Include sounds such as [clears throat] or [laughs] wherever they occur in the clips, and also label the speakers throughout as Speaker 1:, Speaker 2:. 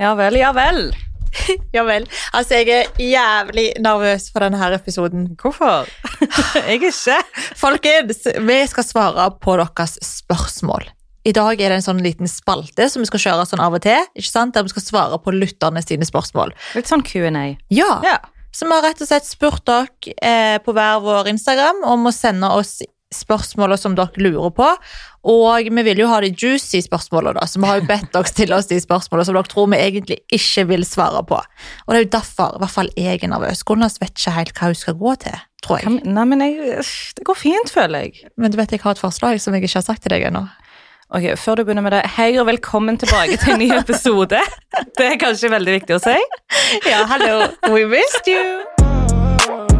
Speaker 1: Ja vel, ja vel.
Speaker 2: Ja vel. Altså, jeg er jævlig nervøs for denne her episoden.
Speaker 1: [laughs] Hvorfor? jeg er ikke.
Speaker 2: Folkens, vi skal svare på deres spørsmål. I dag er det en sånn liten spalte som vi skal kjøre sånn av og til, ikke sant? der vi skal svare på lytterne sine spørsmål.
Speaker 1: Litt sånn Q&A.
Speaker 2: Ja,
Speaker 1: Ja.
Speaker 2: Så vi har rett og slett spurt dere eh, på hver vår Instagram om å sende oss spørsmål som dere lurer på. Og vi vil jo ha de juicy spørsmålene, da, så vi har jo bedt dere stille oss de spørsmålene som dere tror vi egentlig ikke vil svare på. Og det er jo derfor, i hvert fall jeg er nervøs. Gunnar vet ikke helt hva hun skal gå til, tror jeg.
Speaker 1: Kan, nei, men jeg, det går fint, føler jeg.
Speaker 2: Men du vet jeg har et forslag som jeg ikke har sagt til deg ennå.
Speaker 1: Ok, Før du begynner med det, hei og velkommen tilbake til en ny episode. [laughs] Det er kanskje veldig viktig å si.
Speaker 2: [laughs] Ja, hallo, we missed you!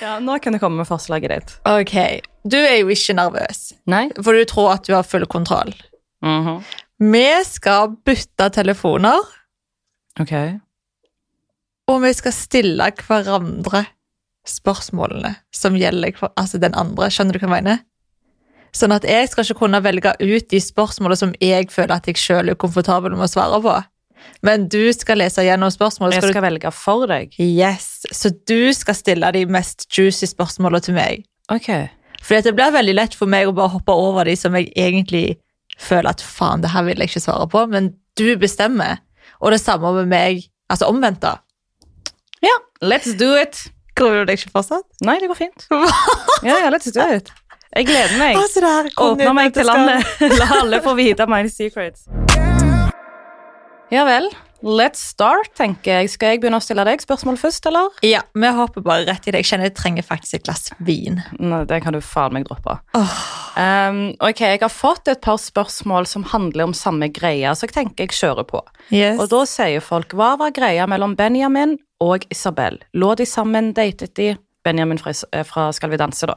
Speaker 1: Ja, Nå kan du komme med forslaget ditt.
Speaker 2: Ok, du er jo ikke nervøs,
Speaker 1: Nei?
Speaker 2: for du tror at du har full kontroll.
Speaker 1: Mhm.
Speaker 2: Vi skal bytte telefoner.
Speaker 1: Ok.
Speaker 2: Og vi skal stille hverandre spørsmålene som gjelder hver- altså den andre. Skjønner du hva jeg mener? Sånn at jeg skal ikke kunne velge ut de spørsmålene som jeg føler at jeg sjøl er komfortabel med å svare på. Men du skal lese gjennom spørsmålet.
Speaker 1: Jeg
Speaker 2: Skal du...
Speaker 1: skal velge for deg.
Speaker 2: Yes, Så du skal stille de mest juicy spørsmålene til meg.
Speaker 1: Ok.
Speaker 2: For det blir veldig lett for meg å bare hoppe over de som jeg egentlig føler at faen, det her vil jeg ikke svare på, men du bestemmer. Og det samme med meg, altså omvendt, da.
Speaker 1: Ja, let's do it.
Speaker 2: Gruer du deg ikke fortsatt?
Speaker 1: Nei, det går fint. Ja, ja, let's do it. Jeg gleder meg.
Speaker 2: Altså, det her kom
Speaker 1: Åpner
Speaker 2: ut
Speaker 1: meg
Speaker 2: at det
Speaker 1: til
Speaker 2: skal-
Speaker 1: landet. [laughs] La alle få vite mine secrets. Ja vel. Let's start, tenker jeg. Skal jeg begynne å stille deg spørsmål først, eller?
Speaker 2: Ja, vi hopper bare rett i det. Jeg kjenner jeg trenger faktisk et glass vin.
Speaker 1: Nei, det kan du faen meg droppe. Um, ok, jeg har fått et par spørsmål som handler om samme greia, så jeg tenker jeg kjører på.
Speaker 2: Yes.
Speaker 1: [laughs] Og da sier folk, hva var greia mellom Benjamin og Isabel? Lå de sammen, datet de? Benjamin fra, Is- eh, fra Skal vi danse da.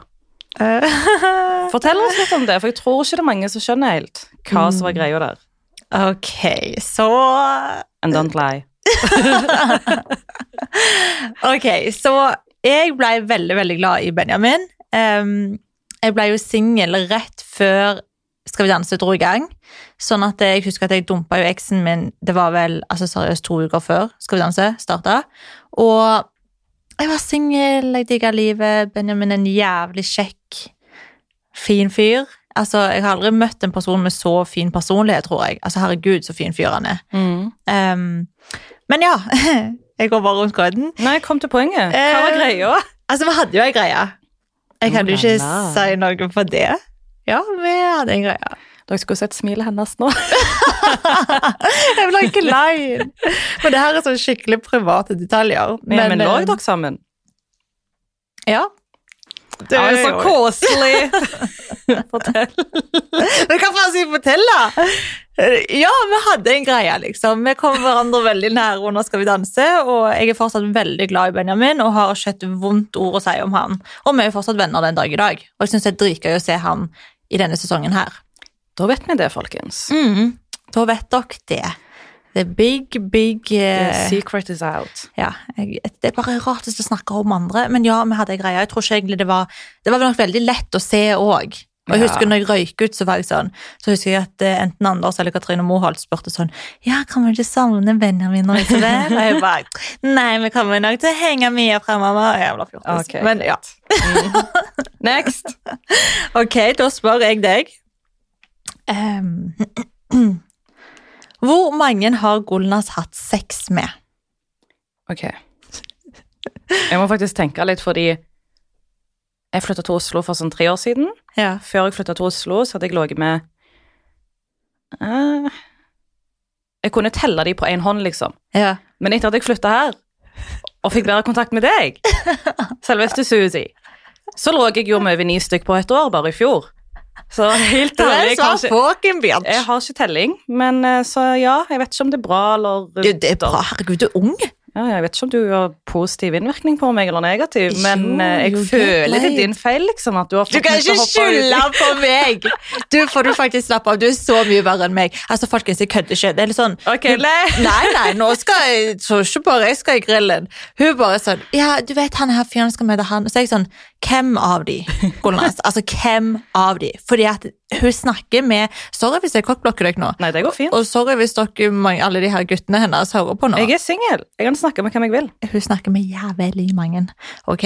Speaker 1: Fortell oss litt om det, for jeg tror ikke det er mange som skjønner helt hva som var greia der.
Speaker 2: ok, så
Speaker 1: And don't lie.
Speaker 2: Ok, så jeg ble veldig, veldig glad i Benjamin. Ehm, jeg ble jo singel rett før Skal vi danse dro i gang. Sånn at jeg husker at jeg dumpa jo eksen min, det var vel altså seriøst to uker før Skal vi danse starta. Og jeg var singel, jeg digga livet. Benjamin er en jævlig kjekk, fin fyr. Altså, Jeg har aldri møtt en person med så fin personlighet, tror jeg. Altså, Herregud, så fin fyr han er.
Speaker 1: Mm.
Speaker 2: Ehm, men ja. [laughs] Jeg går bare rundt grøten.
Speaker 1: Nei, kom til poenget. Hva var
Speaker 2: Eh,
Speaker 1: greia?
Speaker 2: Altså, vi hadde jo en greie. Jeg kan jo ikke
Speaker 1: Oh la la.
Speaker 2: si noe på det. Ja, vi hadde en
Speaker 1: [laughs]
Speaker 2: greie.
Speaker 1: Dere skulle sett smilet hennes nå.
Speaker 2: Jeg ble ikke lei. Men det her er sånn skikkelig private detaljer.
Speaker 1: Men, men lå
Speaker 2: eh,
Speaker 1: dere sammen?
Speaker 2: Ja. Det
Speaker 1: Ja,
Speaker 2: er
Speaker 1: så
Speaker 2: jo-
Speaker 1: koselig! Fortell.
Speaker 2: Men [laughs] hva faen skal jeg fortelle? Eh, Ja, vi hadde en greie, liksom. Vi kom hverandre veldig nære under Skal vi danse, og jeg er fortsatt veldig glad i Benjamin og har ikke et vondt ord å si om han. Og vi er jo fortsatt venner den dag i dag, og jeg syns det er dritgøy å se han i denne sesongen her.
Speaker 1: [laughs] Da vet vi det, folkens.
Speaker 2: Mm, da vet dere det. The big, big eh,
Speaker 1: The secret is out.
Speaker 2: ja, jeg, Det er bare rart hvis du snakker om andre. Men ja, vi hadde en greie. Jeg tror ikke egentlig det var Det var nok veldig lett å se òg. Og jeg
Speaker 1: Ja.
Speaker 2: husker når jeg røyk ut, så var jeg sånn, så husker jeg at eh, enten Anders eller Katrine Moholt spurte sånn Ja, kan vi ikke savne Benjamin og Isabel? Og jeg bare Nei, vi kommer nok til å henge mye fremover. Jævla fjortis.
Speaker 1: Ok, [laughs]
Speaker 2: Men ja.
Speaker 1: Next!
Speaker 2: Ok, da spør jeg deg. Ehm, [clears throat] hvor mange har Gulnas hatt sex med?
Speaker 1: Ok. Jeg må faktisk tenke litt, fordi jeg flytta til Oslo for sånn tre år siden.
Speaker 2: Ja.
Speaker 1: Før jeg flytta til Oslo, så hadde jeg ligget med eh, Jeg kunne telle de på én hånd, liksom.
Speaker 2: ja.
Speaker 1: Men etter at jeg flytta her, og fikk bedre kontakt med
Speaker 2: [laughs]
Speaker 1: deg, selveste Susi, så lå jeg jo med over ni stykk på et år, bare i fjor. Så helt
Speaker 2: Du er
Speaker 1: ærlig,
Speaker 2: så
Speaker 1: kanskje
Speaker 2: fucking
Speaker 1: Jeg
Speaker 2: bitch.
Speaker 1: har ikke telling, men eh, så ja, jeg vet ikke om det er bra eller
Speaker 2: Du, det er bra. Herregud, du er ung.
Speaker 1: Ja, jeg vet ikke om du har positiv innvirkning på meg eller negativ, men
Speaker 2: Jo,
Speaker 1: eh, jeg
Speaker 2: you get
Speaker 1: føler det
Speaker 2: laid.
Speaker 1: er din feil, liksom. At du har fått
Speaker 2: Du kan
Speaker 1: meg til
Speaker 2: ikke
Speaker 1: å hoppe ut i-
Speaker 2: skylde på [laughs] meg! Du får du faktisk slappe av. Du er så mye verre enn meg. Altså, folkens, jeg kødder ikke. Det er litt sånn
Speaker 1: Ok,
Speaker 2: Hun-
Speaker 1: le.
Speaker 2: [laughs] Nei, nei, nå skal jeg så ikke bare jeg skal i grillen. Hun bare sånn Ja, du vet han her fyren skal møte han. Og så er jeg sånn Hvem av [laughs] de? Golnas? Altså, hvem av de? Fordi at hun snakker med Sorry hvis jeg kokkblokker dere nå.
Speaker 1: Nei, det går fint.
Speaker 2: Og sorry hvis dere, mange, alle de her guttene hennes hører på nå.
Speaker 1: Jeg er singel. Jeg kan snakke med hvem jeg vil.
Speaker 2: Hun snakker med jævlig mange, OK?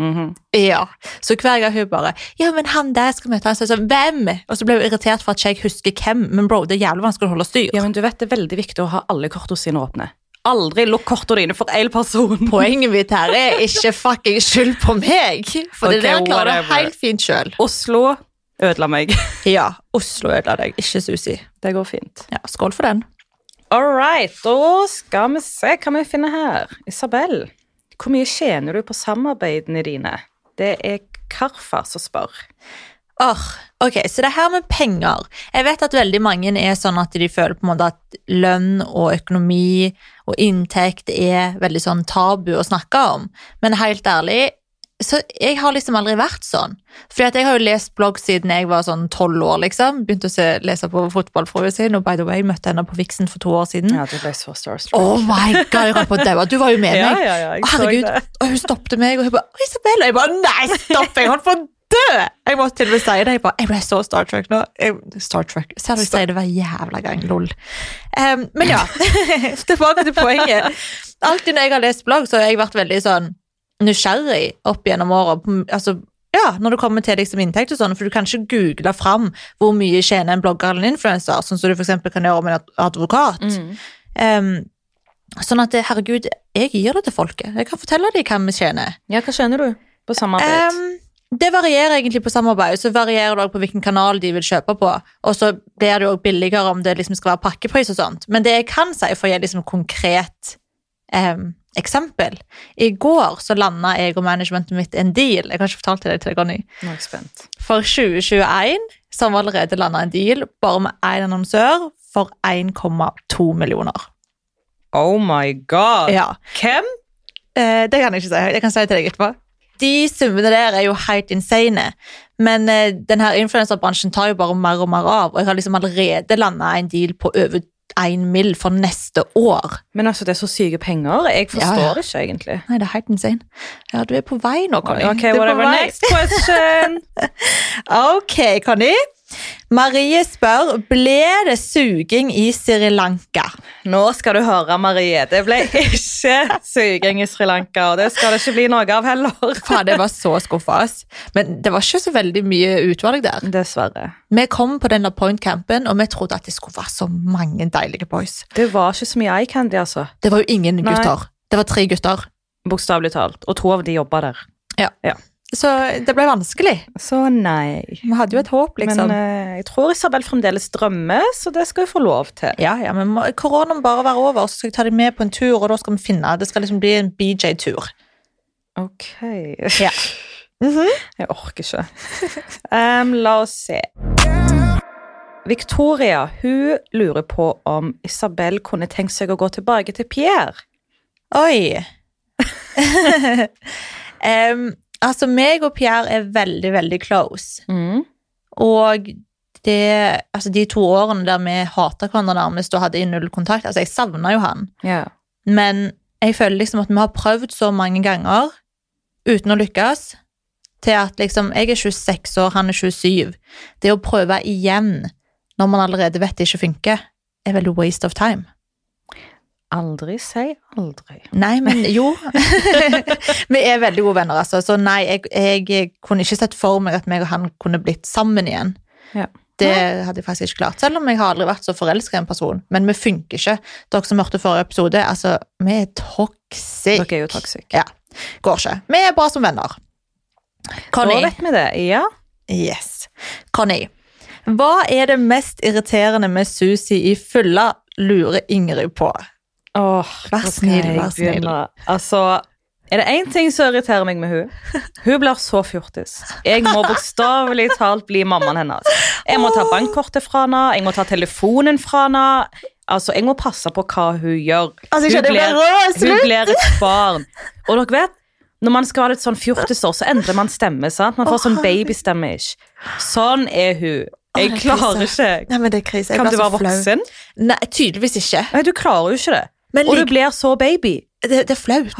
Speaker 1: Mhm.
Speaker 2: Ja, så hver gang hun bare Ja, men han der skal møte han Så jeg sa, Hvem? Og så ble hun irritert for at ikke jeg husker hvem Men bro, det er jævlig vanskelig å holde styr
Speaker 1: Ja, men du vet det er veldig viktig å ha alle kortene sine åpne. Aldri lukk kortene dine for én person.
Speaker 2: [laughs] Poenget mitt her er ikke fucking skyld på meg For
Speaker 1: Ok,
Speaker 2: det der klarer jeg
Speaker 1: whatever.
Speaker 2: helt fint selv
Speaker 1: Oslo ødela meg.
Speaker 2: Ja, Oslo ødela deg, ikke Susi
Speaker 1: [laughs] Det går fint.
Speaker 2: Ja, skål for den
Speaker 1: All right, da skal vi se hva vi finner her. Isabel, hvor mye tjener du på samarbeidene dine? Det er Karfa som spør.
Speaker 2: Åh, ok, så det her med penger. Jeg vet at veldig mange er sånn at de føler på en måte at lønn og økonomi og inntekt er veldig sånn tabu å snakke om. Men helt ærlig, så jeg har liksom aldri vært sånn. Fordi at jeg har jo lest blogg siden jeg var sånn 12 år liksom. Begynte å se, lese på fotballfrue sin, og by the way, møtte henne på Vixen for to år siden.
Speaker 1: du ble så starstruck.
Speaker 2: Oh my god, jeg røp på daua. Du var jo med
Speaker 1: [laughs] ja,
Speaker 2: meg.
Speaker 1: ja, ja, jeg
Speaker 2: Å,
Speaker 1: så
Speaker 2: Herregud,
Speaker 1: det.
Speaker 2: og hun stoppte meg, og hun bare, «Å, Isabel, og jeg bare, nei, stopp, jeg holdt på å dø. Jeg måtte til og med si det, jeg bare, jeg ble så Star Trek nå. Jeg, Star Trek, ser du jeg sier det hver jævla gang, lol. Em, men ja, [laughs] tilbake til poenget. Altid når jeg har lest blogg, så har jeg vært veldig sånn nysgjerrig opp gjennom året. på- Altså, ja, når det kommer til liksom inntekt og sånn, for du kan ikke google fram hvor mye tjener en blogger eller en influenser, sånn som du for eksempel kan gjøre med en ad- advokat.
Speaker 1: Mm.
Speaker 2: Em, Ehm, sånn at, herregud, jeg gir det til folket. Jeg kan fortelle dem hva vi tjener.
Speaker 1: Ja, hva tjener du på samarbeid?
Speaker 2: Ehm, det varierer egentlig på samarbeid, så varierer det også på hvilken kanal de vil kjøpe på. Og så blir det jo også billigere om det liksom skal være pakkepris og sånt. Men det jeg kan si, for å gi liksom konkret ehm, eksempel I går så landa jeg og managementet mitt en deal. Jeg har ikke fortalt til deg til det går ny.
Speaker 1: Nå er jeg spent.
Speaker 2: For 2021 så har vi allerede landa en deal bare med én annonsør for 1,2 millioner.
Speaker 1: Oh my god.
Speaker 2: Ja.
Speaker 1: Hvem?
Speaker 2: Eh, det kan jeg ikke si. Jeg kan si det til deg etterpå. De summene der er jo helt insane. Men eh, den her influenserbransjen tar jo bare mer og mer av. Og jeg har liksom allerede landa en deal på over én mill. for neste år.
Speaker 1: Men altså, det er så syke penger. Jeg forstår
Speaker 2: Ja, ja.
Speaker 1: det ikke, egentlig.
Speaker 2: Nei, det er helt insane. Ja, du er på vei nå, Conny.
Speaker 1: Ok,
Speaker 2: Du er på
Speaker 1: whatever.
Speaker 2: vei.
Speaker 1: Next [laughs] question.
Speaker 2: Ok, Conny. Marie spør ble det suging i Sri Lanka.
Speaker 1: Nå skal du høre, Marie. Det ble ikke suging i Sri Lanka, og det skal det ikke bli noe av heller.
Speaker 2: Faen, jeg var så skuffa. Men det var ikke så veldig mye utvalg der.
Speaker 1: Dessverre.
Speaker 2: Vi kom på den der point campen, og vi trodde at det skulle være så mange deilige boys.
Speaker 1: Det var ikke så mye eye candy, altså.
Speaker 2: Det var jo ingen
Speaker 1: Nei.
Speaker 2: gutter. Det var tre gutter.
Speaker 1: Bokstavelig talt. Og to av de jobba der.
Speaker 2: Så det ble vanskelig.
Speaker 1: Så nei.
Speaker 2: Vi hadde jo et håp, liksom.
Speaker 1: Men eh, jeg tror Isabel fremdeles drømmer, så det skal hun få lov til.
Speaker 2: ja, ja, men må, koronaen bare være over, så skal jeg ta deg med på en tur, og da skal vi finne Det skal liksom bli en BJ-tur.
Speaker 1: Ok. Mhm.
Speaker 2: Ja.
Speaker 1: Jeg orker ikke. Em, la oss se. Victoria hun lurer på om Isabel kunne tenkt seg å gå tilbake til Pierre.
Speaker 2: [laughs] Oi. Em, altså, meg og Pierre er veldig, veldig close.
Speaker 1: Mhm.
Speaker 2: Og det, altså, de to årene der vi hata hverandre nærmest og hadde null kontakt Altså, jeg savna jo han.
Speaker 1: Ja.
Speaker 2: Men jeg føler liksom at vi har prøvd så mange ganger uten å lykkes, til at liksom Jeg er 26 år, han er 27. Det å prøve igjen når man allerede vet det ikke funker, er vel waste of time.
Speaker 1: Aldri si aldri.
Speaker 2: Nei, men
Speaker 1: [laughs]
Speaker 2: jo. [laughs] vi er veldig gode venner, altså. Så nei, jeg, jeg kunne ikke sett for meg at meg og han kunne blitt sammen igjen.
Speaker 1: Ja.
Speaker 2: Det hadde jeg faktisk ikke klart, selv om jeg har aldri vært så forelska i en person. Men vi funker ikke. Dere som hørte forrige episode, altså, vi er toxic.
Speaker 1: Dere er jo toxic.
Speaker 2: Ja, går ikke. Vi er bra som venner.
Speaker 1: Da
Speaker 2: Conny.
Speaker 1: vet vi det. Ja.
Speaker 2: Yes. Conny. Hva er det mest irriterende med Susi i fylla, lurer Ingrid på.
Speaker 1: Åh,
Speaker 2: Vær
Speaker 1: hvor skal
Speaker 2: snill,
Speaker 1: jeg
Speaker 2: vær snill.
Speaker 1: begynne? Altså, er det én ting som irriterer meg med hun? Hun blir så fjortis. Jeg må bokstavelig talt bli mammaen hennes. Jeg må ta bankkortet fra henne, jeg må ta telefonen fra henne. Altså, jeg må passe på hva hun gjør.
Speaker 2: Altså,
Speaker 1: hun
Speaker 2: jeg skjønner, jeg blir rød,
Speaker 1: hun
Speaker 2: slutt!
Speaker 1: blir et barn. Og dere vet, når man skal være litt sånn fjortisår, så endrer man stemme. sant? Man får sånn babystemme-ish. Sånn er hun. Jeg
Speaker 2: det er
Speaker 1: klarer ikke.
Speaker 2: Nei, men det er krise. Jeg
Speaker 1: Kan
Speaker 2: blir
Speaker 1: du
Speaker 2: så
Speaker 1: være
Speaker 2: flau.
Speaker 1: voksen?
Speaker 2: Nei, tydeligvis ikke.
Speaker 1: Nei, du klarer jo ikke det.
Speaker 2: Men
Speaker 1: Og du
Speaker 2: lik-
Speaker 1: blir så baby.
Speaker 2: det, det er flaut.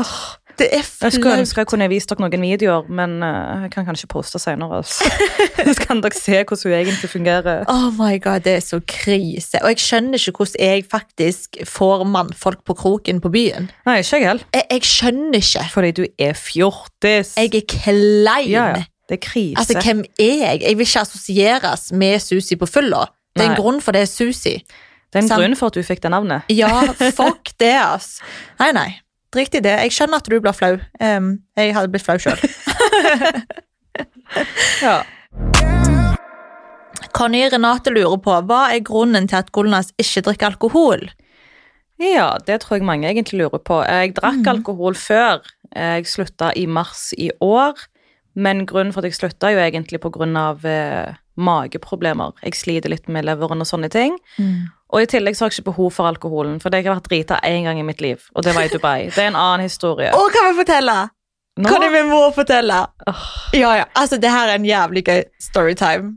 Speaker 2: Det er
Speaker 1: Jeg skulle
Speaker 2: flaut.
Speaker 1: ønske jeg kunne vist dere noen videoer, men eh, jeg kan kanskje poste senere.
Speaker 2: [laughs]
Speaker 1: Altså. Så kan dere se hvordan hun egentlig fungerer.
Speaker 2: Oh my god, det er så krise. Og jeg skjønner ikke hvordan jeg faktisk får mannfolk på kroken på byen.
Speaker 1: Nei, ikke jeg heller.
Speaker 2: Jeg, jeg skjønner ikke.
Speaker 1: Fordi du er fjortis.
Speaker 2: Jeg er klein.
Speaker 1: ja, ja. Det er krise.
Speaker 2: Altså, hvem er jeg? Jeg vil ikke assosieres med Susi på fylla. Det er en
Speaker 1: Nei.
Speaker 2: grunn for det er Susi.
Speaker 1: det er en
Speaker 2: sant.
Speaker 1: grunn for at du fikk det navnet.
Speaker 2: Ja, fuck det, ass. Nei, nei. Drit i det. Jeg skjønner at du blir flau. Em, jeg hadde blitt flau [laughs] sjøl.
Speaker 1: Ja.
Speaker 2: Conny Renate lurer på hva er grunnen til at Golnas ikke drikker alkohol.
Speaker 1: Ja, det tror jeg mange egentlig lurer på. Jeg drakk
Speaker 2: Mhm.
Speaker 1: alkohol før. Jeg slutta i mars i år. Men grunnen for at jeg slutta, er jo egentlig på grunn av eh, mageproblemer. Jeg sliter litt med leveren og sånne ting.
Speaker 2: Mm.
Speaker 1: Og i tillegg så har jeg ikke behov for alkoholen, for jeg har vært drita én gang i mitt liv. Og det var i Dubai. Det er en annen historie.
Speaker 2: Å, kan vi fortelle?
Speaker 1: Nå-
Speaker 2: Conny, vi må fortelle.
Speaker 1: Åh.
Speaker 2: Ja, ja. Altså, det her er en jævlig gøy storytime.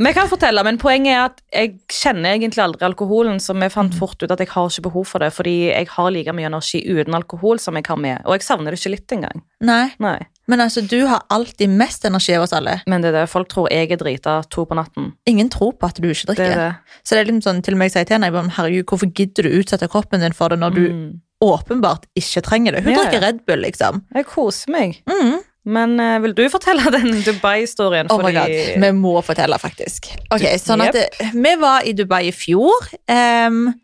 Speaker 1: Vi kan fortelle, men poenget er at jeg kjenner egentlig aldri alkoholen, så vi fant fort ut at jeg har ikke behov for det, fordi jeg har like mye energi uten alkohol som jeg har med. Og jeg savner det ikke litt engang.
Speaker 2: Nei,
Speaker 1: Nei.
Speaker 2: men altså, du har alltid mest energi av oss alle.
Speaker 1: Men det er det folk tror jeg er drita to på natten.
Speaker 2: Ingen tror på at du ikke
Speaker 1: Det
Speaker 2: drikker.
Speaker 1: er det.
Speaker 2: Så det er liksom sånn, til og med jeg sier til henne, jeg bare, herregud, hvorfor gidder du utsette kroppen din for det når du
Speaker 1: Mm.
Speaker 2: åpenbart ikke trenger det? Hun
Speaker 1: Ja, ja.
Speaker 2: drikker Red Bull, liksom.
Speaker 1: Jeg koser meg.
Speaker 2: Mm.
Speaker 1: Men eh, vil du fortelle [laughs] den Dubai-historien?
Speaker 2: Oh my God. Vi må fortelle, faktisk. Ok, sånn at
Speaker 1: Jep.
Speaker 2: eh, Vi var i Dubai i fjor. Em,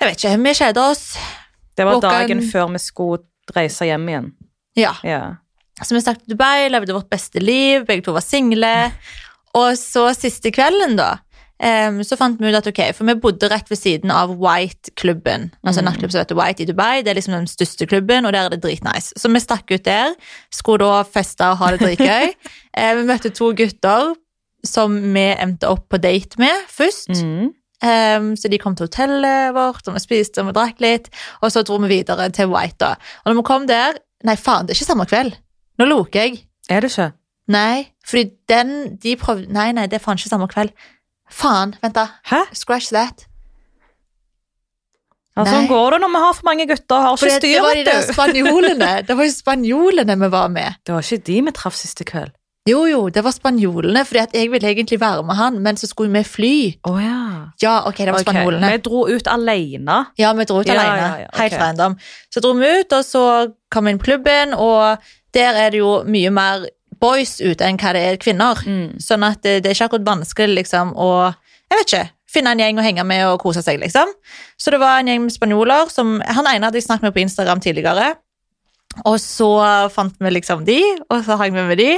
Speaker 2: jeg vet ikke, vi kjeder oss.
Speaker 1: det var
Speaker 2: Våkan-
Speaker 1: dagen før vi skulle reise hjem igjen.
Speaker 2: Ja.
Speaker 1: Ja.
Speaker 2: Så vi stakk til Dubai, levde vårt beste liv, begge to var single. Og så siste kvelden, da, em, så fant vi ut at ok, for vi bodde rett ved siden av White-klubben. Altså en nattklubb som heter White i Dubai. Det er liksom den største klubben, og der er det dritnice. Så vi stakk ut der, skulle da feste og ha det dritgøy. Eh, vi møtte to gutter som vi endte opp på date med først.
Speaker 1: Mm.
Speaker 2: Ehm, så de kom til hotellet vårt, og vi spiste og vi drakk litt. Og så dro vi videre til White. da. Og når vi kom der Nei, faen, det er ikke samme kveld. Nå loker jeg.
Speaker 1: Er det ikke?
Speaker 2: Nei, fordi den de prøvde Nei, nei, det er faen ikke samme kveld. Faen, vent, da.
Speaker 1: Hæ?
Speaker 2: Scratch that.
Speaker 1: Altså,
Speaker 2: Nei.
Speaker 1: Sånn går det når vi har for mange gutter og har
Speaker 2: Fordi
Speaker 1: ikke
Speaker 2: det
Speaker 1: styr,
Speaker 2: var de
Speaker 1: vet
Speaker 2: der
Speaker 1: du. [laughs]
Speaker 2: spanjolene. Det var jo spanjolene vi var med.
Speaker 1: Det var ikke de vi traff siste kveld.
Speaker 2: Jo, jo, det var spanjolene, fordi at jeg ville egentlig være med han, men så skulle vi fly.
Speaker 1: Å ja.
Speaker 2: Ja, ok, det var
Speaker 1: Ok,
Speaker 2: spanjolene.
Speaker 1: Vi dro ut alene.
Speaker 2: Ja, vi dro ut
Speaker 1: Ja,
Speaker 2: alene.
Speaker 1: ja, ja, ok.
Speaker 2: Helt random. Så dro vi ut, og så kom vi inn på klubben, og der er det jo mye mer boys ute enn hva det er kvinner.
Speaker 1: Mm.
Speaker 2: Sånn at det, det er ikke akkurat vanskelig liksom, å jeg vet ikke, finne en gjeng å henge med og kose seg. liksom. Så det var en gjeng med spanjoler. som, Han ene hadde jeg snakket med på Instagram tidligere. Og så fant vi liksom de, og så hang vi med de.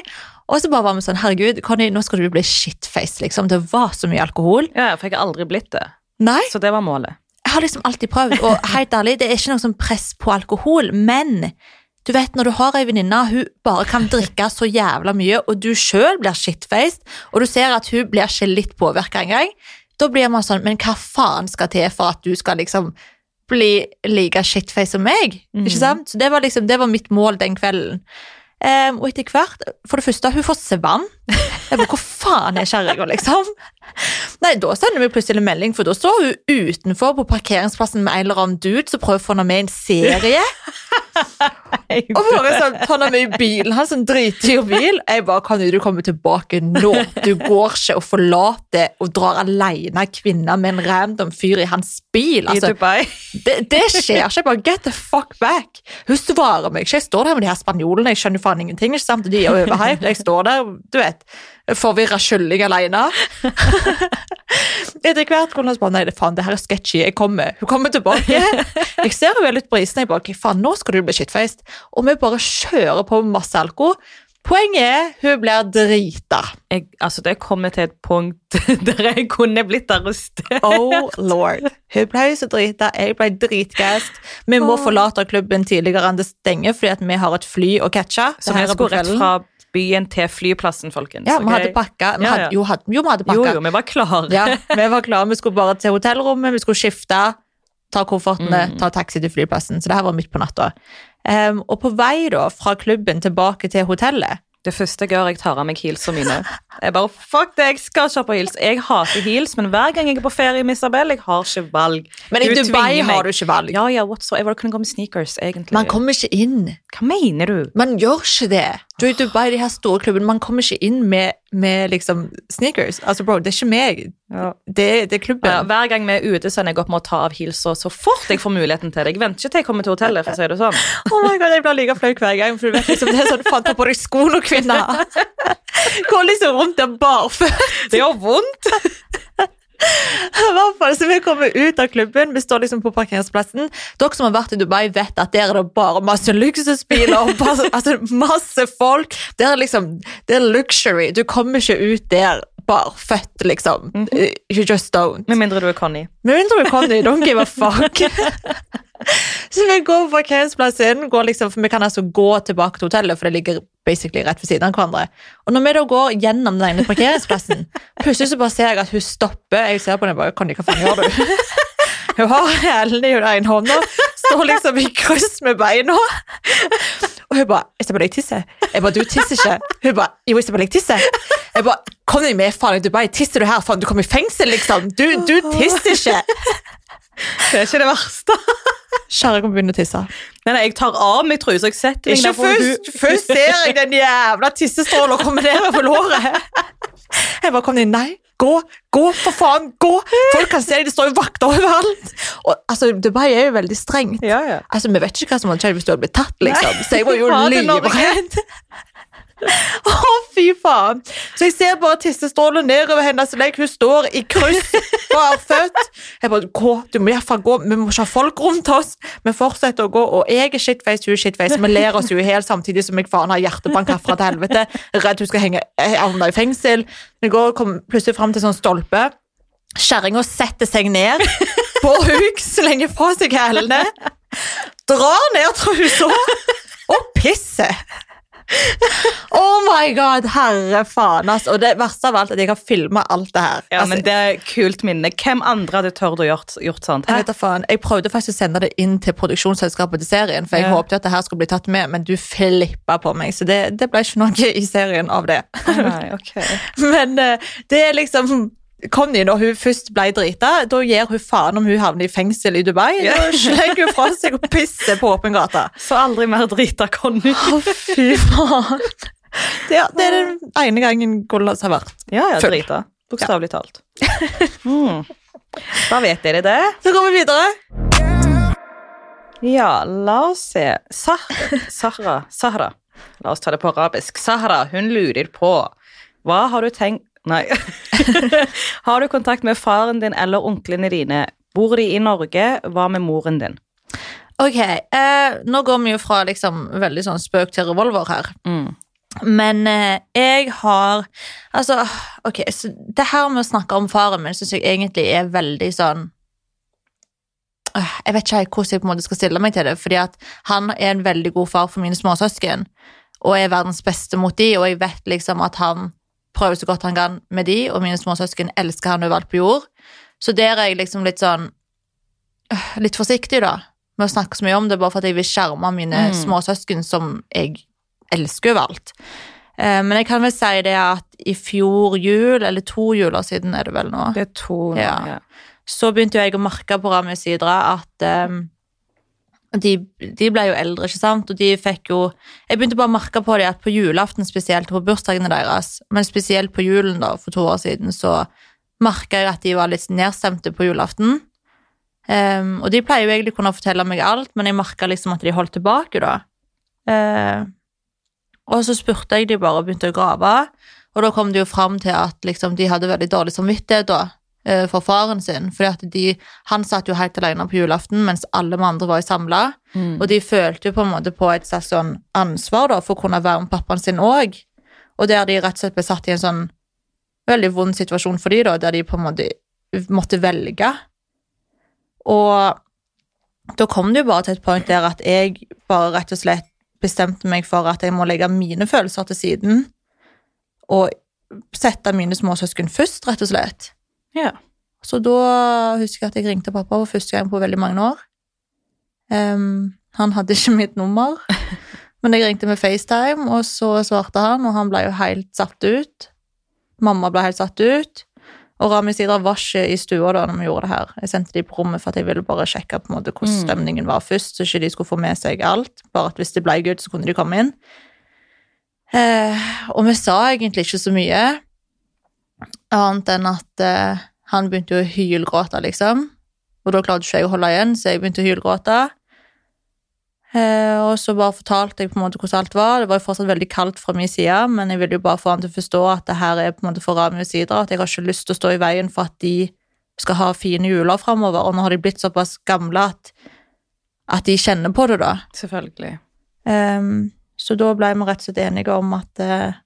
Speaker 2: Og så bare var vi sånn, herregud, Conny, nå skal du bli shitface, liksom. Det var så mye alkohol.
Speaker 1: Ja, for jeg har aldri blitt det.
Speaker 2: Nei,
Speaker 1: Så det var målet.
Speaker 2: jeg har liksom alltid prøvd, og helt ærlig, det er ikke noe som press på alkohol, men du vet, når du har ei venninne, hun bare kan drikke så jævla mye, og du sjøl blir shitfaced, og du ser at hun blir ikke litt påvirka engang, da blir man sånn, men hva faen skal til for at du skal liksom bli like shitfaced som meg?
Speaker 1: Mhm.
Speaker 2: Ikke sant? Så det var liksom, det var mitt mål den kvelden. Ehm, og etter hvert, for det første, hun forsvant. Jeg bare, hvor faen er kjerringa, liksom? Nei, da sender vi plutselig en melding, for da står hun utenfor på parkeringsplassen med en eller annen dude som prøver å få henne med i en serie.
Speaker 1: [laughs]
Speaker 2: Og bare sånn, ta henne med i bilen hans, en dritdyr bil. Jeg bare, kan du komme tilbake nå? Du går ikke og forlater og drar alene kvinner med en random fyr i hans bil.
Speaker 1: I
Speaker 2: Altså,
Speaker 1: Dubai.
Speaker 2: det, det skjer ikke. Jeg bare, get the fuck back. Hun svarer meg ikke. Jeg står der med de her spanjolene, jeg skjønner faen ingenting. Ikke sant? De er overhyped. Jeg står der, du vet, forvirra kylling alene. Etter hvert kunne hun bare Nei, det, faen, det her er sketchy. Jeg kommer. Hun kommer tilbake. Jeg ser hun er litt brisen. Jeg bare Ok, faen, nå skal du bli shitfaced. Og vi bare kjører på med masse alko. Poenget er hun blir drita.
Speaker 1: Jeg, altså, det kommer til et punkt [laughs] der jeg kunne blitt arrestert.
Speaker 2: Oh lord. Hun ble så drita, jeg ble dritgassed. Vi må forlate klubben tidligere enn det stenger, fordi at vi har et fly å catche.
Speaker 1: Så
Speaker 2: Det her
Speaker 1: vi
Speaker 2: er på
Speaker 1: skulle rett
Speaker 2: kvelden.
Speaker 1: fra byen til flyplassen, folkens.
Speaker 2: Ja, vi
Speaker 1: ok?
Speaker 2: hadde pakka. Vi
Speaker 1: Ja, ja.
Speaker 2: hadde, jo, hadde, jo, vi
Speaker 1: Jo,
Speaker 2: hadde pakka.
Speaker 1: jo, vi var klare.
Speaker 2: Ja, vi var klare. Vi skulle bare til hotellrommet, vi skulle skifte, ta koffertene,
Speaker 1: Mm.
Speaker 2: ta taxi til flyplassen. Så det her var midt på natta. Ehm, og på vei da, fra klubben tilbake til hotellet
Speaker 1: Det første jeg gjør, jeg tar av meg heelsene mine. Jeg bare, fuck det, jeg skal kjøpe heels. Jeg hater heels, men hver gang jeg er på ferie med Isabel, jeg har ikke valg.
Speaker 2: Men i
Speaker 1: Du
Speaker 2: Dubai
Speaker 1: tvinger meg.
Speaker 2: har du ikke valg.
Speaker 1: Ja, ja, whatsoever. Jeg kunne gå med sneakers, egentlig.
Speaker 2: Man kommer ikke inn.
Speaker 1: Hva mener du?
Speaker 2: Man gjør ikke det. Du er i Dubai, de her store klubbene, man kommer ikke inn med, med liksom sneakers. Altså, bro, det er ikke meg.
Speaker 1: Ja.
Speaker 2: Det, det er klubben.
Speaker 1: Ja, hver gang vi er ute, så ender jeg opp med å ta av heelsene så fort jeg får muligheten til det. Jeg venter ikke til jeg kommer til hotellet, for å si det sånn.
Speaker 2: Oh my god, Jeg blir like flau hver gang. For du vet liksom, det er sånn, faen, ta på deg skoene, kvinne! [laughs] Går liksom rundt der [laughs] barføtt.
Speaker 1: Det gjør vondt.
Speaker 2: I hvert fall, så vi kommer ut av klubben, vi står liksom på parkeringsplassen. Dere som har vært i Dubai, vet at der er det bare masse luksusbiler og bare, altså, masse folk. Der er liksom, det er luxury. Du kommer ikke ut der barføtt, liksom. You just don't.
Speaker 1: Med mindre du er Connie.
Speaker 2: Med mindre du kan det, don't give a fuck. [laughs] så vi går på parkeringsplassen, går liksom, for vi kan altså gå tilbake til hotellet, for det ligger basically rett ved siden av hverandre. Og når vi da går gjennom den ene [laughs] parkeringsplassen, plutselig så bare ser jeg at hun stopper, jeg ser på henne og bare, Conny, hva faen gjør du? [laughs] Hun har hælen i hun ene hånda, står liksom i kryss med beina. Og hun bare 'Isabel, jeg tisser'. Jeg bare 'Du tisser ikke'. Hun bare 'Jo, Isabel, jeg tisser'. Jeg bare 'Kom deg med, faen, i Dubai. Tisser du her? Faen, du kommer i fengsel, liksom. Du, du tisser ikke'.
Speaker 1: Det er ikke det verste.
Speaker 2: Kjære, jeg kommer begynne å tisse.
Speaker 1: Nei, nei, jeg tar av meg trusa, jeg setter meg
Speaker 2: Ikke
Speaker 1: ned for
Speaker 2: først,
Speaker 1: hun-
Speaker 2: først ser jeg den jævla tissestråla komme ned over låret. [laughs] Jeg bare kom inn, nei, gå, gå, for faen, gå. Folk kan se deg, det står jo vakter overalt. Og, altså, Dubai er jo veldig strengt.
Speaker 1: Ja, ja.
Speaker 2: Altså, vi vet ikke hva som hadde skjedd hvis du hadde blitt tatt, liksom.
Speaker 1: Nei.
Speaker 2: Så jeg var [laughs] jo
Speaker 1: Ja, det er Norge.
Speaker 2: livredd. Å, fy faen. Så jeg ser bare tissestrålen nedover hennes legg. Hun står i kryss, barføtt. Jeg bare, gå, du må i hvert fall gå. Vi må ikke ha folk rundt oss. Vi fortsetter å gå, og jeg er shitface, hun er shitface. Vi ler oss jo i hjel samtidig som jeg faen har hjertebank herfra til helvete. Redd hun skal henge eh, havne i fengsel. Vi går kom plutselig fram til sånn stolpe. Kjerringa setter seg ned på huk, slenger fra seg hælene, drar ned trusa og pisser. Oh my god, herre faen, ass. Og det verste av alt er at jeg har filma alt det her.
Speaker 1: Ja,
Speaker 2: Altså,
Speaker 1: men det er et kult minne. Hvem andre hadde tørt å gjort, gjort sånt?
Speaker 2: jeg,
Speaker 1: Hæ?
Speaker 2: vet da faen, jeg prøvde faktisk å sende det inn til produksjonsselskapet til serien, for jeg
Speaker 1: Ja.
Speaker 2: håpte at det her skulle bli tatt med, men du flippa på meg, så det, det ble ikke noe i serien av det.
Speaker 1: Nei, ok.
Speaker 2: [laughs] Men eh, det er liksom Conny, når hun først ble drita, da gir hun faen om hun havner i fengsel i Dubai.
Speaker 1: Ja.
Speaker 2: Da slenger hun fra seg og pisser på åpen gate.
Speaker 1: Så aldri mer drita Conny.
Speaker 2: [laughs] Å, fy faen. Det, er- det er den ene gangen Gollas har vært.
Speaker 1: Ja, ja,
Speaker 2: Full.
Speaker 1: drita. Bokstavelig talt. Mm. Da vet dere det.
Speaker 2: Så går vi videre.
Speaker 1: Ja, la oss se. Sahra, Sahra, Sahra. La oss ta det på arabisk. Sahra, hun lurer på Hva har du tenkt Nei. [laughs] har du kontakt med faren din eller onklene dine? Bor de i Norge? Hva med moren din?
Speaker 2: Ok, eh, nå går vi jo fra liksom veldig sånn spøk til revolver her.
Speaker 1: Mm.
Speaker 2: Men eh, jeg har Altså, ok, så det her med å snakke om faren min syns jeg egentlig er veldig sånn Øh, Jeg vet ikke helt hvordan jeg på en måte skal stille meg til det, fordi at han er en veldig god far for mine småsøsken, og er verdens beste mot de, og jeg vet liksom at han prøver så godt han kan med de, og mine småsøsken elsker han overalt på jord. Så der er jeg liksom litt sånn øh, Litt forsiktig, da, med å snakke så mye om det, bare for at jeg vil skjerme mine
Speaker 1: Mm.
Speaker 2: småsøsken, som jeg elsker overalt. Eh, Men jeg kan vel si det at i fjor jul, eller to juler siden er det vel nå,
Speaker 1: Det er to nå,
Speaker 2: Ja. så begynte jo jeg å merke på Rami Sidra at ehm, de, de ble jo eldre, ikke sant? Og de fikk jo Jeg begynte bare å merke på det at på julaften spesielt, og på bursdagene deres, men spesielt på julen da, for to år siden, så merka jeg at de var litt nedstemte på julaften. Ehm, og de pleier jo egentlig å kunne fortelle meg alt, men jeg merka liksom at de holdt tilbake, da. Eh, og så spurte jeg de bare og begynte å grave, og da kom det jo fram til at liksom, de hadde veldig dårlig samvittighet da, eh, for faren sin. Fordi at de, han satt jo helt alene på julaften, mens alle vi andre var samla.
Speaker 1: Mm.
Speaker 2: Og de følte jo på en måte på et slags sånn ansvar da, for å kunne være med pappaen sin òg. Og der de rett og slett ble satt i en sånn veldig vond situasjon for de da, der de på en måte måtte velge. Og da kom det jo bare til et punkt der at jeg bare rett og slett bestemte meg for at jeg må legge mine følelser til siden og sette mine småsøsken først, rett og slett.
Speaker 1: Ja.
Speaker 2: Så da husker jeg at jeg ringte pappa for første gang på veldig mange år. Ehm, han hadde ikke mitt nummer, men jeg ringte med FaceTime, og så svarte han, og han ble jo helt satt ut. Mamma ble helt satt ut. Og Rami Sidra var ikke i stua da når vi gjorde det her. Jeg sendte de på rommet for at jeg ville bare sjekke på en måte hvordan
Speaker 1: Mm.
Speaker 2: stemningen var først, så ikke de skulle få med seg alt. Bare at hvis det ble gutt, så kunne de komme inn. Eh, og vi sa egentlig ikke så mye, annet enn at eh, han begynte jo å hylgråte, liksom. Og da klarte ikke jeg å holde igjen, så jeg begynte å hylgråte. Eh, og så bare fortalte jeg på en måte hvordan alt var. Det var jo fortsatt veldig kaldt fra min side, men jeg ville jo bare få han til å forstå at det her er på en måte for Rami og Sidra, at jeg har ikke lyst til å stå i veien for at de skal ha fine juler framover. Og nå har de blitt såpass gamle at, at de kjenner på det, da.
Speaker 1: Selvfølgelig.
Speaker 2: Ehm, så da ble vi rett og slett enige om at uh,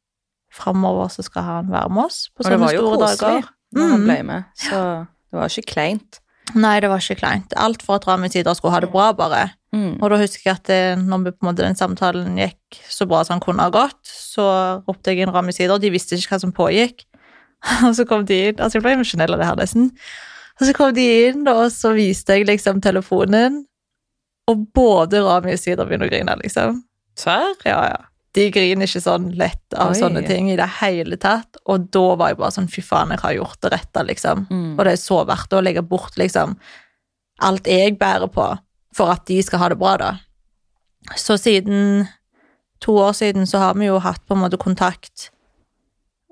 Speaker 2: framover så skal han være med oss på
Speaker 1: Og det
Speaker 2: sånne
Speaker 1: var jo
Speaker 2: store
Speaker 1: koselig
Speaker 2: dager.
Speaker 1: når han
Speaker 2: Mm.
Speaker 1: ble med, så det var ikke kleint.
Speaker 2: Nei, det var ikke kleint. Alt for at Rami og Sidra skulle ha det bra, bare.
Speaker 1: Mm.
Speaker 2: Og da husker jeg at eh, når vi, på en måte, den samtalen gikk så bra som den kunne ha gått, så ropte jeg inn Rami Sider, og de visste ikke hva som pågikk. [laughs] Og så kom de inn, altså jeg ble emosjonell av det her nesten. Og så kom de inn, og så viste jeg liksom telefonen, og både Rami og Sider begynner å grine, liksom.
Speaker 1: Serr?
Speaker 2: Ja, ja. De griner ikke sånn lett av
Speaker 1: Oi.
Speaker 2: sånne ting i det hele tatt, og da var jeg bare sånn, fy faen, jeg har gjort det rette, liksom.
Speaker 1: Mm.
Speaker 2: Og det er så verdt å legge bort liksom alt jeg bærer på, for at de skal ha det bra, da. Så siden to år siden så har vi jo hatt på en måte kontakt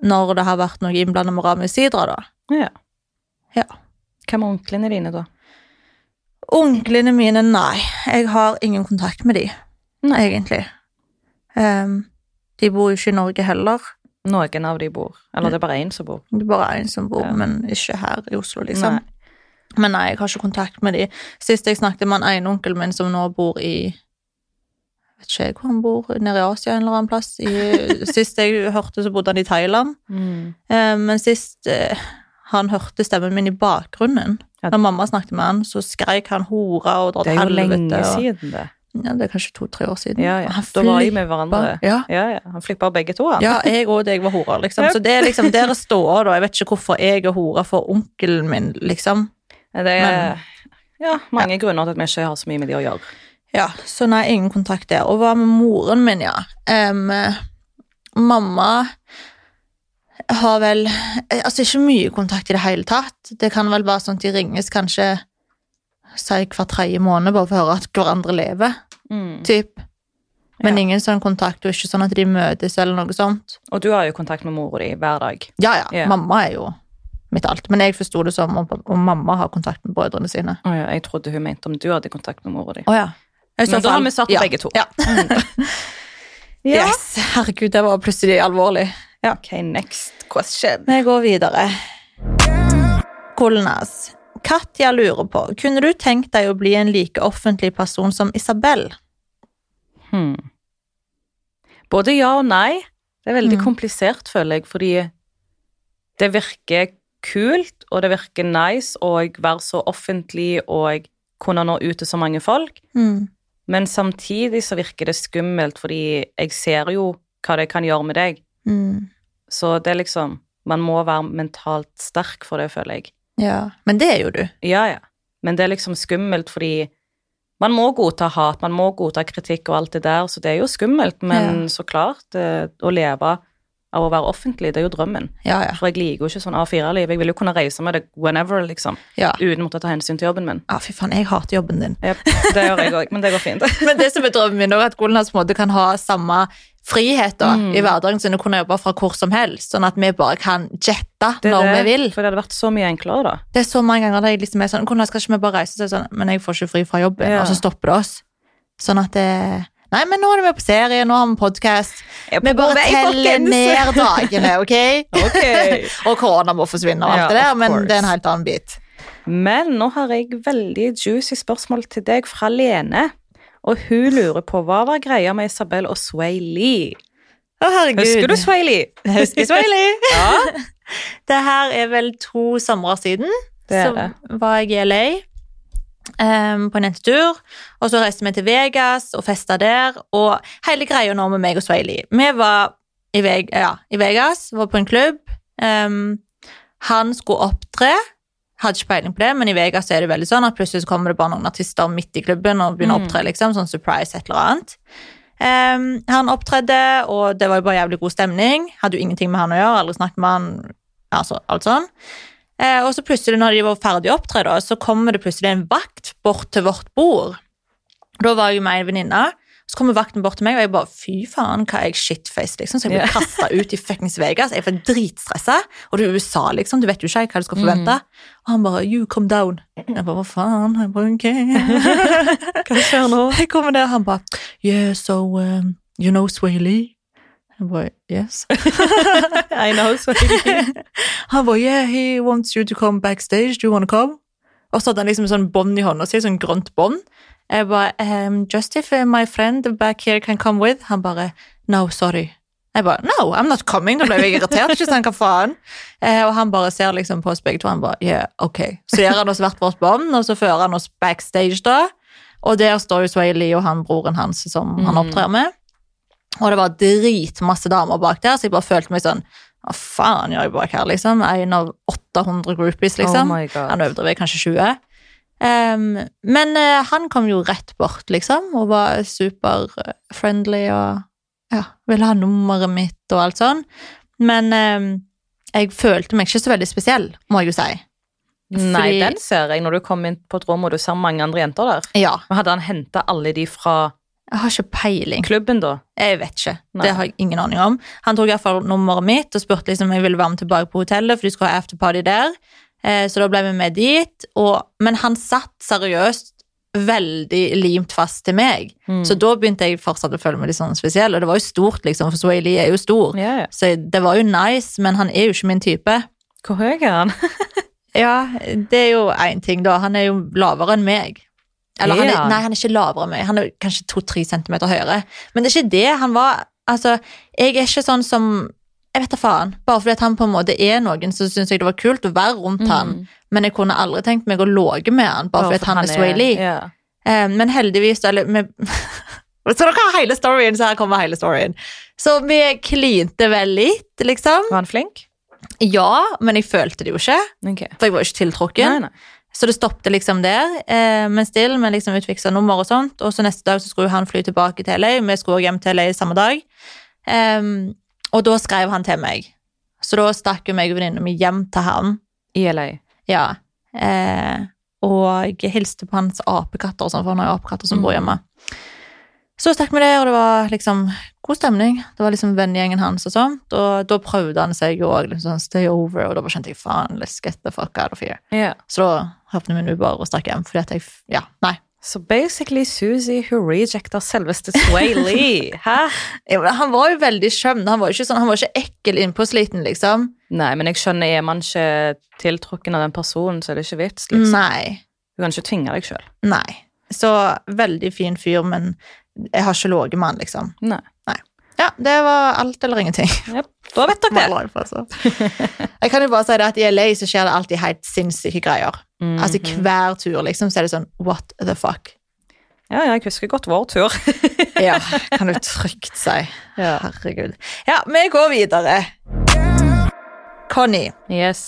Speaker 2: når det har vært noe innblanda med Rami Sidra, da.
Speaker 1: Ja.
Speaker 2: Ja.
Speaker 1: Hva med onklene dine, da?
Speaker 2: Onklene mine, nei. Jeg har ingen kontakt med de,
Speaker 1: Nei.
Speaker 2: egentlig. Ehm, de bor jo ikke i Norge heller.
Speaker 1: Noen av de bor. Eller det er bare én som bor.
Speaker 2: Det er bare én som bor,
Speaker 1: Ja.
Speaker 2: men ikke her i Oslo, liksom.
Speaker 1: Nei.
Speaker 2: Men nei, jeg har ikke kontakt med de. Sist jeg snakket med en onkelen min som nå bor i Vet ikke jeg hvor han bor, nede i Asia en eller annen
Speaker 1: [laughs]
Speaker 2: plass. I, sist jeg hørte, så bodde han i Thailand.
Speaker 1: Mm.
Speaker 2: Eh, men sist eh, han hørte stemmen min i bakgrunnen
Speaker 1: Ja.
Speaker 2: Når mamma snakket med han, så skreik han hore og dratt
Speaker 1: Det er jo
Speaker 2: helvete.
Speaker 1: lenge
Speaker 2: og-
Speaker 1: siden, det.
Speaker 2: Ja, det er kanskje to-tre år siden.
Speaker 1: Ja, ja.
Speaker 2: Han
Speaker 1: Da var de
Speaker 2: flippa.
Speaker 1: med hverandre.
Speaker 2: Ja.
Speaker 1: Ja, ja. Han flipper begge to, han.
Speaker 2: Ja, jeg og deg var horer, liksom. Så det er liksom der det står, da. Jeg vet ikke hvorfor jeg er hore for onkelen min, liksom.
Speaker 1: Det er ja, mange grunner til at vi ikke har så mye med de å gjøre.
Speaker 2: Ja, så nei, ingen kontakt der. Og hva med moren min, ja? Em, eh, mamma har vel eh, Altså ikke mye kontakt i det hele tatt. Det kan vel være sånn at de ringes kanskje si hver tredje måned, bare for å høre at hverandre lever,
Speaker 1: Mm.
Speaker 2: typ. Men
Speaker 1: Ja.
Speaker 2: ingen sånn kontakt, og ikke sånn at de møtes eller noe sånt.
Speaker 1: Og du har jo kontakt med mora di hver dag.
Speaker 2: Ja, ja,
Speaker 1: Ja.
Speaker 2: mamma er jo mitt alt. Men jeg forsto det som om, om mamma har kontakt med brødrene sine.
Speaker 1: Å ja, jeg trodde hun mente om du hadde kontakt med mora di.
Speaker 2: Å ja. I så
Speaker 1: Men da har
Speaker 2: fall-
Speaker 1: vi svart på
Speaker 2: ja.
Speaker 1: begge to.
Speaker 2: Ja.
Speaker 1: Ja.
Speaker 2: Yes. Herregud, det var plutselig alvorlig.
Speaker 1: Ok, next question.
Speaker 2: Vi går videre. Kolnas. Katja lurer på, kunne du tenkt deg å bli en like offentlig person som Isabel?
Speaker 1: Hmm. Både ja og nei. Det er veldig
Speaker 2: Mm.
Speaker 1: komplisert, føler jeg, fordi det virker kult, og det virker nice å være så offentlig og kunne nå ut til så mange folk.
Speaker 2: Mm.
Speaker 1: Men samtidig så virker det skummelt, fordi jeg ser jo hva det kan gjøre med deg.
Speaker 2: Mm.
Speaker 1: Så det er liksom Man må være mentalt sterk for det, føler jeg.
Speaker 2: Ja. Men det er jo du.
Speaker 1: Ja, ja. Men det er liksom skummelt, fordi man må godta hat, man må godta kritikk og alt det der, så det er jo skummelt, men så klart, eh, å leve av å være offentlig, det er jo drømmen.
Speaker 2: Ja, ja.
Speaker 1: For jeg liker jo ikke sånn A4-liv. Jeg vil jo kunne reise med det whenever, liksom,
Speaker 2: Ja,
Speaker 1: uten å måtte ta hensyn til jobben min.
Speaker 2: ah, fy faen, jeg hater jobben din.
Speaker 1: Jep, det gjør jeg òg, men det går fint.
Speaker 2: Men det som er drømmen min, er at Kolnas på en måte kan ha samme frihet da,
Speaker 1: Mm.
Speaker 2: i hverdagen sin og kunne jobbe fra hvor som helst, sånn at vi bare kan jette
Speaker 1: Det er
Speaker 2: når
Speaker 1: det,
Speaker 2: vi vil.
Speaker 1: For det hadde vært så mye enklere, da.
Speaker 2: Det er så mange ganger der jeg liksom er sånn Hvordan skal ikke vi bare reise? Så er det sånn, men jeg får ikke fri fra jobben,
Speaker 1: Ja.
Speaker 2: og så stopper det oss. Sånn at det Nei, men nå er vi på serie, nå har vi podkast.
Speaker 1: Jeg er
Speaker 2: Vi
Speaker 1: på
Speaker 2: bare
Speaker 1: vei,
Speaker 2: teller
Speaker 1: folkens!
Speaker 2: ned dagene, OK?
Speaker 1: [laughs] Ok.
Speaker 2: og korona må forsvinne og alt
Speaker 1: Ja,
Speaker 2: det der,
Speaker 1: of
Speaker 2: men
Speaker 1: course.
Speaker 2: det er en helt annen bit.
Speaker 1: Men nå har jeg veldig juicy spørsmål til deg fra Lene. Og hun lurer på hva var greia med Isabel og Sway Lee?
Speaker 2: Å, herregud.
Speaker 1: Husker du Sway Lee?
Speaker 2: Jeg Husker Swaley?
Speaker 1: [laughs]
Speaker 2: [laughs]
Speaker 1: Ja.
Speaker 2: Det her er vel to somre siden.
Speaker 1: Det er det.
Speaker 2: Så var jeg i LA. ehm, på en jentetur. Og så reiste vi til Vegas og festa der. Og hele greia nå med meg og Sveili Vi var i, Veg ja, i Vegas, var på en klubb. Ehm, han skulle opptre. Hadde ikke peiling på det, men i Vegas er det veldig sånn at plutselig så kommer det bare noen artister midt i klubben og begynner
Speaker 1: Mm.
Speaker 2: å opptre. liksom, Sånn surprise, et eller annet. Ehm, han opptredde, og det var jo bare jævlig god stemning. Hadde jo ingenting med han å gjøre, aldri snakket med han. Altså, alt sånn. Eh, og så plutselig, når de var ferdig å opptre, da, så kommer det plutselig en vakt bort til vårt bord. Da var jeg jo med en venninne. Så kommer vakten bort til meg, og jeg bare fy faen, hva er jeg shitface, liksom. Så jeg ble
Speaker 1: Ja.
Speaker 2: kasta ut i fuckings Vegas. Jeg ble dritstressa. Og det er USA, liksom. Du vet jo ikke hva du skal
Speaker 1: Mm.
Speaker 2: forvente. Og han bare you come down. Jeg bare hva faen? Jeg bare,
Speaker 1: [laughs]
Speaker 2: ok.
Speaker 1: Hva skjer nå?
Speaker 2: Jeg kommer der, han bare yeah, so um, you know Sway Lee? Jeg bare yes.
Speaker 1: I know, så [laughs]
Speaker 2: Han bare, yeah, he wants you to come backstage, do you wanna come? Og så hadde han liksom sånn bånd i hånda si, sånn grønt bånd. Jeg bare, um, just if uh, my friend back here can come with. Han bare, no, sorry. Jeg bare, no, I'm not coming. Da ble jeg irritert, ikke sant, hva faen? Eh, og han bare ser liksom på oss begge to, han bare, yeah, ok. Så gjør han oss hvert vårt bånd, og så fører han oss backstage da. Og der står jo Sway Lee og han, broren hans, som han
Speaker 1: Mm.
Speaker 2: opptrer med. Og det var dritmasse damer bak der, så jeg bare følte meg sånn, hva faen gjør jeg bak her, liksom? En av 800 groupies,
Speaker 1: Oh
Speaker 2: liksom.
Speaker 1: my god.
Speaker 2: han overdriver kanskje 20. Em, men eh, han kom jo rett bort, liksom, og var super-friendly og ja, ville ha nummeret mitt og alt sånn. Men em, jeg følte meg ikke så veldig spesiell, må jeg jo si.
Speaker 1: Nei,
Speaker 2: Fordi-
Speaker 1: den ser jeg når du kom inn på et rom og du ser mange andre jenter der.
Speaker 2: Ja,
Speaker 1: Men hadde han henta alle de fra
Speaker 2: jeg har ikke peiling.
Speaker 1: klubben, da?
Speaker 2: Jeg vet ikke.
Speaker 1: Nei.
Speaker 2: Det har jeg ingen aning om. Han tok i hvert fall nummeret mitt og spurte liksom om jeg ville være med tilbake på hotellet, for de skulle ha afterparty der. Eh, Så da ble vi med dit. Og, men han satt seriøst veldig limt fast til meg.
Speaker 1: Mm.
Speaker 2: Så da begynte jeg fortsatt å føle meg litt sånn spesiell, og det var jo stort, liksom, for Sway Lee er jo stor.
Speaker 1: ja, ja.
Speaker 2: Så det var jo nice, men han er jo ikke min type.
Speaker 1: Hvor høy er han?
Speaker 2: Ja, det er jo én ting, da. Han er jo lavere enn meg. Eller, han
Speaker 1: Er
Speaker 2: er,
Speaker 1: han?
Speaker 2: nei, han er ikke lavere enn meg. Han er kanskje to-tre centimeter høyere. Men det er ikke det han var. Altså, jeg er ikke sånn som Jeg vet da faen. Bare fordi at han på en måte er noen, så syns jeg det var kult å være rundt han. Men jeg kunne aldri tenkt meg Mm. å låge med han, bare fordi at han, er Sway Lee.
Speaker 1: Ja.
Speaker 2: Eh, Men heldigvis eller, vi, [laughs] Så dere har hele storyen, så her kommer hele storyen. Så vi klinte vel litt, liksom.
Speaker 1: Var han flink?
Speaker 2: Ja, men jeg følte det jo ikke,
Speaker 1: Ok.
Speaker 2: for jeg var jo ikke tiltrukken.
Speaker 1: Nei, nei.
Speaker 2: Så det stoppte liksom der, eh, men still, vi liksom utviksa nummer og sånt. Og så neste dag så skulle han fly tilbake til LA, vi skulle også hjem til LA samme dag. Em, og da skrev han til meg. Så da stakk jo meg og venninna mi hjem til han.
Speaker 1: I LA.
Speaker 2: Ja. Eh, og jeg hilste på hans apekatter og sånn, for han har jo apekatter som bor
Speaker 1: Mm.
Speaker 2: hjemme. Så stakk vi der, og det var liksom god stemning. Det var liksom vennegjengen hans og sånt. Og da prøvde han seg jo òg, liksom sånn stay over, og da bare kjente jeg faen, let's get the fuck out of here.
Speaker 1: Ja.
Speaker 2: Så da hoppet min Uber og stakk hjem. Fordi at jeg, ja, nei.
Speaker 1: Så basically Susie who rejecter selveste Sway
Speaker 2: [laughs]
Speaker 1: Lee. Hæ?
Speaker 2: Ja, men Han var jo veldig skjønn. Han var jo ikke, sånn, han var ikke ekkel innpåsliten, liksom.
Speaker 1: Nei, men jeg skjønner, er man ikke tiltrukken av den personen, så er det ikke vits.
Speaker 2: Mm.
Speaker 1: Liksom.
Speaker 2: Nei.
Speaker 1: Du kan ikke tvinge deg sjøl.
Speaker 2: Nei. Så veldig fin fyr, men jeg har ikke ligget med han, liksom.
Speaker 1: Nei.
Speaker 2: Ja, det var alt eller ingenting. [laughs]
Speaker 1: Jep. Da vet dere det.
Speaker 2: Maler jeg på, altså. Jeg kan jo bare si det at i LA så skjer det alltid helt sinnssyke greier. Altså
Speaker 1: Mhm.
Speaker 2: hver tur, liksom, så er det sånn what the fuck.
Speaker 1: Ja, ja, jeg husker godt vår tur.
Speaker 2: Ja, [laughs] kan du trygt si.
Speaker 1: Ja.
Speaker 2: Herregud. Ja, vi går videre. Conny.
Speaker 1: Yes.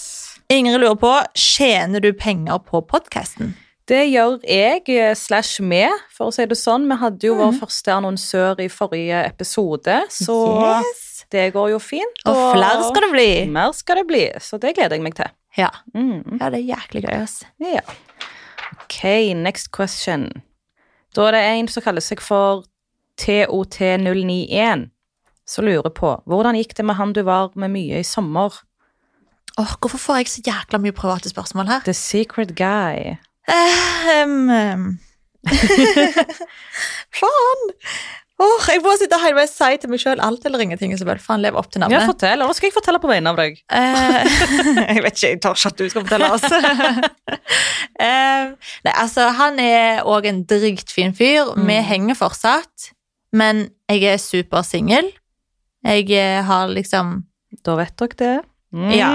Speaker 2: Ingrid lurer på, tjener du penger på podcasten?
Speaker 1: Det gjør jeg eh, slash vi, for å si det sånn. Vi hadde jo
Speaker 2: Mhm.
Speaker 1: vår første annonsør i forrige episode, så
Speaker 2: yes.
Speaker 1: det går jo fint.
Speaker 2: Og flere skal det bli.
Speaker 1: Mer skal det bli, så det gleder jeg meg til.
Speaker 2: Ja,
Speaker 1: Mm.
Speaker 2: ja det er jæklig gøy, ass.
Speaker 1: Ja. Ok, next question. Da er det en som kaller seg for TOT091, som lurer på hvordan gikk det med han du var med mye i sommer?
Speaker 2: Åh, hvorfor får jeg så jækla mye private spørsmål her?
Speaker 1: The Secret Guy.
Speaker 2: Ehm, ehm. [laughs] Faen! Åh, jeg må sitte her og si til meg selv alt eller ingenting, Isabel. Faen, lev opp til
Speaker 1: Ja,
Speaker 2: navnet.
Speaker 1: fortell. Eller skal jeg fortelle på vegne av deg?
Speaker 2: Eh, [laughs] jeg vet ikke, jeg tør ikke at du skal fortelle altså. oss. [laughs] Ehm, nei, altså, han er også en drygt fin fyr. Vi
Speaker 1: Mm.
Speaker 2: henger fortsatt, men jeg er supersingel. Jeg eh, har liksom
Speaker 1: Da vet dere det. Mm.
Speaker 2: Ja.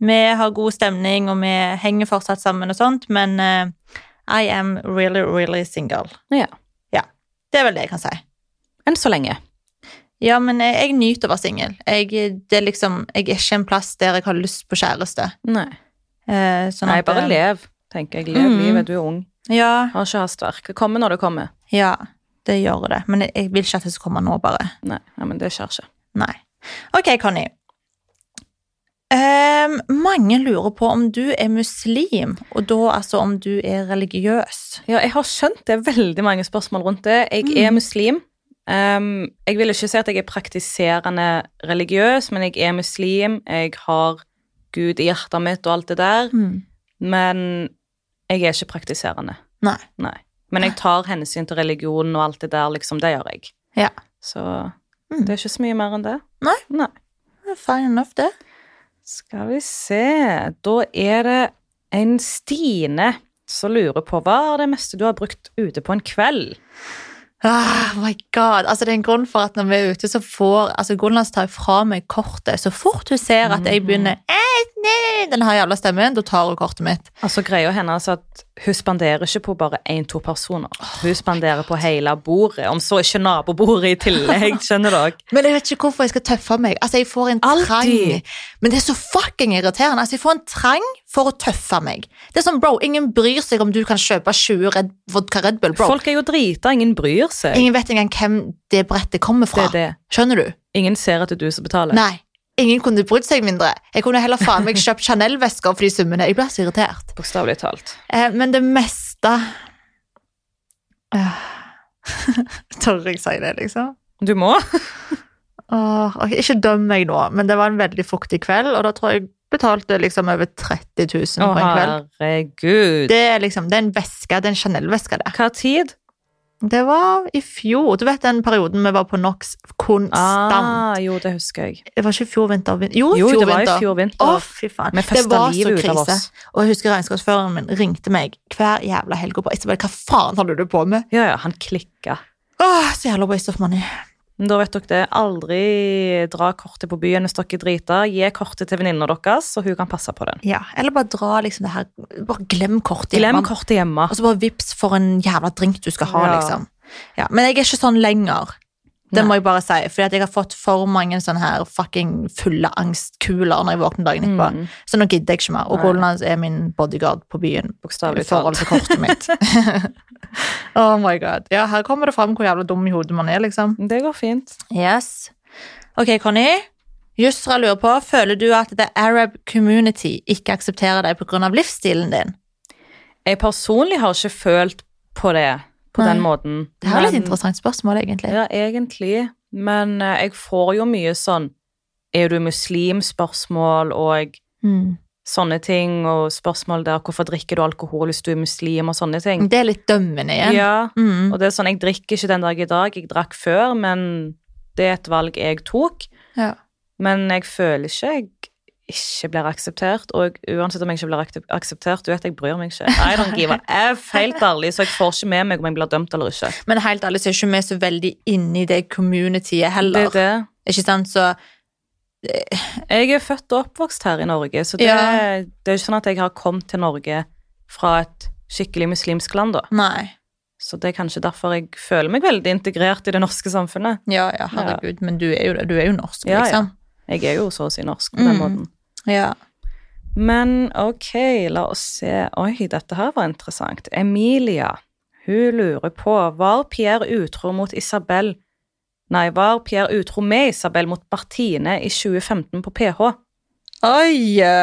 Speaker 2: Vi har god stemning, og vi henger fortsatt sammen og sånt, men eh, I am really, really single.
Speaker 1: Ja.
Speaker 2: Det er vel det jeg kan si.
Speaker 1: Enn så lenge.
Speaker 2: Ja, men eh, jeg, jeg nyter å være singel. Jeg, det er liksom, jeg er ikke en plass der jeg har lyst på kjæreste.
Speaker 1: Nei.
Speaker 2: Eh, sånn
Speaker 1: Nei,
Speaker 2: at-
Speaker 1: bare lev, tenker jeg. Lev
Speaker 2: Mm.
Speaker 1: livet, du er ung.
Speaker 2: Ja,
Speaker 1: Har ikke hastverk. Det kommer når det kommer.
Speaker 2: ja, det gjør det. Men jeg, jeg vil ikke at det skal komme nå, bare.
Speaker 1: Nei, ja, men det skjer ikke.
Speaker 2: Nei. Ok, Conny. Ehm, mange lurer på om du er muslim, og da altså om du er religiøs.
Speaker 1: Ja, jeg har skjønt det er veldig mange spørsmål rundt det. Jeg er
Speaker 2: Mm.
Speaker 1: muslim. Um, jeg vil ikke si at jeg er praktiserende religiøs, men jeg er muslim. Jeg har Gud i hjertet mitt og alt det der.
Speaker 2: Hmm,
Speaker 1: Men jeg er ikke praktiserende.
Speaker 2: Nei.
Speaker 1: Nei. Men jeg tar hensyn til religion og alt det der, liksom. Det gjør jeg.
Speaker 2: Ja.
Speaker 1: Så
Speaker 2: Mm.
Speaker 1: det er ikke så mye mer enn det.
Speaker 2: Nei.
Speaker 1: Nei.
Speaker 2: Fine enough, det.
Speaker 1: Skal vi se Da er det en Stine som lurer på hva er det meste du har brukt ute på en kveld?
Speaker 2: Ah, my god. Altså, det er en grunn for at når vi er ute, så får altså, Gunlands tar fra meg kortet. Så fort hun ser at jeg begynner «Eh, nei», den har jævla stemmen, da tar hun kortet mitt.
Speaker 1: Altså Greia hennes er at hun spanderer ikke på bare én-to personer. Hun spanderer på hele bordet, om så ikke nabobordet i
Speaker 2: [laughs]
Speaker 1: tillegg. skjønner dere?
Speaker 2: Men jeg vet ikke hvorfor jeg skal tøffe meg. Altså, jeg får en
Speaker 1: Alltid.
Speaker 2: trang. Men det er så fucking irriterende. Altså, jeg får en trang for å tøffe meg. Det er sånn, bro, ingen bryr seg om du kan kjøpe 20 Red, vodka Red Bull, bro.
Speaker 1: Folk er jo drita, ingen bryr seg.
Speaker 2: Ingen vet engang hvem det brettet kommer
Speaker 1: Det
Speaker 2: fra.
Speaker 1: er det.
Speaker 2: Skjønner du?
Speaker 1: Ingen ser at det er du som betaler.
Speaker 2: Nei. Ingen kunne brydd seg mindre. Jeg kunne heller faen meg kjøpt Chanel-vesker for de summene. Jeg blir så irritert.
Speaker 1: Bokstavelig talt.
Speaker 2: Eh, men det meste uh, [laughs] Tør jeg si det, liksom?
Speaker 1: Du må.
Speaker 2: Åh, ok, ikke døm meg nå, men det var en veldig fuktig kveld, og da tror jeg betalte liksom over 30 000
Speaker 1: Å,
Speaker 2: på en kveld.
Speaker 1: herregud.
Speaker 2: Det er liksom, det er en veske, det er en Chanel-veske det.
Speaker 1: Hva tid?
Speaker 2: Det var i fjor, du vet den perioden vi var på NOX konstant.
Speaker 1: Ah, jo, det husker jeg.
Speaker 2: Det var ikke i fjor vinter, vin- jo,
Speaker 1: Jo,
Speaker 2: fjor
Speaker 1: det var i
Speaker 2: vinter.
Speaker 1: fjor
Speaker 2: Å,
Speaker 1: vinter.
Speaker 2: fy faen.
Speaker 1: Vi
Speaker 2: Det
Speaker 1: festa
Speaker 2: var så
Speaker 1: livet ut av
Speaker 2: krise.
Speaker 1: oss.
Speaker 2: Og jeg husker regnskapsføreren min ringte meg hver jævla helg og bare, Isabel, hva faen holder du på med?
Speaker 1: Ja, ja, han klikka.
Speaker 2: Åh, så jævla waste of money.
Speaker 1: Men da vet dere det. Aldri dra kortet på byen hvis dere driter. Gi kortet til venninna deres, så hun kan passe på den.
Speaker 2: Ja, eller bare dra liksom det her, bare glem kortet.
Speaker 1: Glem
Speaker 2: Man-
Speaker 1: kortet hjemme.
Speaker 2: Og så bare vips for en jævla drink du skal ha,
Speaker 1: Ja.
Speaker 2: liksom. Ja, men jeg er ikke sånn lenger. Det
Speaker 1: Nei.
Speaker 2: må jeg bare si, fordi at jeg har fått for mange sånne her fucking fulle angstkuler når jeg våkner dagen etterpå.
Speaker 1: Mm.
Speaker 2: Så nå gidder jeg ikke mer. Og
Speaker 1: Nei.
Speaker 2: Roland er min bodyguard på byen. I
Speaker 1: Bokstavelig
Speaker 2: forhold
Speaker 1: talt.
Speaker 2: til kortet
Speaker 1: [laughs]
Speaker 2: mitt. [laughs] oh my god. Ja, her kommer det fram hvor jævla dum i hodet man er, liksom.
Speaker 1: Det går fint.
Speaker 2: Yes. Ok, Conny. Jusra lurer på, føler du at the Arab community ikke aksepterer deg på grunn av livsstilen din?
Speaker 1: Jeg personlig har ikke følt på det på
Speaker 2: Nei.
Speaker 1: den måten.
Speaker 2: Det her er litt
Speaker 1: Men-
Speaker 2: interessant spørsmål, egentlig.
Speaker 1: Ja, egentlig. Men eh, jeg får jo mye sånn Er du muslim-spørsmål og
Speaker 2: Mm.
Speaker 1: sånne ting, og spørsmål der hvorfor drikker du alkohol hvis du er muslim, og sånne ting.
Speaker 2: Det er litt dømmende igjen.
Speaker 1: Mm, Ja,
Speaker 2: Mm.
Speaker 1: Og det er sånn, jeg drikker ikke den dag i dag, jeg drakk før, men det er et valg jeg tok.
Speaker 2: Ja.
Speaker 1: Men jeg føler ikke jeg ikke blir akseptert, og uansett om jeg ikke blir akte- akseptert, du vet, jeg bryr meg ikke. I don't give a F, helt ærlig, så jeg får ikke med meg om jeg blir dømt eller ikke.
Speaker 2: Men helt ærlig så er ikke vi så veldig inne i det communityet
Speaker 1: Det
Speaker 2: heller.
Speaker 1: er det.
Speaker 2: Ikke sant? Så
Speaker 1: Jeg er født og oppvokst her i Norge, så det,
Speaker 2: Ja.
Speaker 1: det er ikke sånn at jeg har kommet til Norge fra et skikkelig muslimsk land da.
Speaker 2: nei.
Speaker 1: Så det er kanskje derfor jeg føler meg veldig integrert i det norske samfunnet.
Speaker 2: Ja, ja, herregud, men du er jo, du er jo norsk,
Speaker 1: Ja, ja.
Speaker 2: liksom.
Speaker 1: Jeg er jo så å si norsk på den
Speaker 2: Mm.
Speaker 1: måten.
Speaker 2: Ja.
Speaker 1: Men ok, la oss se. Oi, dette her var interessant. Emilia, hun lurer på Var Pierre utro mot Isabel Nei, var Pierre utro med Isabel mot Bertine i 2015 på PH?
Speaker 2: Oi! Å,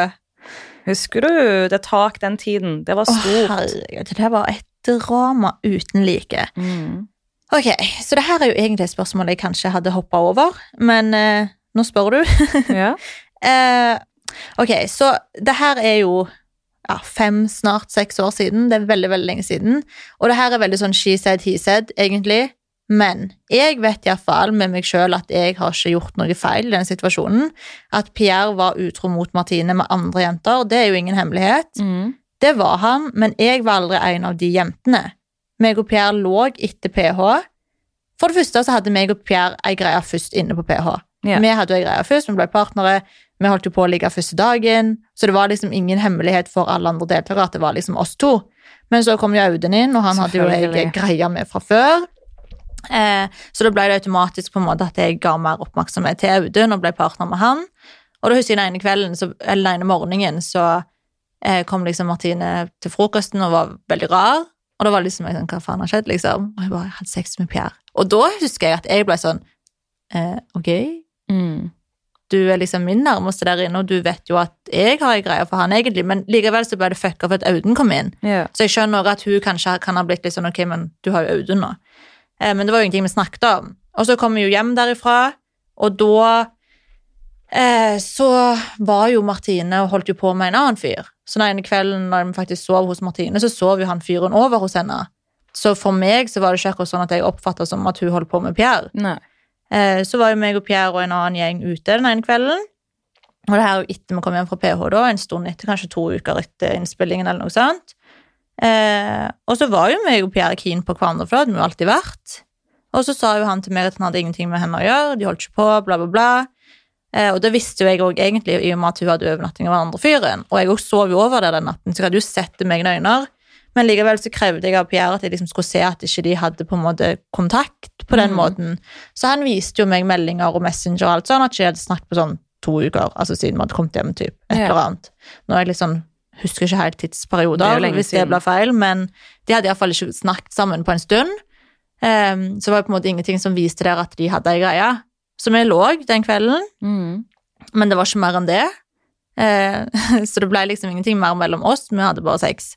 Speaker 1: Husker du det tak den tiden? Det var stort.
Speaker 2: herregud, det der var et drama uten like.
Speaker 1: Mm.
Speaker 2: Ok, så det her er jo egentlig et spørsmål jeg kanskje hadde hoppa over, men eh, nå spør du.
Speaker 1: Ja.
Speaker 2: Eh, ok, så det her er jo ja, fem, snart seks år siden. Det er veldig, veldig lenge siden. Og det her er veldig sånn she said, he said, egentlig. Men jeg vet iallfall med meg sjøl at jeg har ikke gjort noe feil i den situasjonen. At Pierre var utro mot Martine med andre jenter, det er jo ingen hemmelighet.
Speaker 1: Mm.
Speaker 2: Det var han, men jeg var aldri en av de jentene. Meg og Pierre lå etter PH. For det første så hadde meg og Pierre ei greie først inne på PH.
Speaker 1: Ja.
Speaker 2: Vi hadde jo ei greie først, vi ble partnere, vi holdt jo på å ligge første dagen. Så det var liksom ingen hemmelighet for alle andre deltakere at det var liksom oss to. Men så kom jo Audun inn, og han hadde jo jeg
Speaker 1: Selvfølgelig.
Speaker 2: greia med fra før. Eh, så da ble det automatisk på en måte at jeg ga mer oppmerksomhet til Audun og ble partner med han. Og da husker jeg den ene kvelden, så, eller den ene morgenen, så eh, kom liksom Martine til frokosten og var veldig rar. Og da var det liksom jeg sånn, hva faen har skjedd, liksom? Og jeg bare, jeg hadde sex med Pierre. Og da husker jeg at jeg ble sånn, eh, ok,
Speaker 1: Mm.
Speaker 2: du er liksom min nærmeste der inne, og du vet jo at jeg har en greie for han egentlig, men likevel så ble det fucka for at Audun kom inn.
Speaker 1: Ja.
Speaker 2: Så jeg skjønner at hun kanskje kan ha blitt litt sånn, ok, men du har jo Audun nå. Eh, men det var jo ingenting vi snakket om. Og så kom vi jo hjem derifra, og da eh, så var jo Martine og holdt jo på med en annen fyr. Så den ene kvelden når vi faktisk sov hos Martine, så sov jo han fyren over hos henne. Så for meg så var det ikke akkurat sånn at jeg oppfattet som at hun holdt på med Pierre.
Speaker 1: Nei.
Speaker 2: Eh, Så var jo meg og Pierre og en annen gjeng ute den ene kvelden. Og det her er jo etter vi kom hjem fra PH, da, en stund etter, kanskje to uker etter innspillingen. eller noe sånt. Eh, og så var jo meg og Pierre keen på hverandre, for det hadde vi jo alltid vært. Og så sa jo han til meg at han hadde ingenting med henne å gjøre, de holdt ikke på, bla, bla, bla. Eh, og det visste jo jeg òg egentlig, i og med at hun hadde overnatting av den andre fyren. Og jeg også sov jo over der den natten, så jeg hadde jo sett det med egne øyne. Men likevel så krevde jeg av Pierre at jeg liksom skulle se at ikke de hadde på en måte kontakt på den
Speaker 1: Mhm.
Speaker 2: måten. Så han viste jo meg meldinger og Messenger og alt sånn, at jeg hadde snakket på sånn to uker, altså siden vi hadde kommet hjem, typ, et
Speaker 1: Ja.
Speaker 2: eller annet. Nå er jeg litt sånn, husker ikke helt
Speaker 1: Det er jo
Speaker 2: tidsperioder,
Speaker 1: lenge
Speaker 2: hvis
Speaker 1: siden.
Speaker 2: det ble feil, men de hadde i hvert fall ikke snakket sammen på en stund. Ehm, så var det på en måte ingenting som viste der at de hadde ei greie. Så vi lå den kvelden,
Speaker 1: Mm.
Speaker 2: men det var ikke mer enn det. Eh, [laughs] så det ble liksom ingenting mer mellom oss, vi hadde bare sex.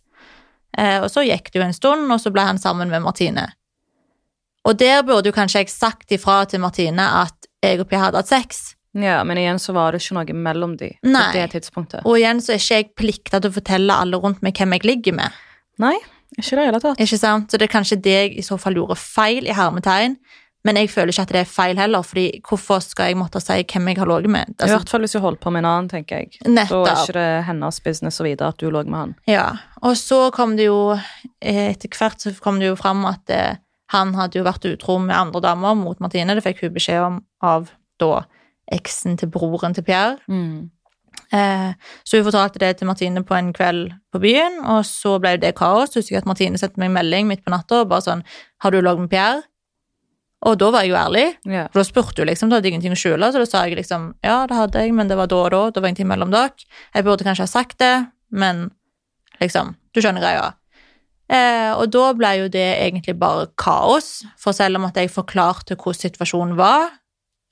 Speaker 2: Eh, og så gikk det jo en stund, og så ble han sammen med Martine. Og der burde jo kanskje jeg sagt ifra til Martine at jeg og Pia hadde hatt sex.
Speaker 1: ja, men igjen så var det ikke noe mellom de på
Speaker 2: Nei.
Speaker 1: det tidspunktet.
Speaker 2: Og igjen så er ikke jeg plikta til å fortelle alle rundt meg hvem jeg ligger med.
Speaker 1: Nei, ikke i det hele tatt.
Speaker 2: Ikke sant? Så det er kanskje det jeg i så fall gjorde feil i hermetegn, men jeg føler ikke at det er feil heller, fordi hvorfor skal jeg måtte si hvem jeg har ligget med?
Speaker 1: I
Speaker 2: Altså,
Speaker 1: hvert fall hvis du holder på med en annen, tenker jeg. Da er
Speaker 2: nettopp.
Speaker 1: ikke det hennes business å vite at du lå med han.
Speaker 2: Ja. Og så kom det jo eh, Etter hvert så kom det jo fram at eh, han hadde jo vært utro med andre damer mot Martine. Det fikk hun beskjed om av da eksen til broren til Pierre.
Speaker 1: Mm.
Speaker 2: Eh, så hun fortalte det til Martine på en kveld på byen, og så ble jo det kaos. Så husker jeg at Martine sendte meg en melding midt på natta og bare sånn 'Har du logg med Pierre?' Og da var jeg jo ærlig.
Speaker 1: Ja.
Speaker 2: For da spurte hun liksom, da hadde jeg ingenting å skjule, så da sa jeg liksom, ja, det hadde jeg, men det var da og da, det var ingenting mellom dere. Jeg burde kanskje ha sagt det, men liksom, du skjønner greia. Eh, og da ble jo det egentlig bare kaos, for selv om at jeg forklarte hvordan situasjonen var,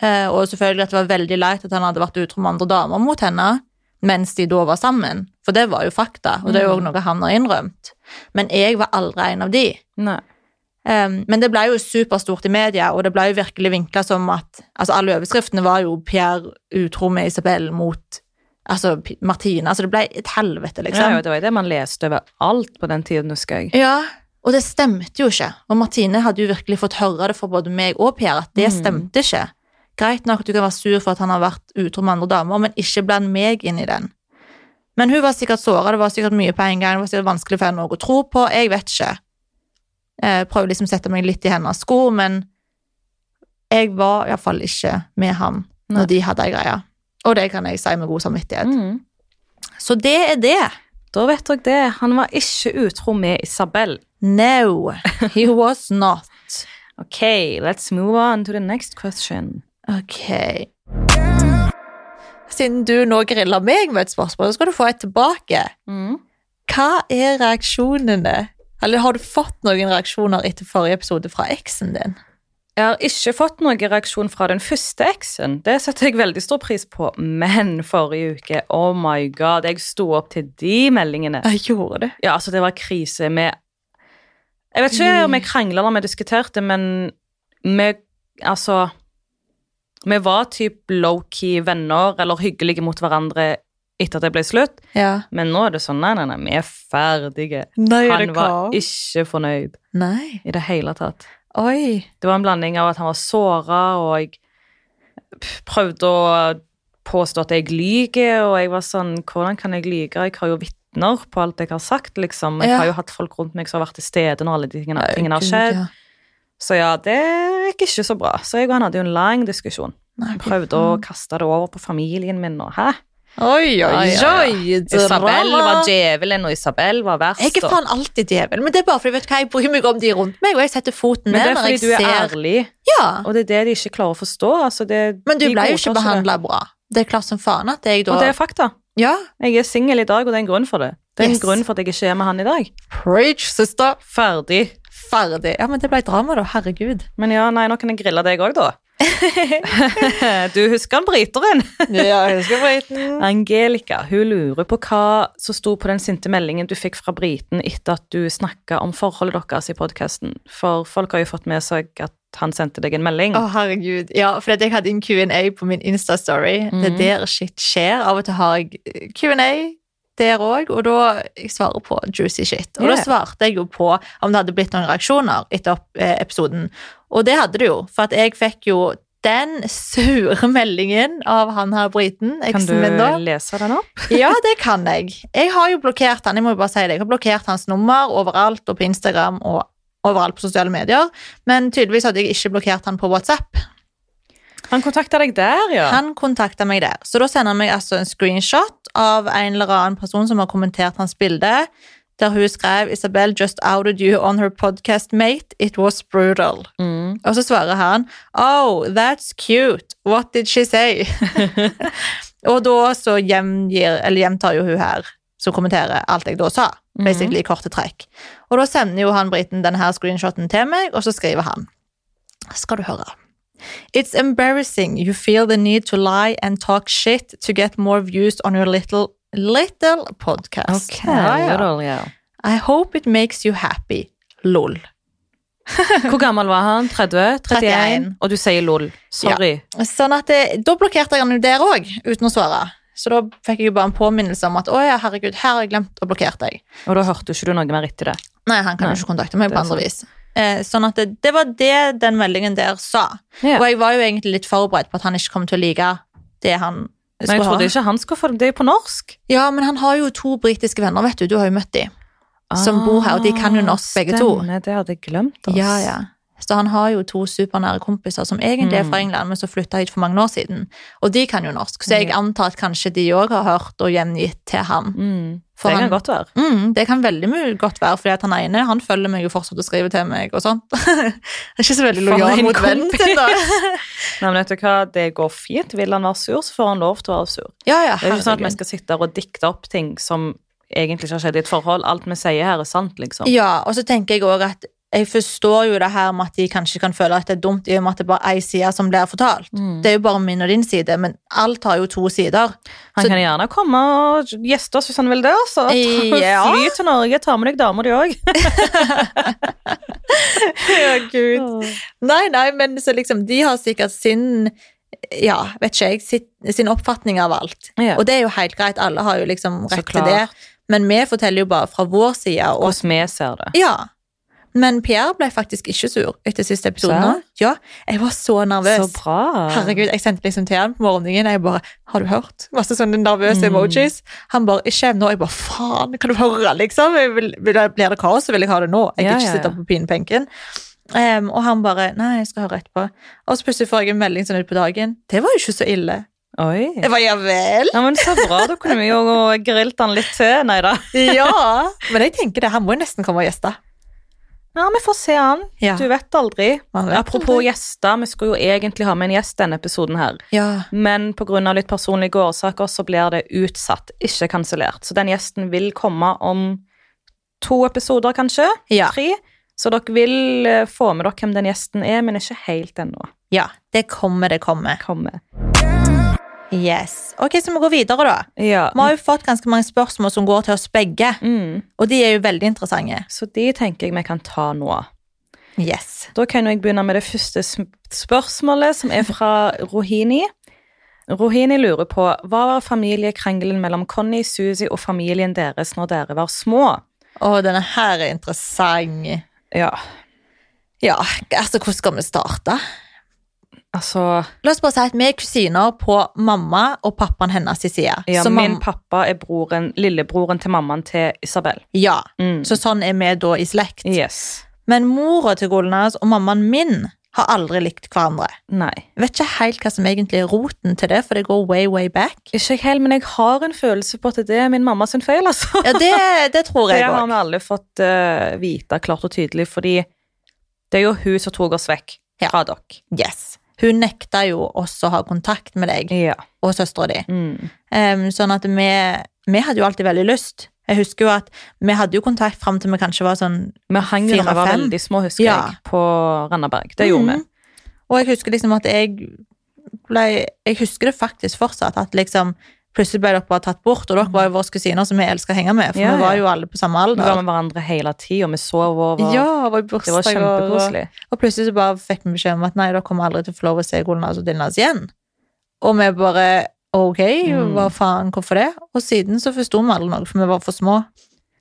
Speaker 2: eh, og selvfølgelig at det var veldig leit at han hadde vært utro med andre damer mot henne, mens de da var sammen, for det var jo fakta, og det er jo også noe han har innrømt. Men jeg var aldri en av de.
Speaker 1: Nei.
Speaker 2: Um, men det ble jo superstort i media, og det ble jo virkelig vinkla som at altså Alle overskriftene var jo 'Pierre utro med Isabel mot altså, P- Martine'. Altså, det ble et helvete,
Speaker 1: Ja, jo,
Speaker 2: liksom.
Speaker 1: det var jo det man leste over alt på den tiden, husker jeg.
Speaker 2: Ja, og det stemte jo ikke. Og Martine hadde jo virkelig fått høre det fra både meg og Pierre, at det
Speaker 1: Mm.
Speaker 2: stemte ikke. Greit nok at du kan være sur for at han har vært utro med andre damer, men ikke bland meg inn i den. Men hun var sikkert såra, det var sikkert mye på en gang, det var sikkert vanskelig for henne å tro på, jeg vet ikke. Jeg prøver liksom å sette meg litt i hennes sko, men jeg var iallfall ikke med han når
Speaker 1: Nei. Mm.
Speaker 2: de hadde ei greie. Og det kan jeg si med god samvittighet. Så det er det.
Speaker 1: Da vet dere det. Han var ikke utro med Isabel.
Speaker 2: No, he was not.
Speaker 1: Ok, let's move on to the next question.
Speaker 2: Ok. Siden du nå griller meg med et spørsmål, så skal du få et tilbake.
Speaker 1: Mm.
Speaker 2: Hva er reaksjonene? Eller har du fått noen reaksjoner etter forrige episode fra eksen din?
Speaker 1: Jeg har ikke fått noen reaksjon fra den første eksen. Det setter jeg veldig stor pris på. Men forrige uke, oh my god, jeg sto opp til de meldingene.
Speaker 2: Jeg gjorde det.
Speaker 1: Ja, altså, det var krise med Jeg vet ikke om jeg krangla eller om jeg diskuterte, men vi Altså Vi var typ low-key venner eller hyggelige mot hverandre etter at det ble slutt,
Speaker 2: Ja.
Speaker 1: men nå er det sånn Nei, nei, nei, vi er ferdige.
Speaker 2: Nei,
Speaker 1: Han var ikke fornøyd
Speaker 2: Nei.
Speaker 1: i det hele tatt.
Speaker 2: Oi.
Speaker 1: Det var en blanding av at han var såra, og jeg p- prøvde å påstå at jeg lyver, og jeg var sånn Hvordan kan jeg lyve? Jeg har jo vitner på alt jeg har sagt, liksom. Jeg
Speaker 2: Ja.
Speaker 1: har jo hatt folk rundt meg som har vært til stede når alle de tingene, tingene har
Speaker 2: Gud,
Speaker 1: skjedd.
Speaker 2: ja.
Speaker 1: Så ja, det gikk ikke så bra. Så jeg og han hadde jo en lang diskusjon.
Speaker 2: Nei,
Speaker 1: Jeg prøvde å kaste det over på familien min og hæ?
Speaker 2: Oi, oi, oi.
Speaker 1: Isabel var
Speaker 2: drama.
Speaker 1: djevelen, og Isabel var verst.
Speaker 2: Jeg er
Speaker 1: og-
Speaker 2: faen alltid djevel, men det er bare fordi vet du hva, jeg bryr meg om de rundt meg, og jeg setter foten
Speaker 1: Men
Speaker 2: ned
Speaker 1: det er
Speaker 2: når
Speaker 1: fordi
Speaker 2: jeg
Speaker 1: du er
Speaker 2: ser
Speaker 1: ærlig,
Speaker 2: Ja,
Speaker 1: og det er det de ikke klarer å forstå. Altså det,
Speaker 2: men du
Speaker 1: de
Speaker 2: ble jo
Speaker 1: godtar
Speaker 2: ikke behandla bra. Det er klart som faen at
Speaker 1: det.
Speaker 2: jeg da
Speaker 1: Og det er fakta.
Speaker 2: Ja.
Speaker 1: Jeg er singel i dag, og det er en grunn for det. Det er en
Speaker 2: Yes.
Speaker 1: grunn for at jeg ikke er med han i dag.
Speaker 2: Preach, søster.
Speaker 1: Ferdig.
Speaker 2: Ferdig. Ja, men det ble drama,
Speaker 1: [laughs]
Speaker 2: da. Herregud.
Speaker 1: Men ja, nei, nå kan jeg grille deg òg, da. [laughs] du husker han bryteren?
Speaker 2: Ja, jeg husker briten.
Speaker 1: Angelica hun lurer på hva som sto på den sinte meldingen du fikk fra briten etter at du snakka om forholdet deres i podkasten. For folk har jo fått med seg at han sendte deg en melding.
Speaker 2: Å, herregud. Ja, for at jeg hadde en Q&A på min Insta-story. Det
Speaker 1: Mhm.
Speaker 2: er der shit skjer. Av og til har jeg eh, Q&A der òg, og da jeg svarer på juicy shit. Og
Speaker 1: Ja.
Speaker 2: da svarte jeg jo på om det hadde blitt noen reaksjoner etter opp- eh, episoden. Og det hadde det jo, for at jeg fikk jo den sure meldingen av han her briten,
Speaker 1: kan du
Speaker 2: eksen min da.
Speaker 1: lese den opp?
Speaker 2: [laughs] Ja, det kan jeg. Jeg har jo blokkert han, jeg må jo bare si det. Jeg har blokkert hans nummer overalt og på Instagram og overalt på sosiale medier. Men tydeligvis hadde jeg ikke blokkert han på WhatsApp.
Speaker 1: Han kontakta deg der, ja.
Speaker 2: Han kontakta meg der. Så da sender han meg altså en screenshot av en eller annen person som har kommentert hans bilde, der hun skrev 'Isabel just outed you on her podcast, mate. It was brutal'.
Speaker 1: Mm.
Speaker 2: Og så svarer han Oh, that's cute. What did she say? [laughs] og da så gjengir, eller gjentar jo hun her, som kommenterer alt jeg da sa. Basically i korte trekk. Og da sender jo han briten denne screenshoten til meg, og så skriver han. Skal du høre. It's embarrassing you feel the need to lie and talk shit to get more views on your little, little podcast.
Speaker 1: Ok,
Speaker 2: Ja, ja.
Speaker 1: little, ja.
Speaker 2: I hope it makes you happy. Lol.
Speaker 1: Hvor gammel var han? 30? 31?
Speaker 2: 31.
Speaker 1: Og du sier lol. Sorry.
Speaker 2: Sånn at det, Da blokkerte jeg han jo der òg, uten å svare. Så da fikk jeg jo bare en påminnelse om at å ja, herregud, her har jeg glemt å blokkere deg.
Speaker 1: Og da hørte ikke du noe mer etter det.
Speaker 2: Nei, han kan
Speaker 1: Nei,
Speaker 2: jo ikke kontakte meg
Speaker 1: det er
Speaker 2: på andre vis. Eh, sånn at det, det var det den meldingen der sa.
Speaker 1: Ja.
Speaker 2: Og jeg var jo egentlig litt forberedt på at han ikke kom til å like det han
Speaker 1: Men jeg
Speaker 2: skulle
Speaker 1: trodde
Speaker 2: ha.
Speaker 1: ikke han skulle få det. Det er jo på norsk.
Speaker 2: Ja, men han har jo to britiske venner, vet du. Du har jo møtt dem. Som bor her, og de kan jo norsk, begge to.
Speaker 1: Stemme, Ah, det hadde jeg glemt. ass.
Speaker 2: Ja, ja. Så han har jo to supernære kompiser som egentlig er fra
Speaker 1: Mm.
Speaker 2: England, men som flytta hit for mange år siden. Og de kan jo norsk, så jeg
Speaker 1: Ja.
Speaker 2: antar at kanskje de òg har hørt og gjengitt til han.
Speaker 1: Mm.
Speaker 2: For
Speaker 1: det kan
Speaker 2: han-
Speaker 1: godt være.
Speaker 2: Mm, det kan veldig mye godt være, fordi at han ene han følger meg jo fortsatt og skriver til meg. og sånt. [laughs] Han er ikke så veldig
Speaker 1: For
Speaker 2: lojal
Speaker 1: en
Speaker 2: mot vennen
Speaker 1: kompis.
Speaker 2: sin, da.
Speaker 1: Nei, men vet du hva, det går fint. Vil han være sur, så får han lov til å være sur.
Speaker 2: [laughs] Ja, ja,
Speaker 1: Det er jo ikke sånn at vi
Speaker 2: herregud.
Speaker 1: skal sitte her og dikte opp ting som egentlig ikke har skjedd i et forhold. Alt vi sier her er sant, liksom.
Speaker 2: ja, og så tenker jeg òg at jeg forstår jo det her med at de kanskje kan føle at det er dumt, i og med at det er bare er én side som blir fortalt.
Speaker 1: Mm.
Speaker 2: Det er jo bare min og din side, men alt har jo to sider.
Speaker 1: Han
Speaker 2: så-
Speaker 1: kan gjerne komme og gjeste oss hvis han vil det, altså. Ta- [laughs]
Speaker 2: Ja.
Speaker 1: Fly til Norge, ta med deg damer, de òg.
Speaker 2: Ja, Gud. Nei, nei, men så liksom, de har sikkert sin ja, vet ikke jeg, sitt, sin oppfatning av alt.
Speaker 1: Ja.
Speaker 2: Og det er jo helt greit, alle har jo liksom
Speaker 1: Så
Speaker 2: rett til
Speaker 1: klart.
Speaker 2: det. Men vi forteller jo bare fra vår side. Og,
Speaker 1: Hvordan vi ser det.
Speaker 2: ja. Men Pierre ble faktisk ikke sur etter siste episode. nå. Ja, jeg var så
Speaker 1: Så
Speaker 2: nervøs.
Speaker 1: bra.
Speaker 2: Herregud, jeg sendte liksom til han på morgenen, jeg bare, har du hørt? Masse sånne nervøse
Speaker 1: Mm.
Speaker 2: emojis. Han bare, ikke nå, jeg bare, faen, kan du høre, liksom? Jeg vil, vil, blir det kaos, så vil jeg ha det nå. Jeg
Speaker 1: Ja,
Speaker 2: kan ikke
Speaker 1: ja,
Speaker 2: sitte
Speaker 1: ja.
Speaker 2: på pinebenken. Em, og han bare, nei, jeg skal høre etterpå. Og så plutselig får jeg en melding sånn ut på dagen. Det var jo ikke så ille.
Speaker 1: Oi.
Speaker 2: Jeg bare, ja vel?
Speaker 1: Ja, men så bra. Da kunne vi jo grilt han litt til. Nei da.
Speaker 2: Ja. [laughs] Men jeg tenker det, han må jo nesten komme og gjeste.
Speaker 1: Ja, vi får se han.
Speaker 2: Ja.
Speaker 1: Du vet aldri.
Speaker 2: Man vet
Speaker 1: Apropos
Speaker 2: aldri.
Speaker 1: gjester, vi skulle jo egentlig ha med en gjest denne episoden her.
Speaker 2: Ja.
Speaker 1: Men pga. litt personlige årsaker så blir det utsatt, ikke kansellert. Så den gjesten vil komme om to episoder, kanskje.
Speaker 2: Ja.
Speaker 1: Tre. Så dere vil eh, få med dere hvem den gjesten er, men ikke helt ennå.
Speaker 2: ja, det kommer, det kommer.
Speaker 1: Kommer.
Speaker 2: Yes. Ok, så vi går videre da.
Speaker 1: Ja.
Speaker 2: Vi har jo fått ganske mange spørsmål som går til oss begge,
Speaker 1: Mm.
Speaker 2: og de er jo veldig interessante.
Speaker 1: Så de tenker jeg vi kan ta nå.
Speaker 2: Yes.
Speaker 1: Da kan jo jeg begynne med det første sm- spørsmålet, som er fra Rohini. Rohini lurer på hva var familiekrangelen mellom Conny, Susi og familien deres når dere var små?
Speaker 2: Å, denne her er interessant.
Speaker 1: Ja,
Speaker 2: Ja, altså, hvordan skal vi starte?
Speaker 1: altså
Speaker 2: La oss bare si at vi er kusiner på mamma og pappaen hennes sin side.
Speaker 1: Ja,
Speaker 2: så
Speaker 1: min
Speaker 2: mam-
Speaker 1: pappa er broren, lillebroren til mammaen til Isabel.
Speaker 2: ja,
Speaker 1: Mm.
Speaker 2: så sånn er vi da i slekt.
Speaker 1: Yes.
Speaker 2: Men mora til Golnas og mammaen min har aldri likt hverandre.
Speaker 1: Nei.
Speaker 2: Jeg vet ikke helt hva som egentlig er roten til det, for det går way, way back.
Speaker 1: Ikke helt, men jeg har en følelse på at det er min mammas feil, altså.
Speaker 2: Ja, det, det tror
Speaker 1: Det
Speaker 2: jeg
Speaker 1: har
Speaker 2: òg.
Speaker 1: vi alle fått eh, vite klart og tydelig, fordi det er jo hun som tok oss vekk
Speaker 2: Ja.
Speaker 1: fra dere.
Speaker 2: Yes. Hun nekta jo oss å ha kontakt med deg
Speaker 1: Ja.
Speaker 2: og søstera di.
Speaker 1: Mm.
Speaker 2: Em, sånn at vi, vi hadde jo alltid veldig lyst. Jeg husker jo at vi hadde jo kontakt fram til vi kanskje var sånn
Speaker 1: Vi hang jo da vi var
Speaker 2: Fire-fem.
Speaker 1: veldig små, husker
Speaker 2: Ja.
Speaker 1: jeg, på Randaberg. Det gjorde
Speaker 2: Mm. Og jeg husker liksom at jeg ble Jeg husker det faktisk fortsatt, at liksom Plutselig ble dere bare tatt bort, og dere var jo våre kusiner som vi elsker å henge med, for
Speaker 1: Ja, ja.
Speaker 2: vi var jo alle på samme
Speaker 1: vi. Vi var
Speaker 2: alder.
Speaker 1: med hverandre hele tida, vi sov over.
Speaker 2: Ja, var i
Speaker 1: Det var
Speaker 2: bursdager, og,
Speaker 1: kjempekoselig.
Speaker 2: og plutselig så bare fikk vi beskjed om at nei, dere kommer aldri til å få lov å se Golnas og Dilnas igjen. Og vi bare ok,
Speaker 1: Mm.
Speaker 2: hva faen, hvorfor det? Og siden så forsto vi aldri noe, for vi var for små.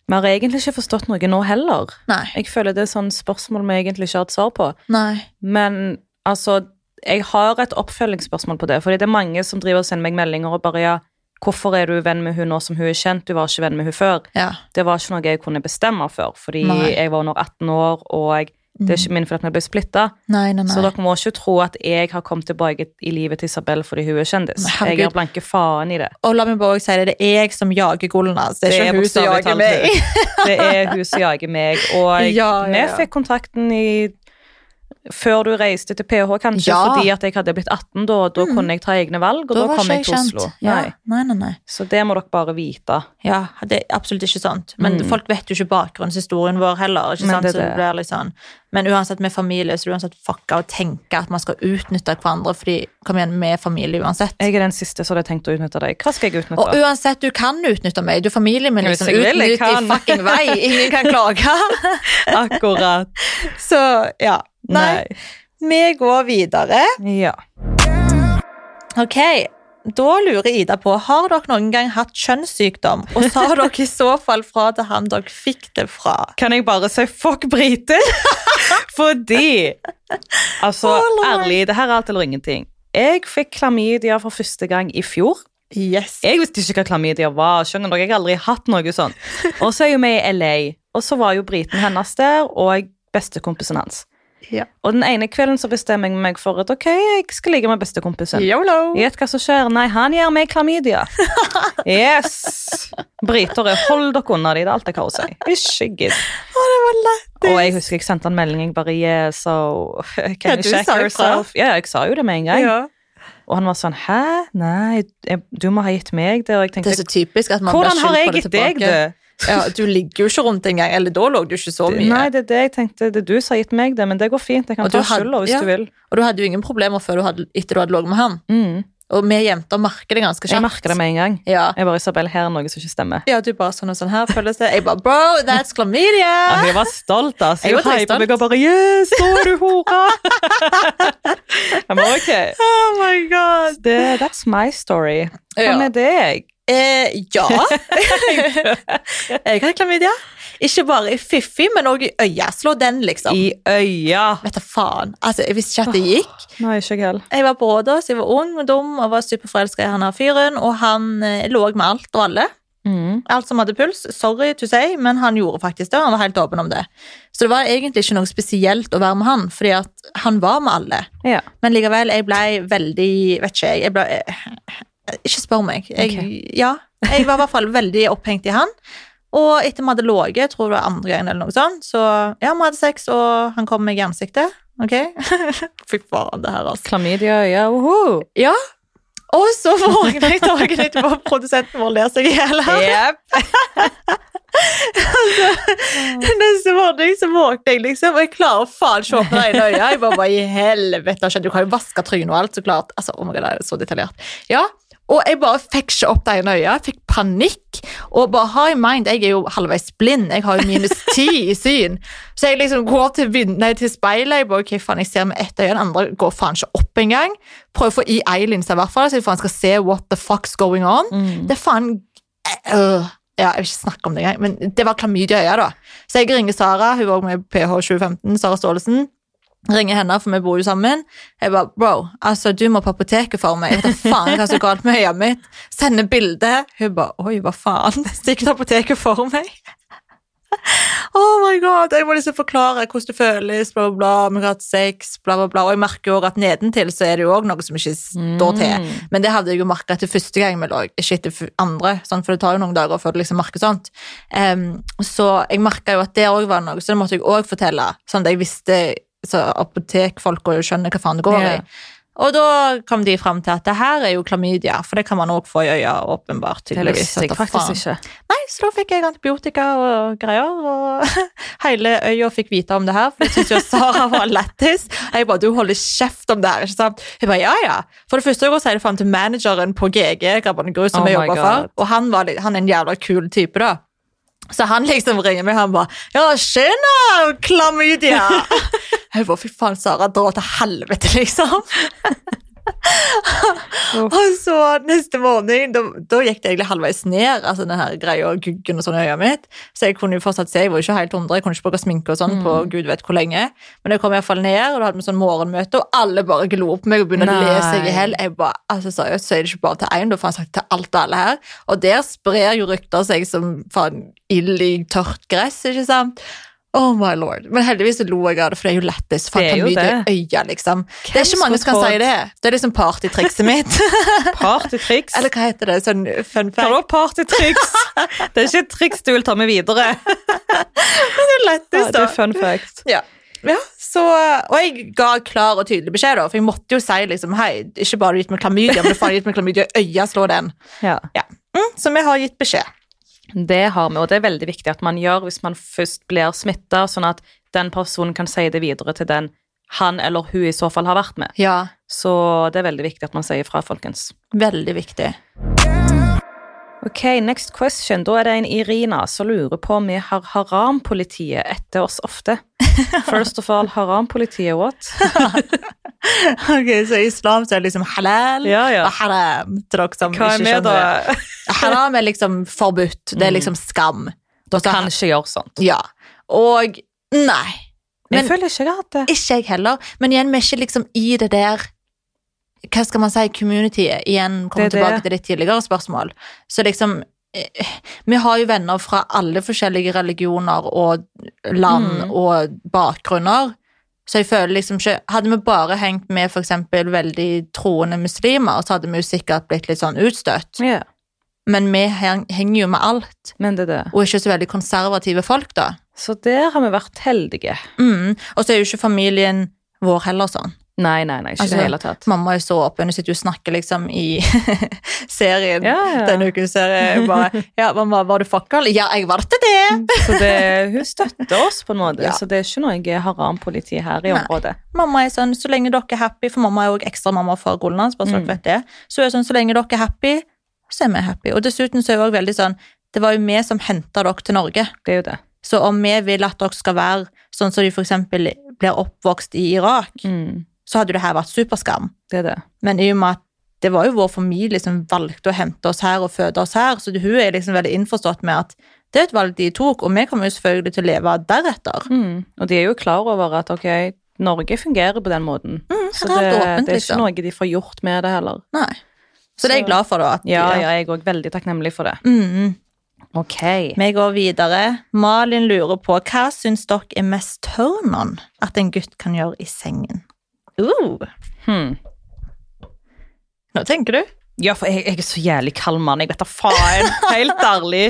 Speaker 1: Vi har egentlig ikke forstått noe nå heller.
Speaker 2: Nei.
Speaker 1: Jeg føler det er sånn spørsmål vi egentlig ikke har et svar på.
Speaker 2: Nei.
Speaker 1: Men altså, jeg har et oppfølgingsspørsmål på det. Fordi det er mange som driver og sender meg meldinger og bare ja, hvorfor er du venn med hun nå som hun er kjent? Du var ikke venn med hun før.
Speaker 2: Ja.
Speaker 1: Det var ikke noe jeg kunne bestemme for, fordi
Speaker 2: Nei.
Speaker 1: jeg var under 18 år, og jeg, det er ikke min fordi at vi ble splitta.
Speaker 2: Nei, nei,
Speaker 1: Så
Speaker 2: nei.
Speaker 1: dere må ikke tro at jeg har kommet tilbake i livet til Isabel fordi hun er kjendis.
Speaker 2: Men herregud.
Speaker 1: Jeg er blanke faen i det.
Speaker 2: Og la meg bare også si det, det er jeg som jager Golnas, det er ikke hun som
Speaker 1: bokstavelig
Speaker 2: jager
Speaker 1: talt
Speaker 2: meg. [laughs]
Speaker 1: hun. Det er hun som jager meg, og
Speaker 2: Ja, ja,
Speaker 1: vi
Speaker 2: ja.
Speaker 1: fikk kontakten i før du reiste til PH, kanskje,
Speaker 2: Ja.
Speaker 1: fordi at jeg hadde blitt 18 da, og da
Speaker 2: Mm.
Speaker 1: kunne jeg ta egne valg, og da,
Speaker 2: var
Speaker 1: kom
Speaker 2: ikke
Speaker 1: jeg til Oslo.
Speaker 2: Ja.
Speaker 1: Nei.
Speaker 2: Nei, nei, nei.
Speaker 1: Så det må dere bare vite.
Speaker 2: Ja, det er absolutt ikke sånt. Men
Speaker 1: Mm.
Speaker 2: folk vet jo ikke bakgrunnshistorien vår heller. ikke
Speaker 1: Men
Speaker 2: sant?
Speaker 1: det er
Speaker 2: Så det
Speaker 1: det.
Speaker 2: blir litt sånn. Men uansett med familie, så er det uansett fucka å tenke at man skal utnytte hverandre, fordi kom igjen, vi er familie uansett.
Speaker 1: Jeg er den siste som hadde tenkt å utnytte deg. Hva skal jeg utnytte?
Speaker 2: Og uansett, du kan utnytte meg. Du er familien min,
Speaker 1: Hvis
Speaker 2: liksom.
Speaker 1: jeg vil, jeg
Speaker 2: Utnytt i
Speaker 1: kan.
Speaker 2: fucking vei. [laughs] Ingen kan klage.
Speaker 1: Akkurat.
Speaker 2: [laughs] Så ja. [laughs] Nei. Vi går videre.
Speaker 1: Ja.
Speaker 2: Ok, da lurer Ida på, har dere noen gang hatt kjønnssykdom? Og sa dere i så fall fra til han dere fikk det fra?
Speaker 1: Kan jeg bare si fuck briter? [laughs] Fordi Altså,
Speaker 2: Å, Lord.
Speaker 1: ærlig, det her er alt eller ingenting. Jeg fikk klamydia for første gang i fjor.
Speaker 2: Yes.
Speaker 1: Jeg visste ikke hva klamydia var. skjønner dere? Jeg har aldri hatt noe sånt. Og så er jo vi i LA, og så var jo briten hennes der, og bestekompisen hans.
Speaker 2: Ja.
Speaker 1: Og den ene kvelden så bestemmer jeg meg for at ok, jeg skal ligge med bestekompisen.
Speaker 2: Yolo.
Speaker 1: Gjett hva som skjer. Nei, han gir meg klamydia. Yes! Briter er Hold dere unna de, det er alt jeg har å si. Ikke gidd.
Speaker 2: Det var lættis.
Speaker 1: Og jeg husker jeg sendte en melding. Jeg bare yeah, so [laughs]
Speaker 2: Ja,
Speaker 1: can you
Speaker 2: du
Speaker 1: check
Speaker 2: sa jo fra.
Speaker 1: yourself? Ja, jeg sa jo det med en gang. Og han var sånn hæ, nei, jeg, du må ha gitt meg det. Og jeg
Speaker 2: Det
Speaker 1: tenkte
Speaker 2: er så typisk at man
Speaker 1: hvordan har
Speaker 2: blir
Speaker 1: jeg
Speaker 2: skyldt på
Speaker 1: gitt
Speaker 2: det
Speaker 1: deg
Speaker 2: tilbake.
Speaker 1: det?
Speaker 2: Ja, du ligger jo ikke rundt engang, eller da lå du ikke så mye.
Speaker 1: Nei, det er det jeg tenkte. Det er du som har gitt meg det, men det går fint. Jeg kan
Speaker 2: Og du
Speaker 1: ta
Speaker 2: hadde-
Speaker 1: skylda hvis
Speaker 2: ja.
Speaker 1: du vil.
Speaker 2: Og du hadde jo ingen problemer før du hadde, etter du hadde ligget med han.
Speaker 1: Mm.
Speaker 2: Og vi jenter merker det ganske kjapt.
Speaker 1: Jeg merker det med en gang.
Speaker 2: Ja.
Speaker 1: Jeg bare, Isabel, her er noe som ikke stemmer.
Speaker 2: ja, du bare sånn og sånn her føles det. Jeg bare, bro, that's chlamydia!
Speaker 1: Altså, jeg var stolt, altså.
Speaker 2: Jeg
Speaker 1: Jeg
Speaker 2: var
Speaker 1: hypet
Speaker 2: dritstolt.
Speaker 1: meg og bare Yes, nå er du
Speaker 2: [laughs]
Speaker 1: hora! jeg bare, ok.
Speaker 2: Oh my god!
Speaker 1: Det, that's my story. Hva
Speaker 2: Ja.
Speaker 1: med deg?
Speaker 2: Eh,
Speaker 1: [laughs]
Speaker 2: ja. [laughs] jeg har klamydia. Ikke bare i fiffi, men òg i øya. Slå den, liksom.
Speaker 1: I øya.
Speaker 2: Vet du faen. Altså, jeg visste ikke at det gikk.
Speaker 1: Nei, ikke jeg heller.
Speaker 2: Jeg var på Rådås, jeg var ung og dum og var superforelska i han her fyren. Og han eh, lå med alt og alle.
Speaker 1: Mm.
Speaker 2: Alt som hadde puls. Sorry to say, men han gjorde faktisk det. og Han var helt åpen om det. Så det var egentlig ikke noe spesielt å være med han, fordi at han var med alle.
Speaker 1: Ja.
Speaker 2: Men likevel, jeg ble veldig Vet ikke, jeg. jeg ble, eh, ikke spør meg. Jeg, ja, jeg var i hvert fall veldig opphengt i han. Og etter vi hadde ligget, jeg tror det var andre gangen, eller noe sånt, så ja, vi hadde sex, og han kom meg i ansiktet. Ok? [laughs] Fy faen, det her, altså.
Speaker 1: Klamydia i øya, woho!
Speaker 2: Ja. Og så våkna jeg dagen etterpå, og produsenten vår ler seg i hjel her. [laughs] Neste morgen så våkner jeg, liksom, og jeg klarer faen ikke å åpne øynene. og øynene. Jeg bare, bare i helvete, har skjedd. Du kan jo vaske trynet og alt, så klart. Altså, oh my God, det er så detaljert. Ja, og jeg bare fikk ikke opp det ene øyet. Jeg fikk panikk. Og bare ha i mind, jeg er jo halvveis blind. Jeg har jo minus ti i syn. Så jeg liksom går til, vind- nei, til speilet. Jeg bare, ok, faen, jeg ser med ett øye, den andre går faen ikke opp engang. Prøver å få i eyelinsa i hvert fall, så jeg faen skal se what the fuck's going on.
Speaker 1: Mm.
Speaker 2: Det er faen øh, ja, Jeg vil ikke snakke om det engang, men det var klamydia i øya, da. Så jeg ringer Sara, hun var også med i PH2015, Sara Staalesen. Ringer henne, for vi bor jo sammen. Jeg bare, bro, altså, du må på apoteket for meg. Jeg vet da faen hva som er galt med øya mitt. [laughs] Sender bilde. Hun bare, oi, hva faen. Stikk til apoteket for meg. [laughs] Oh my god, jeg må liksom forklare hvordan det føles, bla, bla, bla, om jeg har hatt sex, bla, bla, bla. Og jeg merker jo også at nedentil så er det jo òg noe som ikke står til.
Speaker 1: Mm.
Speaker 2: Men det hadde jeg jo merka etter første gang vi lå, ikke etter f- andre, sånn, for det tar jo noen dager før du liksom merker sånt. Em, så jeg merka jo at det òg var noe, så det måtte jeg òg fortelle. Sånn at jeg visste så apotekfolka skjønner hva faen det går
Speaker 1: Ja.
Speaker 2: i. Og da kom de fram til at det her er jo klamydia, for det kan man òg få i øya, åpenbart.
Speaker 1: Det
Speaker 2: tydeligvis.
Speaker 1: visste jeg
Speaker 2: At da faen-
Speaker 1: faktisk ikke. [laughs]
Speaker 2: Nei, så da fikk jeg antibiotika og greier, og [laughs] hele øya fikk vite om det her, for jeg syntes jo at Sara var lættis. Og Jeg bare, du holder kjeft om det her, ikke sant? Hun bare, ja, ja. For det første jeg går, så er det frem til manageren på GG, Grabban Gru, som
Speaker 1: Oh
Speaker 2: jeg
Speaker 1: my
Speaker 2: jobber
Speaker 1: God.
Speaker 2: for, og han, var, litt- han er en jævla kul type da. Så han liksom ringer meg, han bare, ja, skjønner, klamydia! Jeg bare, fy faen, Sara, dra til helvete, liksom. Og så neste morgen, da, da gikk det egentlig halvveis ned, altså den her greia og guggen og sånn i øya mitt. Så jeg kunne jo fortsatt se, jeg var jo ikke helt hundre, jeg kunne ikke bruke sminke og sånn på gud vet hvor lenge. Men jeg kom i hvert fall ned, og da hadde vi sånn morgenmøte, og alle bare glo på meg og begynner å le seg
Speaker 1: Nei.
Speaker 2: i hel. Jeg bare, altså seriøst, så er det ikke bare til én, da faen sagt til alt og alle her. Og der sprer jo rykter seg som faen ild i tørt gress, ikke sant? Oh my lord. Men heldigvis så lo jeg av det, for det er jo lettest. Faen,
Speaker 1: Det er
Speaker 2: kan
Speaker 1: jo
Speaker 2: mye
Speaker 1: det.
Speaker 2: til øya, liksom. det er
Speaker 1: Hvem
Speaker 2: ikke mange som kan
Speaker 1: skulle
Speaker 2: si det. Det er liksom partytrikset
Speaker 1: [laughs]
Speaker 2: mitt.
Speaker 1: Partytriks.
Speaker 2: Eller hva heter det? Sånn fun
Speaker 1: Hva
Speaker 2: fact?
Speaker 1: da, [laughs] partytriks? Det er ikke et triks du vil ta med videre. Ja, det er fun fact.
Speaker 2: Ja. Ja, så, og jeg ga klar og tydelig beskjed, da, for jeg måtte jo si liksom, hei, ikke bare gitt meg klamydia, men du faen gitt meg klamydia i øya, slå den.
Speaker 1: Ja.
Speaker 2: Ja. Mm, så vi har gitt beskjed.
Speaker 1: Det har vi, og det er veldig viktig at man gjør hvis man først blir smitta, sånn at den personen kan si det videre til den han eller hun i så fall har vært med.
Speaker 2: Ja,
Speaker 1: Så det er veldig viktig at man sier fra, folkens.
Speaker 2: veldig viktig.
Speaker 1: Ok, next question. Da er det en Irina som lurer på om vi har haram-politiet etter oss ofte. First of all, haram-politiet, what?
Speaker 2: Ok, så i islam så er det liksom halal
Speaker 1: Ja, ja.
Speaker 2: og haram til dere som
Speaker 1: Hva er
Speaker 2: ikke
Speaker 1: vi
Speaker 2: skjønner
Speaker 1: da? Mm.
Speaker 2: det. Haram er liksom forbudt, det er liksom skam.
Speaker 1: Da kan ikke gjøre sånt.
Speaker 2: Ja, og nei,
Speaker 1: Jeg
Speaker 2: Men-
Speaker 1: føler ikke jeg har hatt det.
Speaker 2: ikke jeg heller, men igjen, vi er ikke liksom i det der hva skal man si, communityet, igjen kommer
Speaker 1: Det er det.
Speaker 2: tilbake til ditt tidligere spørsmål. Så liksom, eh, vi har jo venner fra alle forskjellige religioner og land
Speaker 1: Mm.
Speaker 2: og bakgrunner, så jeg føler liksom ikke, hadde vi bare hengt med for eksempel veldig troende muslimer, så hadde vi jo sikkert blitt litt sånn utstøtt.
Speaker 1: Ja,
Speaker 2: Men vi heng, henger jo med alt,
Speaker 1: men det er det.
Speaker 2: og er ikke så veldig konservative folk da.
Speaker 1: Så der har vi vært heldige.
Speaker 2: Mm. Og så er jo ikke familien vår heller sånn.
Speaker 1: Nei, nei, nei, ikke i
Speaker 2: Altså,
Speaker 1: det hele tatt.
Speaker 2: Mamma er så åpen, hun sitter jo og snakker liksom i [laughs] serien.
Speaker 1: Ja, ja.
Speaker 2: Denne uken så er det bare Ja, mamma, var du fuckgirl? Ja, jeg var det det!
Speaker 1: Så det, hun støtter oss på en måte,
Speaker 2: Ja.
Speaker 1: så det er ikke noe haram-politi her i
Speaker 2: Nei.
Speaker 1: området.
Speaker 2: Mamma er sånn, så lenge dere er happy, for mamma er jo også ekstra mamma for Gollands, bare så
Speaker 1: Mm.
Speaker 2: dere vet det. Så er det sånn, så lenge dere er happy, så er vi happy. Og dessuten så er hun også veldig sånn, det var jo vi som henta dere til Norge.
Speaker 1: Det er jo det.
Speaker 2: Så om vi vil at dere skal være sånn som de for eksempel blir oppvokst i Irak,
Speaker 1: Mm,
Speaker 2: så hadde jo det her vært superskam.
Speaker 1: det er det.
Speaker 2: Men i og med at det var jo vår familie som valgte å hente oss her og føde oss her, så hun er liksom veldig innforstått med at det er et valg de tok, og vi kommer jo selvfølgelig til å leve deretter.
Speaker 1: Mm. Og de er jo klar over at ok, Norge fungerer på den måten. så det,
Speaker 2: her Mm, er alt åpent,
Speaker 1: det er ikke
Speaker 2: liksom.
Speaker 1: noe de får gjort med det heller.
Speaker 2: Nei. Så det er jeg glad for, da. At,
Speaker 1: Ja, ja, jeg er òg veldig takknemlig for det.
Speaker 2: Mm.
Speaker 1: Ok.
Speaker 2: Vi går videre. Malin lurer på hva syns dere er mest turn on at en gutt kan gjøre i sengen? Uh.
Speaker 1: Hmm.
Speaker 2: Nå tenker du.
Speaker 1: Ja, for jeg, jeg er så jævlig kald mann. Jeg vet da [laughs] faen. Helt ærlig.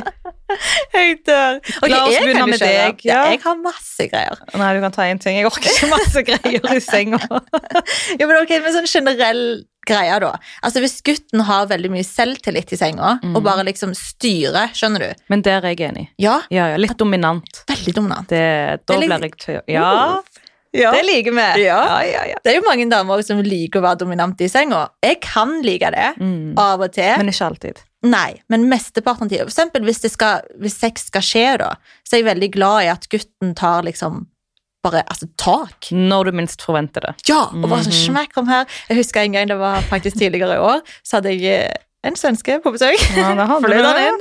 Speaker 2: Jeg dør.
Speaker 1: La oss begynne med deg,
Speaker 2: Ja.
Speaker 1: ja.
Speaker 2: jeg har masse greier.
Speaker 1: Nei, du kan ta én ting. Jeg orker ikke masse greier i senga.
Speaker 2: [laughs] Ja, men ok, men sånn generell greie da. Altså hvis gutten har veldig mye selvtillit i senga,
Speaker 1: Mm.
Speaker 2: og bare liksom styrer, skjønner du?
Speaker 1: Men der er jeg enig.
Speaker 2: Ja,
Speaker 1: Ja, ja, litt dominant.
Speaker 2: veldig dominant.
Speaker 1: Det, da
Speaker 2: Det
Speaker 1: blir
Speaker 2: ligger-
Speaker 1: jeg tøy. Ja,
Speaker 2: Ja.
Speaker 1: det liker vi.
Speaker 2: Ja.
Speaker 1: ja, ja.
Speaker 2: Det er jo mange damer som liker å være dominante i senga. Jeg kan like det,
Speaker 1: Mm.
Speaker 2: av og til.
Speaker 1: Men ikke alltid.
Speaker 2: Nei, men mesteparten av tiden. For eksempel hvis, det skal, hvis sex skal skje da, så er jeg veldig glad i at gutten tar liksom bare, altså tak.
Speaker 1: Når du minst forventer det.
Speaker 2: Ja, og bare sånn
Speaker 1: Mhm.
Speaker 2: smekk kom her. Jeg husker en gang, det var faktisk tidligere i år, så hadde jeg eh, en svenske på besøk.
Speaker 1: Ja, det hadde du.
Speaker 2: Fløy han inn.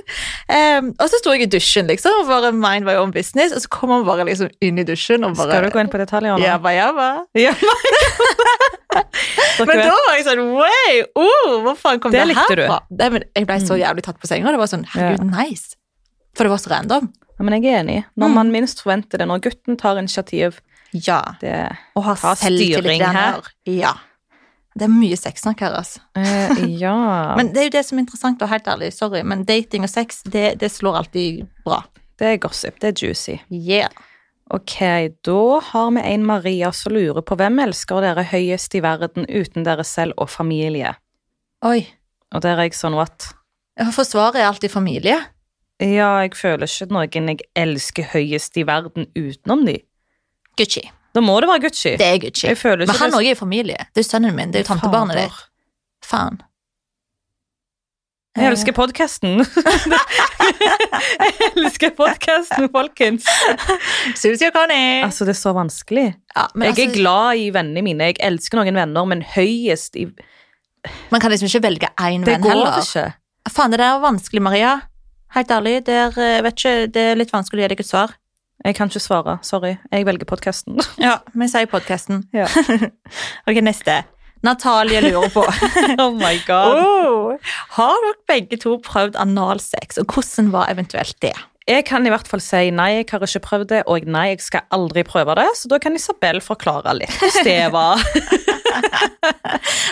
Speaker 2: Em, og så sto jeg i dusjen, liksom, og bare mind var jo om business, og så kom han bare liksom inn i dusjen og
Speaker 1: Skal
Speaker 2: bare
Speaker 1: du gå inn på detaljer nå?
Speaker 2: Jabba, jabba.
Speaker 1: [laughs] Ja,
Speaker 2: Men
Speaker 1: Dere
Speaker 2: da
Speaker 1: vet,
Speaker 2: var jeg sånn Way! Oh, hvor faen kom
Speaker 1: Det
Speaker 2: det,
Speaker 1: likte
Speaker 2: her
Speaker 1: du. Mm.
Speaker 2: fra? Nei, men jeg ble så jævlig tatt på senga. Det var sånn Herregud, nice. For det var så random.
Speaker 1: Ja, men jeg er enig. Når
Speaker 2: Mm.
Speaker 1: man minst forventer det, når gutten tar initiativ
Speaker 2: Ja.
Speaker 1: det,
Speaker 2: Og har
Speaker 1: Ta
Speaker 2: selvtillit i
Speaker 1: styring
Speaker 2: den
Speaker 1: her.
Speaker 2: Ja. Det er mye sexsnakk her, altså.
Speaker 1: eh, [laughs] Ja.
Speaker 2: Men det er jo det som er interessant, og helt ærlig, sorry, men dating og sex, det, det slår alltid bra.
Speaker 1: det er gossip. Det er juicy.
Speaker 2: Yeah.
Speaker 1: Ok, da har vi en Maria som lurer på hvem elsker dere høyest i verden uten dere selv og familie?
Speaker 2: Oi.
Speaker 1: Og der er jeg sånn what?
Speaker 2: Ja, For svaret er alltid familie.
Speaker 1: Ja, jeg føler ikke noen jeg elsker høyest i verden utenom de.
Speaker 2: Gucci.
Speaker 1: Da må det være Gucci.
Speaker 2: Det er Gucci.
Speaker 1: Jeg føler
Speaker 2: Men
Speaker 1: ikke
Speaker 2: han òg er jo familie. Det er jo sønnen min. Det er jo tantebarnet ditt.
Speaker 1: Fader.
Speaker 2: Faen.
Speaker 1: Jeg elsker podkasten. jeg elsker podkasten, folkens.
Speaker 2: Susie og Connie.
Speaker 1: Altså, det er så vanskelig.
Speaker 2: ja, men
Speaker 1: Jeg er
Speaker 2: altså,
Speaker 1: glad i vennene mine. Jeg elsker noen venner, men høyest i
Speaker 2: man kan liksom ikke velge én
Speaker 1: Det
Speaker 2: venn
Speaker 1: går
Speaker 2: heller.
Speaker 1: ikke.
Speaker 2: Faen, det der er vanskelig, Maria. Helt ærlig, det er, eh, vet ikke, det er litt vanskelig å gi deg et svar.
Speaker 1: Jeg kan ikke svare. Sorry. Jeg velger podkasten.
Speaker 2: Ja, Vi sier podkasten.
Speaker 1: [laughs] Ja.
Speaker 2: [laughs] ok, neste. Natalie lurer [laughs] på
Speaker 1: [laughs] oh my god.
Speaker 2: oh, Har dere begge to prøvd analsex, og hvordan var eventuelt det?
Speaker 1: Jeg kan i hvert fall si nei, jeg har ikke prøvd det, og nei, jeg skal aldri prøve det. Så da kan Isabel forklare litt hvordan det [laughs] var.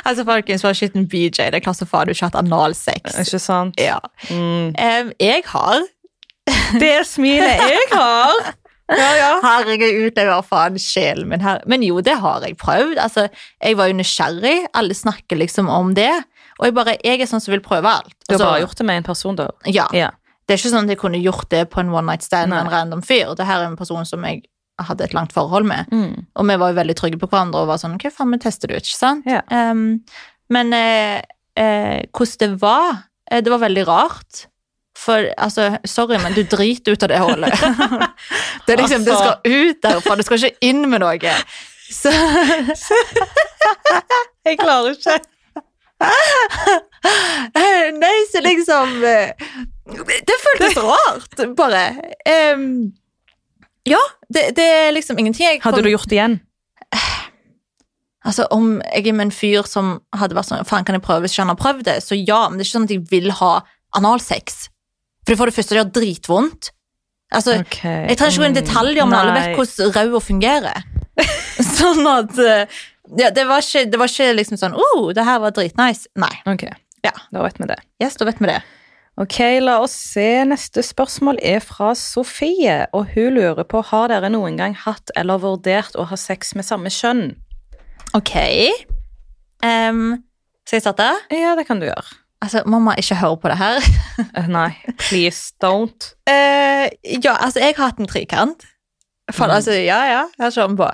Speaker 2: Altså, folkens, for skitten BJ, det er klart som faen du ikke har hatt analsex.
Speaker 1: ikke sant?
Speaker 2: Ja.
Speaker 1: Mm.
Speaker 2: Em, jeg har.
Speaker 1: Det smilet jeg [laughs] har. Ja, ja.
Speaker 2: Herregud, utlever faen sjelen min her. Men jo, det har jeg prøvd. Altså, jeg var jo nysgjerrig. Alle snakker liksom om det. Og jeg bare, jeg er sånn som vil prøve alt.
Speaker 1: Du har
Speaker 2: Altså,
Speaker 1: bare gjort det med en person, da.
Speaker 2: Ja.
Speaker 1: Ja.
Speaker 2: Det er ikke sånn at jeg kunne gjort det på en one night stand med en
Speaker 1: Nei.
Speaker 2: random fyr. Det her er en person som jeg hadde et langt forhold med.
Speaker 1: Mm.
Speaker 2: Og vi var jo veldig trygge på hverandre og var sånn, ok, faen, vi tester det ut, ikke sant?
Speaker 1: Ja.
Speaker 2: Ehm, men eh, eh, hvordan det var, eh, det var veldig rart. For, altså, sorry, men du driter ut av det hålet. [laughs] det er liksom, det
Speaker 1: Altså.
Speaker 2: skal ut derfra, det skal ikke inn med noe. Så, [laughs]
Speaker 1: Jeg klarer ikke.
Speaker 2: nei, så liksom, eh, det føltes rart, bare. Ehm, ja, det, det er liksom ingenting. jeg
Speaker 1: Hadde
Speaker 2: kom-
Speaker 1: du gjort det igjen?
Speaker 2: Altså, Om jeg er med en fyr som hadde vært sånn Faen, kan jeg prøve hvis ikke han har prøvd det? Så ja, men det er ikke sånn at jeg vil ha analsex. For for det første, det gjør dritvondt. Altså,
Speaker 1: Okay.
Speaker 2: Jeg trenger ikke gå inn i detaljer, men alle vet hvordan ræva fungerer. sånn at eh, ja, det, var ikke, det var ikke liksom sånn oh, det her var dritnice. Nei.
Speaker 1: Ok,
Speaker 2: Ja.
Speaker 1: da vet vi det.
Speaker 2: Yes, da vet vi det.
Speaker 1: Ok, la oss se. Neste spørsmål er fra Sofie, og hun lurer på har dere noen gang hatt eller vurdert å ha sex med samme kjønn?
Speaker 2: Ok. Em, skal jeg starte?
Speaker 1: Ja, det kan du gjøre.
Speaker 2: Altså, Mamma, ikke hør på det her.
Speaker 1: Eh, [laughs] Nei, please don't.
Speaker 2: Eh, ja, altså, jeg har hatt en trikant. For,
Speaker 1: Mm.
Speaker 2: altså, ja, ja, jeg har kjørt den på.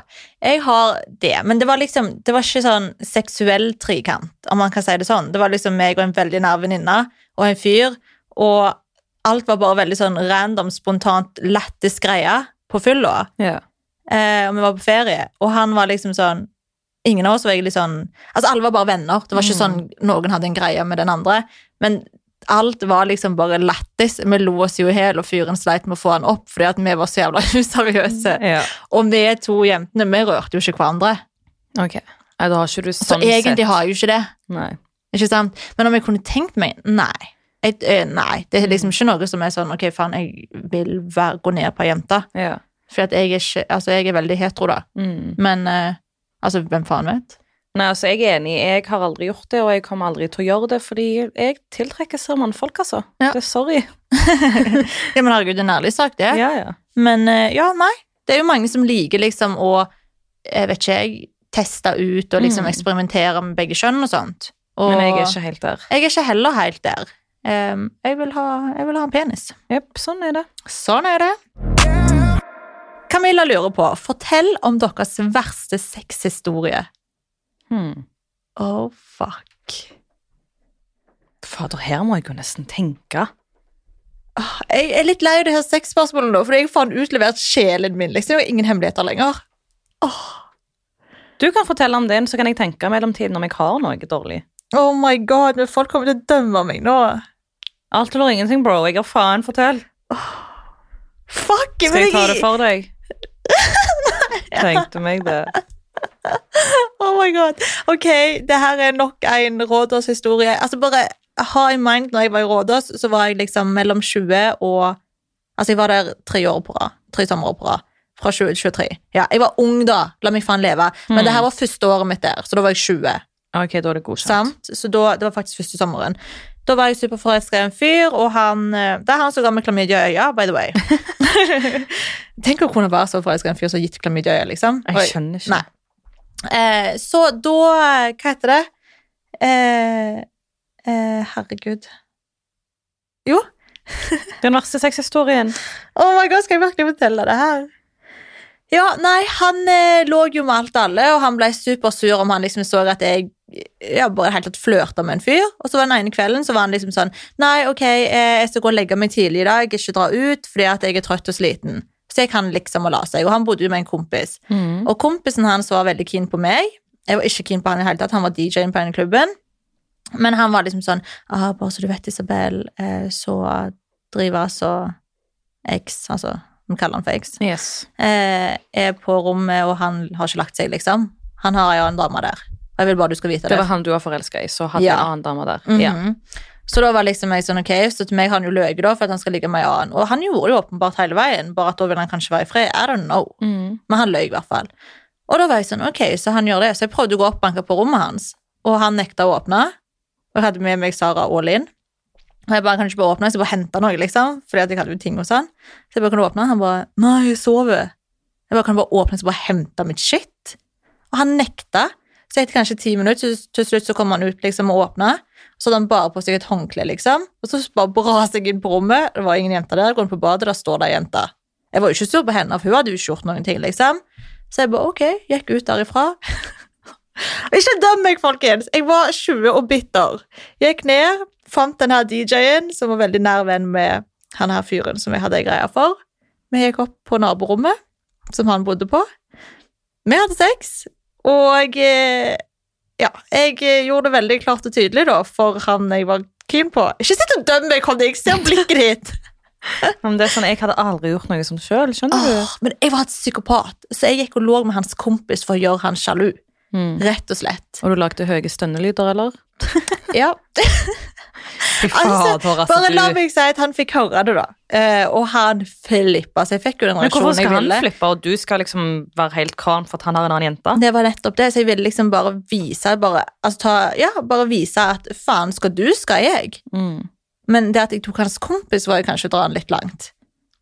Speaker 2: Jeg har det, men det var liksom Det var ikke sånn seksuell trikant, om man kan si det sånn. Det var liksom meg og en veldig nær venninne og en fyr, og alt var bare veldig sånn random, spontant, lættis greie på fylla.
Speaker 1: Ja.
Speaker 2: Eh, og vi var på ferie, og han var liksom sånn Ingen av oss var egentlig sånn Altså, alle var bare venner. Det var
Speaker 1: Mm.
Speaker 2: ikke sånn noen hadde en greie med den andre. Men alt var liksom bare lættis. Vi lo oss jo i hjel, og fyren sleit med å få han opp fordi at vi var så jævla [laughs] useriøse.
Speaker 1: ja.
Speaker 2: Og vi to jentene, vi rørte jo ikke hverandre.
Speaker 1: Ok. Nei, da har ikke du
Speaker 2: Så
Speaker 1: sånn
Speaker 2: egentlig
Speaker 1: sett
Speaker 2: har jeg jo ikke det.
Speaker 1: Nei.
Speaker 2: Ikke sant? Men om jeg kunne tenkt meg Nei. Jeg, eh, nei. Det
Speaker 1: Mm.
Speaker 2: er liksom ikke noe som er sånn Ok, faen, jeg vil være, gå ned på ei jente.
Speaker 1: Ja.
Speaker 2: For at jeg er ikke Altså, jeg er veldig hetero, da.
Speaker 1: Mm.
Speaker 2: Men eh, altså, hvem faen vet?
Speaker 1: Nei, altså, jeg er enig. Jeg har aldri gjort det, og jeg kommer aldri til å gjøre det, fordi jeg tiltrekker seg mannfolk, altså.
Speaker 2: Ja.
Speaker 1: Det er sorry.
Speaker 2: Ja, men herregud, det er en ærlig sak, det.
Speaker 1: Ja, ja.
Speaker 2: Men eh, ja, nei. Det er jo mange som liker liksom å jeg vet ikke, jeg, teste ut og liksom
Speaker 1: Mm.
Speaker 2: eksperimentere med begge kjønn og sånt. Og
Speaker 1: Men jeg er ikke helt der.
Speaker 2: jeg er ikke heller helt der. Ehm, jeg, vil ha, jeg vil ha en penis.
Speaker 1: Jepp, sånn er det.
Speaker 2: Sånn er det. Camilla lurer på Fortell om deres verste sexhistorie.
Speaker 1: Hmm.
Speaker 2: Oh, fuck.
Speaker 1: Fader, her må jeg jo nesten tenke.
Speaker 2: Jeg er litt lei av det her sexspørsmålet nå, for jeg har faen utlevert sjelen min. liksom. Jeg har ingen hemmeligheter lenger.
Speaker 1: Du kan fortelle om din, så kan jeg tenke mellomtiden om jeg har noe dårlig.
Speaker 2: Oh my god, men folk kommer til å dømme meg nå.
Speaker 1: Alt eller ingenting, bro. Jeg har faen fortell.
Speaker 2: Fuck,
Speaker 1: Skal jeg ta det for
Speaker 2: [laughs]
Speaker 1: deg? Tenkte meg det.
Speaker 2: Oh my god. Ok, det her er nok en Rådås-historie. Altså bare ha i mind, når jeg var i Rådås, så var jeg liksom mellom 20 og Altså, jeg var der tre år på rad. Tre somre på rad. Fra 2023. Ja, jeg var ung da. La meg faen leve. Men
Speaker 1: Mm.
Speaker 2: det her var første året mitt der, så da var jeg 20.
Speaker 1: Ok, da er det godkjent.
Speaker 2: Sant? Så da, det var faktisk første sommeren. Da var jeg superforelska i en fyr, og han eh, Det er han som ga meg klamydia i øya, by the way. [laughs] Tenk å kunne være så forelska i en fyr som har gitt klamydia i øya, liksom. Oi.
Speaker 1: Jeg skjønner ikke.
Speaker 2: Nei. Eh, så da Hva heter det? Eh, eh, herregud. Jo,
Speaker 1: Den verste sexhistorien.
Speaker 2: Oh my god, skal jeg virkelig fortelle det her? Ja, nei, han eh, lå jo med alt og alle, og han ble supersur om han liksom så at jeg ja, bare helt tatt flørta med en fyr. Og så var den ene kvelden så var han liksom sånn Nei, ok, eh, jeg skal gå og legge meg tidlig i dag, ikke dra ut, fordi at jeg er trøtt og sliten. Så jeg kan liksom å la seg. Og han bodde jo med en kompis.
Speaker 1: Mm.
Speaker 2: Og kompisen hans var veldig keen på meg. Jeg var ikke keen på han i det hele tatt, han var DJ-en på denne klubben. Men han var liksom sånn ah, Bare så du vet, Isabel, eh, så driver altså X, altså Vi kaller han for X.
Speaker 1: Yes.
Speaker 2: Eh, er på rommet, og han har ikke lagt seg, liksom. Han har jo en dame der. Og jeg vil bare du skal vite
Speaker 1: Det
Speaker 2: det.
Speaker 1: var han du var forelska i, så hadde
Speaker 2: Ja.
Speaker 1: en annen dame der.
Speaker 2: Mhm.
Speaker 1: Ja.
Speaker 2: Så da var liksom jeg sånn, ok, så til meg har han jo løyet da, for at han skal ligge med en annen. Og han gjorde det jo åpenbart hele veien, bare at da vil han kanskje være i fred. I don't know.
Speaker 1: Mhm.
Speaker 2: Men han løy i hvert fall. Og da var jeg sånn, ok, så han gjør det. Så jeg prøvde å gå opp og banke på rommet hans, og han nekta å åpne. Og jeg hadde med meg Sara og Linn. Og jeg bare, kan du ikke bare åpne? Jeg skal bare hente noe, liksom. Fordi at jeg hadde jo ting hos han. Så jeg bare, kan du åpne? Han bare, nei, jeg sover. Jeg bare, kan du bare åpne, så bare hente mitt shit? Og han nekta. Så etter kanskje ti minutter, så, til slutt så kom han ut liksom og åpna. Så hadde han bare på seg et håndkle, liksom. Og så bare braste jeg inn på rommet. Det var ingen jenter der. Går inn på badet, der står det ei jente. Jeg var jo ikke sur på henne, for hun hadde jo ikke gjort noen ting, liksom. Så jeg bare ok, gikk ut derifra. [laughs] ikke døm meg, folkens! Jeg var 20 og bitter. Gikk ned, fant den her DJ-en, som var veldig nær venn med han her fyren som jeg hadde greia for. Vi gikk opp på naborommet, som han bodde på. Vi hadde sex, og eh, ja, jeg eh, gjorde det veldig klart og tydelig da, for han jeg var keen på. Ikke sitt og døm meg, Conny, jeg ser blikket ditt!
Speaker 1: Men det er sånn, Jeg hadde aldri gjort noe sånt sjøl, skjønner du.
Speaker 2: Åh, men jeg var et psykopat, så jeg gikk og lå med hans kompis for å gjøre han sjalu.
Speaker 1: Mhm.
Speaker 2: Rett og slett.
Speaker 1: Og du lagde høye stønnelyder, eller?
Speaker 2: Ja.
Speaker 1: Fy
Speaker 2: Altså,
Speaker 1: fader, altså,
Speaker 2: Bare la
Speaker 1: du-
Speaker 2: meg si at han fikk høre det, da. Eh, og han flippa, så jeg fikk jo den
Speaker 1: Men hvorfor
Speaker 2: reaksjonen jeg
Speaker 1: skal han
Speaker 2: ville.
Speaker 1: flippe, og du skal liksom være helt kran for at han har en annen jente?
Speaker 2: Det var nettopp det, så jeg ville liksom bare vise bare, altså ta, ja, bare vise at faen, skal du, skal jeg.
Speaker 1: Mm.
Speaker 2: Men det at jeg tok hans kompis, var jo kanskje å dra han litt langt.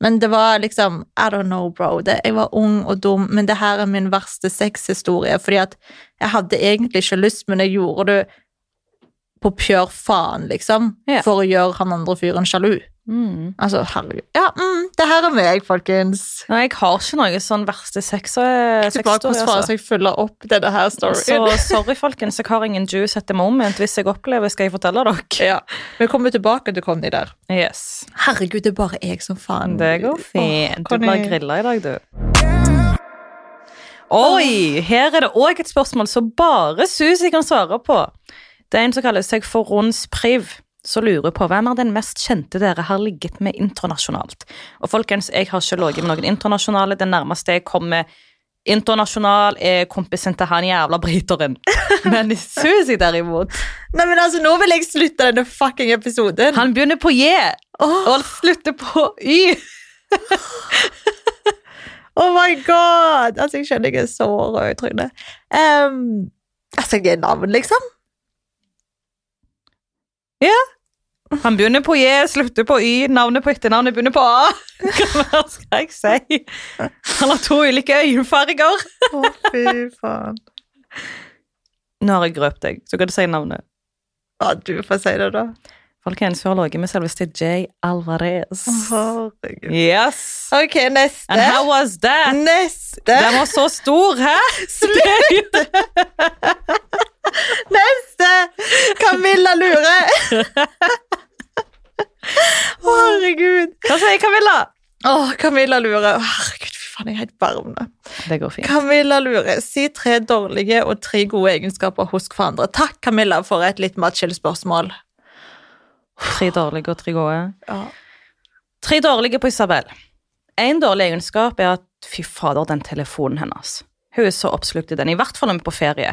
Speaker 2: Men det var liksom I don't know, bro. Det, jeg var ung og dum, men det her er min verste sexhistorie. Fordi at jeg hadde egentlig ikke lyst, men jeg gjorde det på pjør faen, liksom.
Speaker 1: Ja.
Speaker 2: For å gjøre han andre fyren sjalu.
Speaker 1: Mm.
Speaker 2: Altså, herregud. Ja, mm, det her er meg, folkens.
Speaker 1: Nei, jeg har ikke noe sånn verste sex eh,
Speaker 2: Jeg vet ikke
Speaker 1: sexhistory,
Speaker 2: hvordan faen
Speaker 1: altså.
Speaker 2: skal jeg følge opp denne her
Speaker 1: Så
Speaker 2: storyen.
Speaker 1: sorry, folkens. Jeg har ingen juice at the moment. Hvis jeg opplever, skal jeg fortelle dere.
Speaker 2: Ja, Vi kommer tilbake til Conny der.
Speaker 1: Yes.
Speaker 2: Herregud, det er bare jeg som faen.
Speaker 1: Det går fint. Du
Speaker 2: Åh,
Speaker 1: blir
Speaker 2: Conny.
Speaker 1: grilla i dag, du. Oi! Her er det òg et spørsmål som bare Susi kan svare på. Det er en som kaller seg for Rons Priv, som lurer på hvem er den mest kjente dere har ligget med internasjonalt. Og folkens, jeg har ikke ligget med noen internasjonale. Det nærmeste jeg kommer internasjonal, er kompisen til han jævla
Speaker 2: [laughs]
Speaker 1: briteren. Men Susi, derimot
Speaker 2: Nei, men altså, Nå vil jeg slutte denne fucking episoden.
Speaker 1: Han begynner på J
Speaker 2: Åh.
Speaker 1: og slutter på Y.
Speaker 2: Oh my god! Altså, jeg skjønner jeg er så rød i trynet. Ehm, altså, jeg er navn, liksom.
Speaker 1: Han begynner på J, slutter på Y, navnet på etternavnet begynner på A. [laughs] Hva skal jeg si? Han har to ulike øyenfarger.
Speaker 2: Å, fy faen.
Speaker 1: Nå har jeg grøpt deg, så kan du si navnet.
Speaker 2: Ja, du får si det, da.
Speaker 1: Folkens, hun har ligget med selveste J. Alvarez.
Speaker 2: Herregud.
Speaker 1: Yes!
Speaker 2: Ok,
Speaker 1: And
Speaker 2: neste.
Speaker 1: how was that?
Speaker 2: Neste.
Speaker 1: Den var så stor, hæ? [laughs] Slutt!
Speaker 2: Neste! Camilla Lure. Å, herregud.
Speaker 1: Hva sier Camilla?
Speaker 2: Å, Camilla Lure. Å, herregud, fy faen, jeg er helt varm nå.
Speaker 1: Det går fint.
Speaker 2: Camilla Lure, si tre dårlige og tre gode egenskaper hos hverandre. Takk, Camilla, for et litt mer chill spørsmål.
Speaker 1: Tre dårlige og tre gode.
Speaker 2: Ja.
Speaker 1: Tre dårlige på Isabel. En dårlig egenskap er at fy fader, den telefonen hennes. Hun er så oppslukt i den, i hvert fall når vi er på ferie.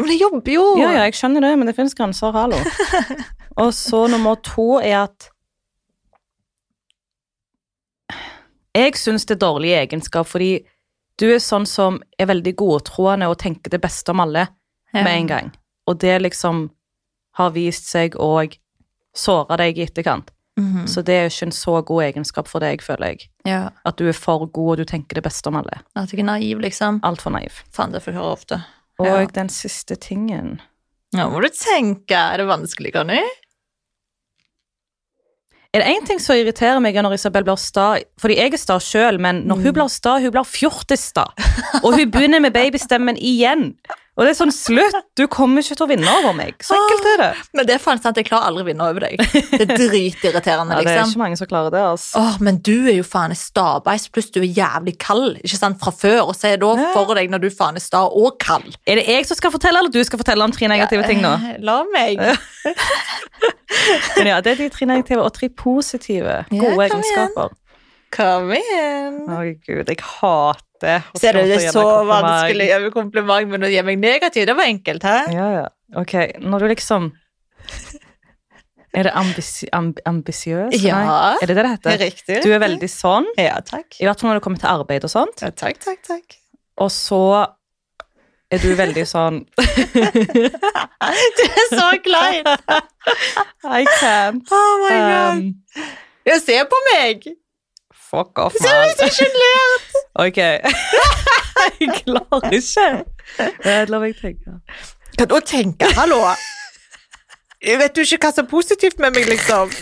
Speaker 2: Men jeg jobber jo!
Speaker 1: Ja, ja, jeg skjønner det, men det finnes grenser,
Speaker 2: [laughs]
Speaker 1: hallo. Og så nummer to er at Jeg syns det er dårlig egenskap, fordi du er sånn som er veldig godtroende og tenker det beste om alle
Speaker 2: Ja.
Speaker 1: med en gang. Og det liksom har vist seg å såre deg i etterkant.
Speaker 2: Mhm.
Speaker 1: Så det er ikke en så god egenskap for deg, føler jeg.
Speaker 2: Ja.
Speaker 1: At du er for god, og du tenker det beste om alle.
Speaker 2: At jeg er naiv, liksom.
Speaker 1: Altfor naiv.
Speaker 2: Faen, det får jeg høre ofte.
Speaker 1: Og
Speaker 2: Ja.
Speaker 1: den siste tingen
Speaker 2: Nå må du tenke. Er det vanskelig, Conny?
Speaker 1: Er det én ting som irriterer meg er når Isabel blir sta? Fordi jeg er sta sjøl, men når
Speaker 2: Mm.
Speaker 1: hun blir sta, hun blir fjortissta. Og hun begynner med babystemmen igjen. Og det er sånn slutt! Du kommer ikke til å vinne over meg. Så enkelt er det.
Speaker 2: Men det er faen sant, jeg klarer aldri å vinne over deg. Det er
Speaker 1: [laughs]
Speaker 2: dritirriterende,
Speaker 1: Ja, det er
Speaker 2: liksom.
Speaker 1: ikke mange som klarer det, altså.
Speaker 2: Åh, men du er jo faen stabeis, pluss du er jævlig kald, ikke sant, fra før, og så er det da for deg når du faen er sta og kald.
Speaker 1: Er det jeg som skal fortelle, eller du skal fortelle om tre negative ting nå?
Speaker 2: Eh, La meg.
Speaker 1: Men ja, det er de tre negative og tre positive
Speaker 2: Ja,
Speaker 1: gode
Speaker 2: kom igjen.
Speaker 1: egenskaper.
Speaker 2: Kom igjen.
Speaker 1: Å gud, jeg hater å
Speaker 2: Ser du, det
Speaker 1: gjøre
Speaker 2: er så
Speaker 1: kompliment.
Speaker 2: vanskelig å gjøre kompliment, men å gi meg negativ, det var enkelt, hæ?
Speaker 1: Ja, ja. Ok, når du
Speaker 2: [laughs]
Speaker 1: liksom Er det ambisi amb ambisiøs?
Speaker 2: Ja,
Speaker 1: Nei, Er det det det
Speaker 2: Det er
Speaker 1: heter?
Speaker 2: riktig.
Speaker 1: Du er veldig sånn,
Speaker 2: Ja, takk.
Speaker 1: i hvert fall når det kommer til arbeid og sånt.
Speaker 2: Ja, takk, takk, takk.
Speaker 1: Og så er du veldig sånn
Speaker 2: Du er så [laughs] klein.
Speaker 1: I can't.
Speaker 2: Oh my god.
Speaker 1: Um,
Speaker 2: Ja, se på meg.
Speaker 1: fuck off,
Speaker 2: Se
Speaker 1: man.
Speaker 2: hvis jeg ikke ler.
Speaker 1: Ok. Jeg klarer ikke. Eh, La meg tenke.
Speaker 2: Hva da tenker hallo? Jeg vet jo ikke hva som er positivt med meg, liksom.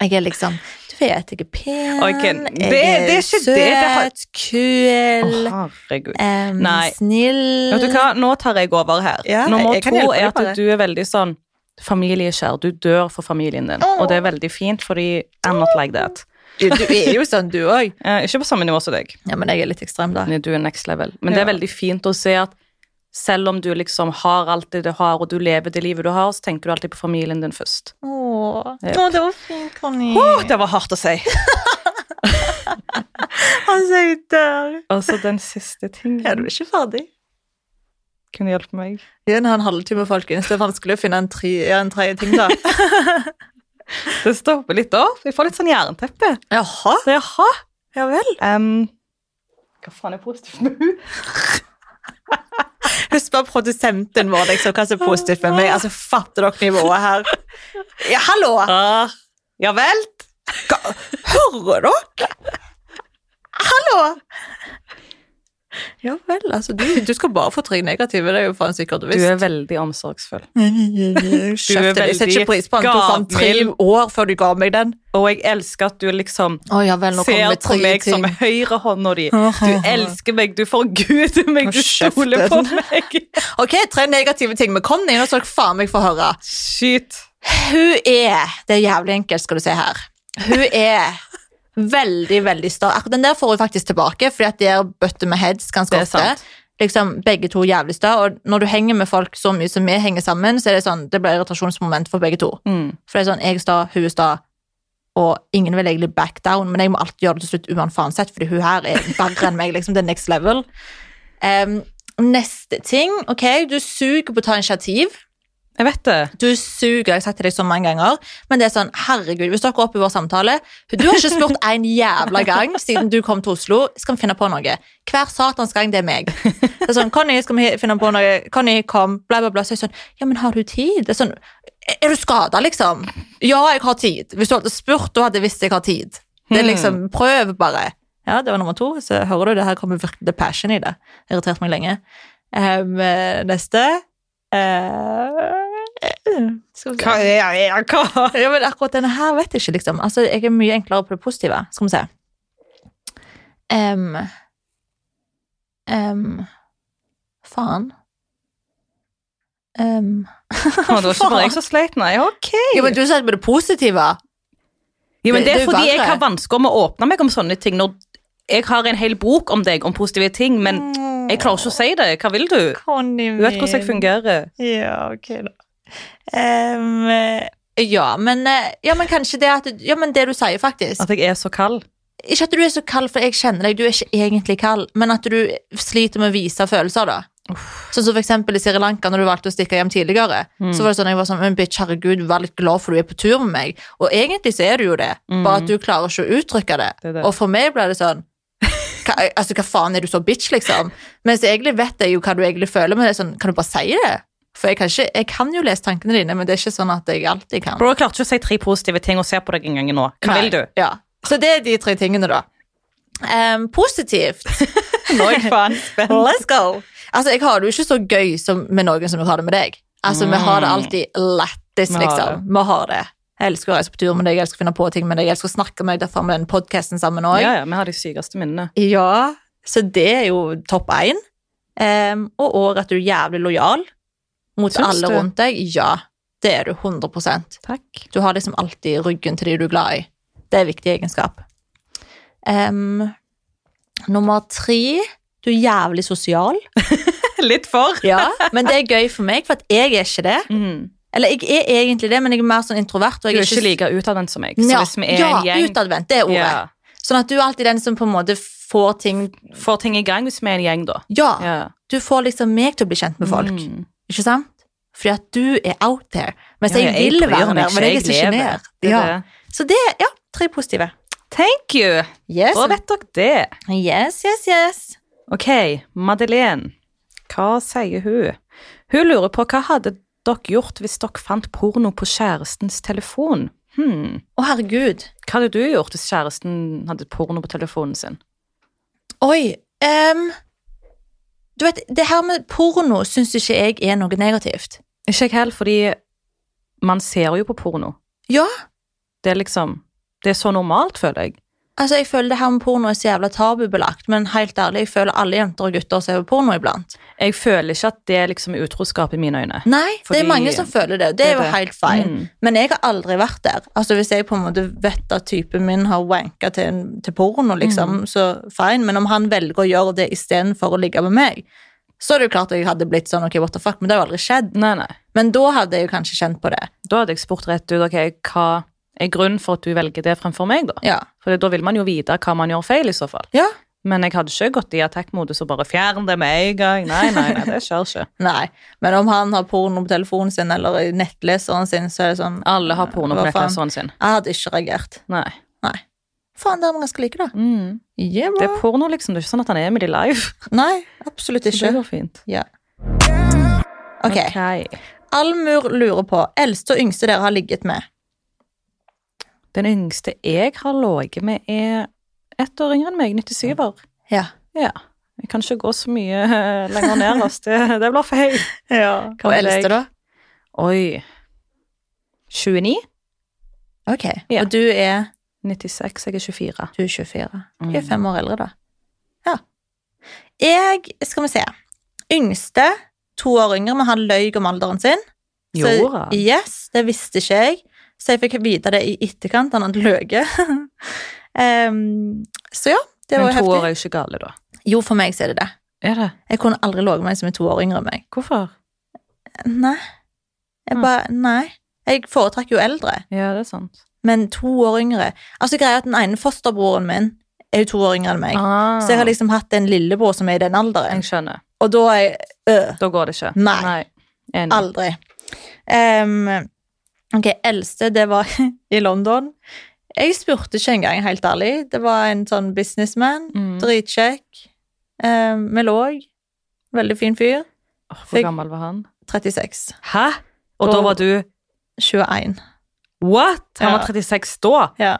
Speaker 2: Jeg er liksom Du vet, jeg er pen,
Speaker 1: Ok, det-
Speaker 2: jeg
Speaker 1: det er ikke det det har-
Speaker 2: søt, kul,
Speaker 1: Å, herregud.
Speaker 2: em,
Speaker 1: Nei.
Speaker 2: snill
Speaker 1: Vet du hva, nå tar jeg over her.
Speaker 2: Ja,
Speaker 1: Nummer
Speaker 2: jeg kan
Speaker 1: to
Speaker 2: hjelpe
Speaker 1: er
Speaker 2: deg på
Speaker 1: at
Speaker 2: det.
Speaker 1: du er veldig sånn familieskjær. Du dør for familien din,
Speaker 2: Åh.
Speaker 1: og det er veldig fint, fordi I'm not like that.
Speaker 2: Du, du er jo sånn, du òg.
Speaker 1: Eh, ikke på samme nivå som deg,
Speaker 2: Ja, men jeg er litt ekstrem, da.
Speaker 1: men du er next level. Men det er
Speaker 2: Ja.
Speaker 1: veldig fint å se at selv om du liksom har alt det du har, og du lever det livet du har, så tenker du alltid på familien din først.
Speaker 2: Åh,
Speaker 1: Yep.
Speaker 2: Åh, det var fint, Conny.
Speaker 1: Åh, det var hardt å si!
Speaker 2: Altså, jeg dør.
Speaker 1: Og så Altså, den siste
Speaker 2: Ja, du
Speaker 1: tingen
Speaker 2: er ikke ferdig.
Speaker 1: kunne hjelpe meg.
Speaker 2: Gi en halvtime, folkens. Det er vanskelig å finne en, tre, ja, en tredje ting, da.
Speaker 1: Det stopper litt opp. Jeg får litt sånn jernteppe.
Speaker 2: [laughs] Jaha?
Speaker 1: Så jaha.
Speaker 2: Ja vel.
Speaker 1: em, hva faen er positivt med henne?
Speaker 2: Hun spør produsenten vår liksom, hva som er positivt med meg. Altså, Fatter dere nivået her? Ja, hallo!
Speaker 1: Ah, ja vel?
Speaker 2: Hva- Hører dere? Hallo! Ja vel, altså. Du, du skal bare få tre negative. Det er [laughs] jo faen sikkert du
Speaker 1: Du
Speaker 2: visst.
Speaker 1: er veldig omsorgsfull.
Speaker 2: Kjeft, jeg setter ikke pris på den. Det tok faen tre
Speaker 1: gavmild.
Speaker 2: år før du ga meg den.
Speaker 1: Og jeg elsker at du liksom
Speaker 2: Å ja vel, nå
Speaker 1: ser
Speaker 2: kommer
Speaker 1: på
Speaker 2: tre
Speaker 1: meg som
Speaker 2: ting.
Speaker 1: høyrehånda di. Du elsker meg, du forguder meg,
Speaker 2: Hold
Speaker 1: du
Speaker 2: kjeft,
Speaker 1: stoler på
Speaker 2: Ellen.
Speaker 1: meg.
Speaker 2: Ok, tre negative ting med Conny. Nå skal dere faen meg få høre.
Speaker 1: Shit.
Speaker 2: Hun er Det er jævlig enkelt, skal du se her. Hun er veldig, veldig sta. Akkurat den der får hun faktisk tilbake, fordi at der bøtter med heads ganske
Speaker 1: Det er
Speaker 2: ofte.
Speaker 1: sant.
Speaker 2: Liksom, begge to er jævlig sta, og når du henger med folk så mye som vi henger sammen, så er det sånn, det blir irritasjonsmoment for begge to.
Speaker 1: Mm.
Speaker 2: For det er sånn, jeg er sta, hun er sta, og ingen vil egentlig back down, men jeg må alltid gjøre det til slutt uansett, fordi hun her er verre enn meg, liksom, det er next level. Em, neste ting, ok, du suger på å ta initiativ.
Speaker 1: Jeg vet det.
Speaker 2: Du suger, jeg har sagt til deg så mange ganger, men det er sånn, herregud, hvis dere går opp i vår samtale, du har ikke spurt en jævla gang siden du kom til Oslo, skal vi finne på noe? Hver satans gang, det er meg. Det er sånn, Conny, skal vi finne på noe? Conny, kom, bla bla bla. Så er jeg sånn, ja, men har du tid? Det er sånn, er du skadet liksom? Ja, jeg har tid. Hvis du hadde spurt, da hadde jeg visst jeg har tid. Det er liksom, prøv bare. Ja, det var nummer to, så hører du, det her kommer virkelig the passion i det. Det har Irritert meg lenge. Ehm, neste. Ehm, skal vi se.
Speaker 1: Hva er jeg? Ja, hva?
Speaker 2: Ja, men akkurat denne her vet jeg ikke, liksom. Altså, jeg er mye enklere på det positive. Skal vi se. Ehm, Em, em, ehm, faen. Ehm. Em,
Speaker 1: Å, Det var ikke bare jeg som sleit, nei. Ok.
Speaker 2: jo, men du sa med det positive.
Speaker 1: Jo, men det
Speaker 2: det-
Speaker 1: er
Speaker 2: det er
Speaker 1: fordi jeg
Speaker 2: verre.
Speaker 1: har vansker med å åpne meg om sånne ting. Når jeg har en hel bok om deg, om positive ting, men
Speaker 2: Mm,
Speaker 1: jeg klarer ikke å si det. Hva vil du?
Speaker 2: Conny
Speaker 1: Du vet hvordan jeg fungerer.
Speaker 2: Ja, ok da. Em, eh, ja, men, eh, ja, men kanskje det at Ja, men det du sier, faktisk.
Speaker 1: At jeg er så kald.
Speaker 2: Ikke at du er så kald, for jeg kjenner deg, du er ikke egentlig kald, men at du sliter med å vise følelser, da. Sånn som for eksempel i Sri Lanka, når du valgte å stikke hjem tidligere,
Speaker 1: Mm.
Speaker 2: så var det sånn jeg var sånn, men bitch, herregud, vær litt glad for du er på tur med meg. Og egentlig så er du jo det,
Speaker 1: Mm.
Speaker 2: bare at du klarer ikke å uttrykke Mm. det.
Speaker 1: Det er det.
Speaker 2: Og for meg ble det sånn, hva, altså hva faen er du så bitch, liksom? Mens egentlig vet jeg jo hva du egentlig føler, men det er sånn, kan du bare si det? For jeg kan, ikke, jeg kan jo lese tankene dine, men det er ikke sånn at jeg alltid kan.
Speaker 1: Bro, jeg klarte ikke å si tre positive ting og se på deg en gang nå. Hva
Speaker 2: Nei.
Speaker 1: vil
Speaker 2: [laughs]
Speaker 1: du?
Speaker 2: Ja. Så det er de tre tingene, da.
Speaker 1: [laughs]
Speaker 2: Em, positivt.
Speaker 1: Nå er jeg faen spent.
Speaker 2: Let's go! Altså, jeg har det jo ikke så gøy som med noen som jeg har det med deg. Altså, Vi har det alltid lættis,
Speaker 1: Vi har
Speaker 2: liksom. Vi har det. Jeg elsker å reise på tur med deg, jeg elsker å finne på ting med deg, jeg elsker å snakke med deg. Derfor har vi den podkasten sammen òg.
Speaker 1: Ja, ja, vi har de sykeste minnene.
Speaker 2: Ja, så det er jo topp én. Em, og òg at du er jævlig lojal mot
Speaker 1: Syns
Speaker 2: alle
Speaker 1: du?
Speaker 2: rundt deg. Ja, det er du 100
Speaker 1: Takk.
Speaker 2: Du har liksom alltid ryggen til de du er glad i. Det er en viktig egenskap. Em, nummer tre du er jævlig sosial.
Speaker 1: [laughs] Litt for.
Speaker 2: Ja, [laughs] men det er gøy for meg, for at jeg er ikke det. Eller jeg er egentlig det, men jeg er mer sånn introvert. Og
Speaker 1: Du er
Speaker 2: jeg
Speaker 1: ikke like utadvendt som meg. Så
Speaker 2: Ja,
Speaker 1: hvis vi er
Speaker 2: ja,
Speaker 1: en gjeng
Speaker 2: utadvendt, det er ordet.
Speaker 1: Ja.
Speaker 2: Sånn at du er alltid den som på en måte får ting
Speaker 1: Får ting i gang hvis vi er en gjeng, da.
Speaker 2: Ja,
Speaker 1: Ja.
Speaker 2: du får liksom meg til å bli kjent med folk.
Speaker 1: Mm.
Speaker 2: Ikke sant? Fordi at du er out there. Mens
Speaker 1: Ja,
Speaker 2: jeg, vil
Speaker 1: bryr
Speaker 2: være
Speaker 1: meg
Speaker 2: der, men jeg er så
Speaker 1: lever.
Speaker 2: sjenert.
Speaker 1: Det er
Speaker 2: Ja.
Speaker 1: det.
Speaker 2: Så det er ja, tre positive.
Speaker 1: Thank you!
Speaker 2: Yes.
Speaker 1: Da vet dere det.
Speaker 2: yes, yes, yes.
Speaker 1: Ok, Madeleine. Hva sier hun? Hun lurer på hva hadde dere gjort hvis dere fant porno på kjærestens telefon? Hmm.
Speaker 2: Å, herregud.
Speaker 1: Hva hadde du gjort hvis kjæresten hadde porno på telefonen sin?
Speaker 2: Oi. em, du vet, det her med porno syns ikke jeg er noe negativt.
Speaker 1: Ikke jeg heller, fordi man ser jo på porno.
Speaker 2: Ja,
Speaker 1: Det er liksom Det er så normalt, føler jeg.
Speaker 2: Altså, jeg føler det her med porno er så jævla tabubelagt, men helt ærlig, jeg føler alle jenter og gutter ser på porno iblant.
Speaker 1: Jeg føler ikke at det er liksom utroskap i mine øyne.
Speaker 2: Nei, det
Speaker 1: Fordi-
Speaker 2: er mange som føler det, og det
Speaker 1: Det
Speaker 2: er
Speaker 1: er
Speaker 2: jo
Speaker 1: det.
Speaker 2: helt feil.
Speaker 1: Mm.
Speaker 2: Men jeg har aldri vært der. Altså, hvis jeg på en måte vet at typen min har wanka til, en- til porno, liksom,
Speaker 1: Mm.
Speaker 2: så fine, men om han velger å gjøre det istedenfor å ligge med meg, så er det jo klart at jeg hadde blitt sånn, ok, what the fuck, men det har jo aldri skjedd.
Speaker 1: Nei, nei.
Speaker 2: Men da hadde jeg jo kanskje kjent på det.
Speaker 1: Da hadde jeg spurt rett ut ok, hva er grunnen for at du velger det fremfor meg. Da
Speaker 2: Ja.
Speaker 1: For da vil man jo vite hva man gjør feil. i så fall.
Speaker 2: ja.
Speaker 1: Men jeg hadde ikke gått i attack-modus og bare fjern det med en gang. Nei, nei, nei, det skjer ikke.
Speaker 2: Nei, men om han har porno på telefonen sin eller i nettleseren sin, så er det sånn
Speaker 1: [laughs] Alle har porno på
Speaker 2: Hva faen?
Speaker 1: nettleseren sin.
Speaker 2: Jeg hadde ikke reagert.
Speaker 1: Nei.
Speaker 2: Nei. Faen, det er man ganske like, da.
Speaker 1: Mm.
Speaker 2: Yeah,
Speaker 1: Det er porno, liksom. Det er ikke sånn at han er med de live.
Speaker 2: Nei, absolutt
Speaker 1: Det
Speaker 2: [laughs] ikke.
Speaker 1: går fint.
Speaker 2: Ja. Ok.
Speaker 1: Ok.
Speaker 2: Almur lurer på eldste og yngste dere har ligget med.
Speaker 1: Den yngste jeg har ligget med, er ett år yngre enn meg. 97-er.
Speaker 2: Ja.
Speaker 1: Ja. Jeg kan ikke gå så mye eh, lenger ned. ass. Det, det blir feil.
Speaker 2: Og eldste, da?
Speaker 1: Oi. 29?
Speaker 2: Ok.
Speaker 1: Ja.
Speaker 2: Og du er
Speaker 1: 96, jeg er 24.
Speaker 2: Du er 24.
Speaker 1: Mm.
Speaker 2: Du er fem år eldre, da. Ja. Jeg Skal vi se. Yngste, to år yngre, men han løy om alderen sin. Så,
Speaker 1: Gjorde han?
Speaker 2: yes, det visste ikke jeg. Så jeg fikk vite det i etterkant, han hadde løyet. [laughs] Em, så ja, det var
Speaker 1: Men
Speaker 2: jo
Speaker 1: to år
Speaker 2: heftig.
Speaker 1: er jo ikke gale, da.
Speaker 2: Jo, for meg så er det det.
Speaker 1: Er det?
Speaker 2: Jeg kunne aldri ligget med en som er to år yngre enn meg.
Speaker 1: Hvorfor?
Speaker 2: Nei. Jeg
Speaker 1: Mm.
Speaker 2: bare, nei. Jeg foretrakk jo eldre,
Speaker 1: Ja, det er sant.
Speaker 2: men to år yngre. Altså, greia er at den ene fosterbroren min er jo to år yngre enn meg.
Speaker 1: Ah,
Speaker 2: Så jeg har liksom hatt en lillebror som er i den alderen.
Speaker 1: jeg skjønner.
Speaker 2: Og da er jeg øh,
Speaker 1: Da går det ikke.
Speaker 2: Nei.
Speaker 1: Enig.
Speaker 2: aldri. Ehm, ok, eldste, det var [laughs] i London. Jeg spurte ikke engang, helt ærlig. Det var en sånn businessman.
Speaker 1: Mm.
Speaker 2: Dritkjekk. Um, med låg. Veldig fin fyr.
Speaker 1: Åh, Hvor
Speaker 2: Fikk-
Speaker 1: gammel var han?
Speaker 2: 36.
Speaker 1: Hæ? Og da
Speaker 2: Da-
Speaker 1: var du
Speaker 2: 21.
Speaker 1: What? Han
Speaker 2: Ja.
Speaker 1: var 36 da? [laughs]
Speaker 2: Ja.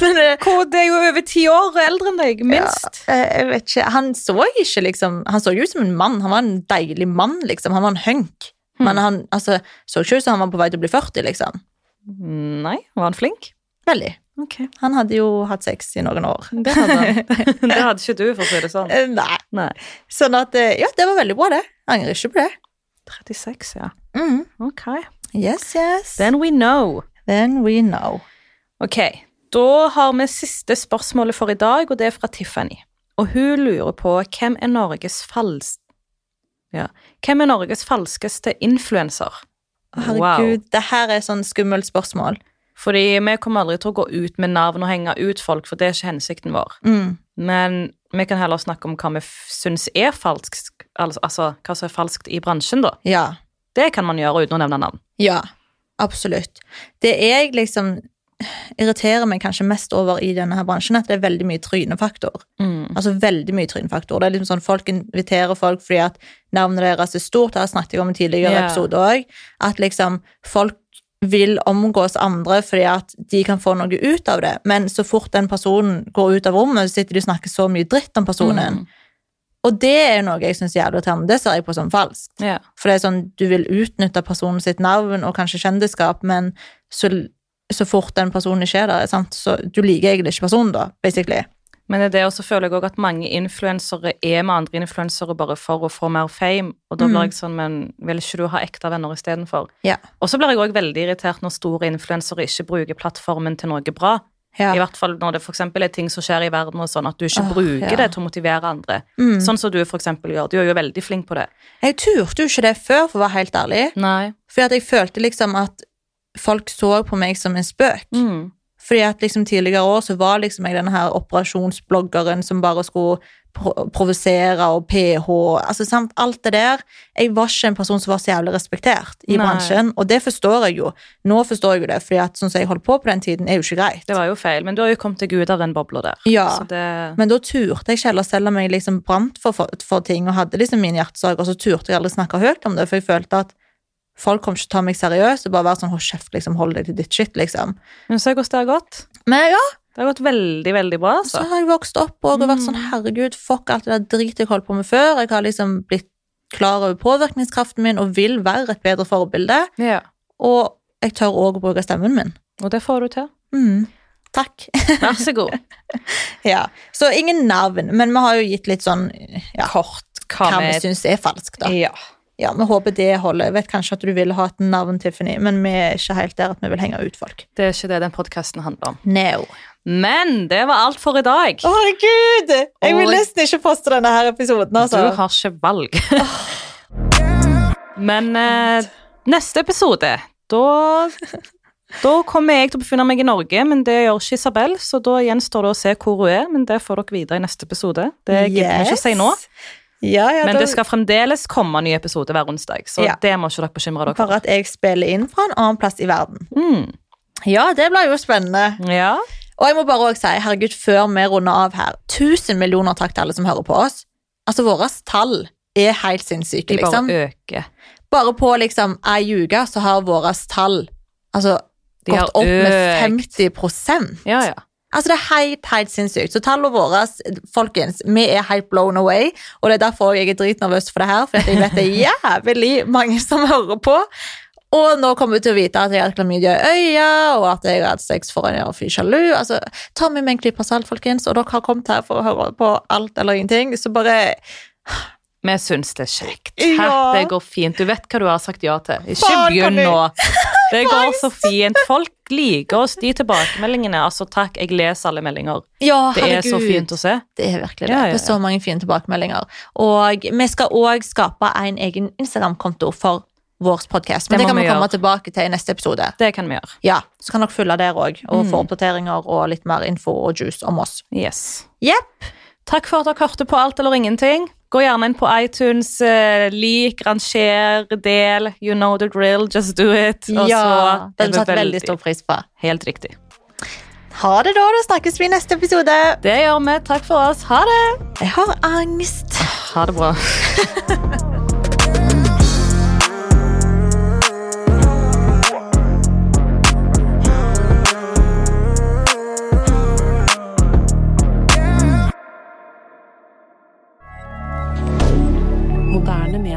Speaker 2: Men eh,
Speaker 1: Hvor, det er jo over ti år eldre enn deg, minst.
Speaker 2: eh, jeg vet ikke Han så ikke liksom Han så jo ut som en mann. Han var en deilig mann, liksom. Han var en hunk.
Speaker 1: Mm.
Speaker 2: Men han altså, så ikke ut som han var på vei til å bli 40, liksom.
Speaker 1: Nei, var han flink?
Speaker 2: Veldig.
Speaker 1: Ok. [laughs]
Speaker 2: Han hadde jo hatt sex i noen år.
Speaker 1: Det hadde han. det hadde ikke du, for å si det sånn.
Speaker 2: Eh, [laughs] Nei.
Speaker 1: Nei.
Speaker 2: Sånn at eh, Ja, det var veldig bra, det. Jeg angrer ikke på det.
Speaker 1: 36, ja.
Speaker 2: Mm.
Speaker 1: Ok.
Speaker 2: Yes, yes.
Speaker 1: Then we know.
Speaker 2: Then we know.
Speaker 1: Ok, da har vi siste spørsmålet for i dag, og det er fra Tiffany. Og hun lurer på hvem er Norges fals... Ja. Hvem er Norges falskeste influenser?
Speaker 2: Å, Herregud, det her er sånn skummelt spørsmål.
Speaker 1: Fordi vi kommer aldri til å gå ut med navn og henge ut folk, for det er ikke hensikten vår.
Speaker 2: Mm.
Speaker 1: Men vi kan heller snakke om hva vi f- syns er falskt, altså, altså hva som er falskt i bransjen, da.
Speaker 2: Ja.
Speaker 1: Det kan man gjøre uten å nevne navn.
Speaker 2: Ja, absolutt. Det jeg liksom irriterer meg kanskje mest over i denne her bransjen, er at det er veldig mye trynefaktor. Altså veldig mye trynefaktor. Det er liksom sånn Folk inviterer folk fordi at navnet deres er stort. Det har jeg snakket jeg om i en tidligere
Speaker 1: Ja.
Speaker 2: episode òg. At liksom folk vil omgås andre fordi at de kan få noe ut av det. Men så fort den personen går ut av rommet, så sitter de og snakker så mye dritt om personen.
Speaker 1: Mm.
Speaker 2: Og det er noe jeg syns er jævlig irriterende. Det ser jeg på som falskt.
Speaker 1: Ja.
Speaker 2: For det er sånn, du vil utnytte personen sitt navn og kanskje kjendisskap, men så, så fort den personen ikke er der, sant? så du liker egentlig ikke personen da, basically.
Speaker 1: Men det er det, og så føler jeg også at mange influensere er med andre influensere bare for å få mer fame, og da
Speaker 2: Mm.
Speaker 1: blir jeg sånn, men vil ikke du ha ekte venner istedenfor?
Speaker 2: Ja.
Speaker 1: Og så blir jeg også veldig irritert når store influensere ikke bruker plattformen til noe bra. I hvert fall når det for eksempel er ting som skjer i verden og sånn, at du ikke
Speaker 2: Åh,
Speaker 1: bruker
Speaker 2: ja.
Speaker 1: det til å motivere andre.
Speaker 2: Mm.
Speaker 1: Sånn som du for eksempel gjør. Du er jo veldig flink på det.
Speaker 2: Jeg turte jo ikke det før, for å være helt ærlig.
Speaker 1: Nei.
Speaker 2: Fordi at jeg følte liksom at folk så på meg som en spøk.
Speaker 1: Mm.
Speaker 2: Fordi at liksom tidligere år så var liksom jeg denne her operasjonsbloggeren som bare skulle pro provosere og PH, altså sant, alt det der. Jeg var ikke en person som var så jævlig respektert i
Speaker 1: Nei.
Speaker 2: bransjen, og det forstår jeg jo. Nå forstår jeg jo det, fordi at sånn som jeg holdt på på den tiden, er jo ikke greit.
Speaker 1: Det var jo feil, men du har jo kommet deg ut av den bobla der.
Speaker 2: Ja.
Speaker 1: Så det
Speaker 2: Men da turte jeg ikke heller, selv om jeg liksom brant for, for, for ting og hadde liksom min hjertesak, og så turte jeg aldri snakke høyt om det, for jeg følte at folk kom ikke til å ta meg seriøst, og bare være sånn, hold kjeft, liksom, hold deg til ditt shit, liksom.
Speaker 1: Men se hvordan det har gått.
Speaker 2: Men ja,
Speaker 1: Det har gått veldig, veldig bra,
Speaker 2: Så
Speaker 1: altså.
Speaker 2: har jeg vokst opp og vært sånn
Speaker 1: Mm.
Speaker 2: herregud, fuck alt det der drit jeg holdt på med før. Jeg har liksom blitt klar over påvirkningskraften min og vil være et bedre forbilde.
Speaker 1: Ja.
Speaker 2: Og jeg tør òg å bruke stemmen min.
Speaker 1: Og det får du til.
Speaker 2: Mm. Takk. [laughs]
Speaker 1: Vær så god.
Speaker 2: ja. Så ingen navn, men vi har jo gitt litt sånn ja,
Speaker 1: Kort hva
Speaker 2: hva vi
Speaker 1: vi
Speaker 2: syns er falskt, da.
Speaker 1: Ja.
Speaker 2: Ja, Vi håper det holder. Jeg vet kanskje at du vil ha et navn, Tiffany, men vi er ikke helt der at vi vil henge ut folk.
Speaker 1: Det er ikke det den podkasten handler om.
Speaker 2: No.
Speaker 1: Men det var alt for i dag.
Speaker 2: Å, herregud! Jeg vil
Speaker 1: Oi.
Speaker 2: nesten ikke poste denne her episoden, altså.
Speaker 1: Du har ikke valg. Men eh, neste episode, da da kommer jeg til å befinne meg i Norge, men det gjør ikke Isabel. Så da gjenstår det å se hvor hun er, men det får dere vite i neste episode. Det gidder vi ikke å si nå.
Speaker 2: Yes. Ja, ja,
Speaker 1: Men
Speaker 2: da-
Speaker 1: det skal fremdeles komme en ny episode hver onsdag, så
Speaker 2: Ja.
Speaker 1: det må ikke dere bekymre dere for.
Speaker 2: Bare at jeg spiller inn fra en annen plass i verden.
Speaker 1: Mm.
Speaker 2: Ja, det blir jo spennende.
Speaker 1: Ja.
Speaker 2: Og jeg må bare også si, herregud, før vi runder av her, tusen millioner takk til alle som hører på oss. Altså, våre tall er helt sinnssyke,
Speaker 1: De
Speaker 2: liksom.
Speaker 1: bare øker.
Speaker 2: Bare på liksom ei uke så har våre tall altså,
Speaker 1: De har
Speaker 2: gått opp med
Speaker 1: økt.
Speaker 2: 50 prosent.
Speaker 1: Ja, ja.
Speaker 2: Altså, det er helt, helt sinnssykt. Så tallene våre, folkens, vi er helt blown away. Og det er derfor jeg er dritnervøs for det her, for jeg vet det er jævlig mange som hører på. Og nå kommer vi til å vite at jeg har klamydia i øya, og at jeg har hatt sex for en fyr sjalu. Altså, ta med meg en klype salt, folkens, og dere har kommet her for å høre på alt eller ingenting. Så bare
Speaker 1: Vi syns det er kjekt.
Speaker 2: Ja.
Speaker 1: Hæ, Det går fint. Du vet hva du har sagt ja til. Ikke
Speaker 2: Faen, kan
Speaker 1: begynn
Speaker 2: du-
Speaker 1: nå.
Speaker 2: [laughs]
Speaker 1: Det går så fint. Folk liker oss, de tilbakemeldingene. Altså, takk, jeg leser alle meldinger.
Speaker 2: Ja,
Speaker 1: Det er så fint å se.
Speaker 2: Det er virkelig det.
Speaker 1: Ja, ja, ja.
Speaker 2: Det er så mange fine tilbakemeldinger. Og vi skal òg skape en egen Instagram-konto for vår podkast. Men
Speaker 1: Det må
Speaker 2: det, kan
Speaker 1: vi
Speaker 2: vi komme
Speaker 1: gjøre.
Speaker 2: tilbake til i neste episode.
Speaker 1: Det kan vi gjøre.
Speaker 2: Ja, Så kan dere følge der òg, og
Speaker 1: Mm.
Speaker 2: få oppdateringer og litt mer info og juice om oss.
Speaker 1: Yes.
Speaker 2: Jepp.
Speaker 1: Takk for at dere hørte på alt eller ingenting. Gå gjerne inn på iTunes, eh, lik, ranger, del. You know the drill, just do it. Og
Speaker 2: Ja,
Speaker 1: så er
Speaker 2: den
Speaker 1: vi
Speaker 2: satte veldig stor pris på.
Speaker 1: Helt riktig.
Speaker 2: Ha det, da. Da snakkes vi i neste episode.
Speaker 1: Det gjør vi. Takk for oss. Ha det!
Speaker 2: Jeg har angst.
Speaker 1: Ha det bra.
Speaker 3: Moderne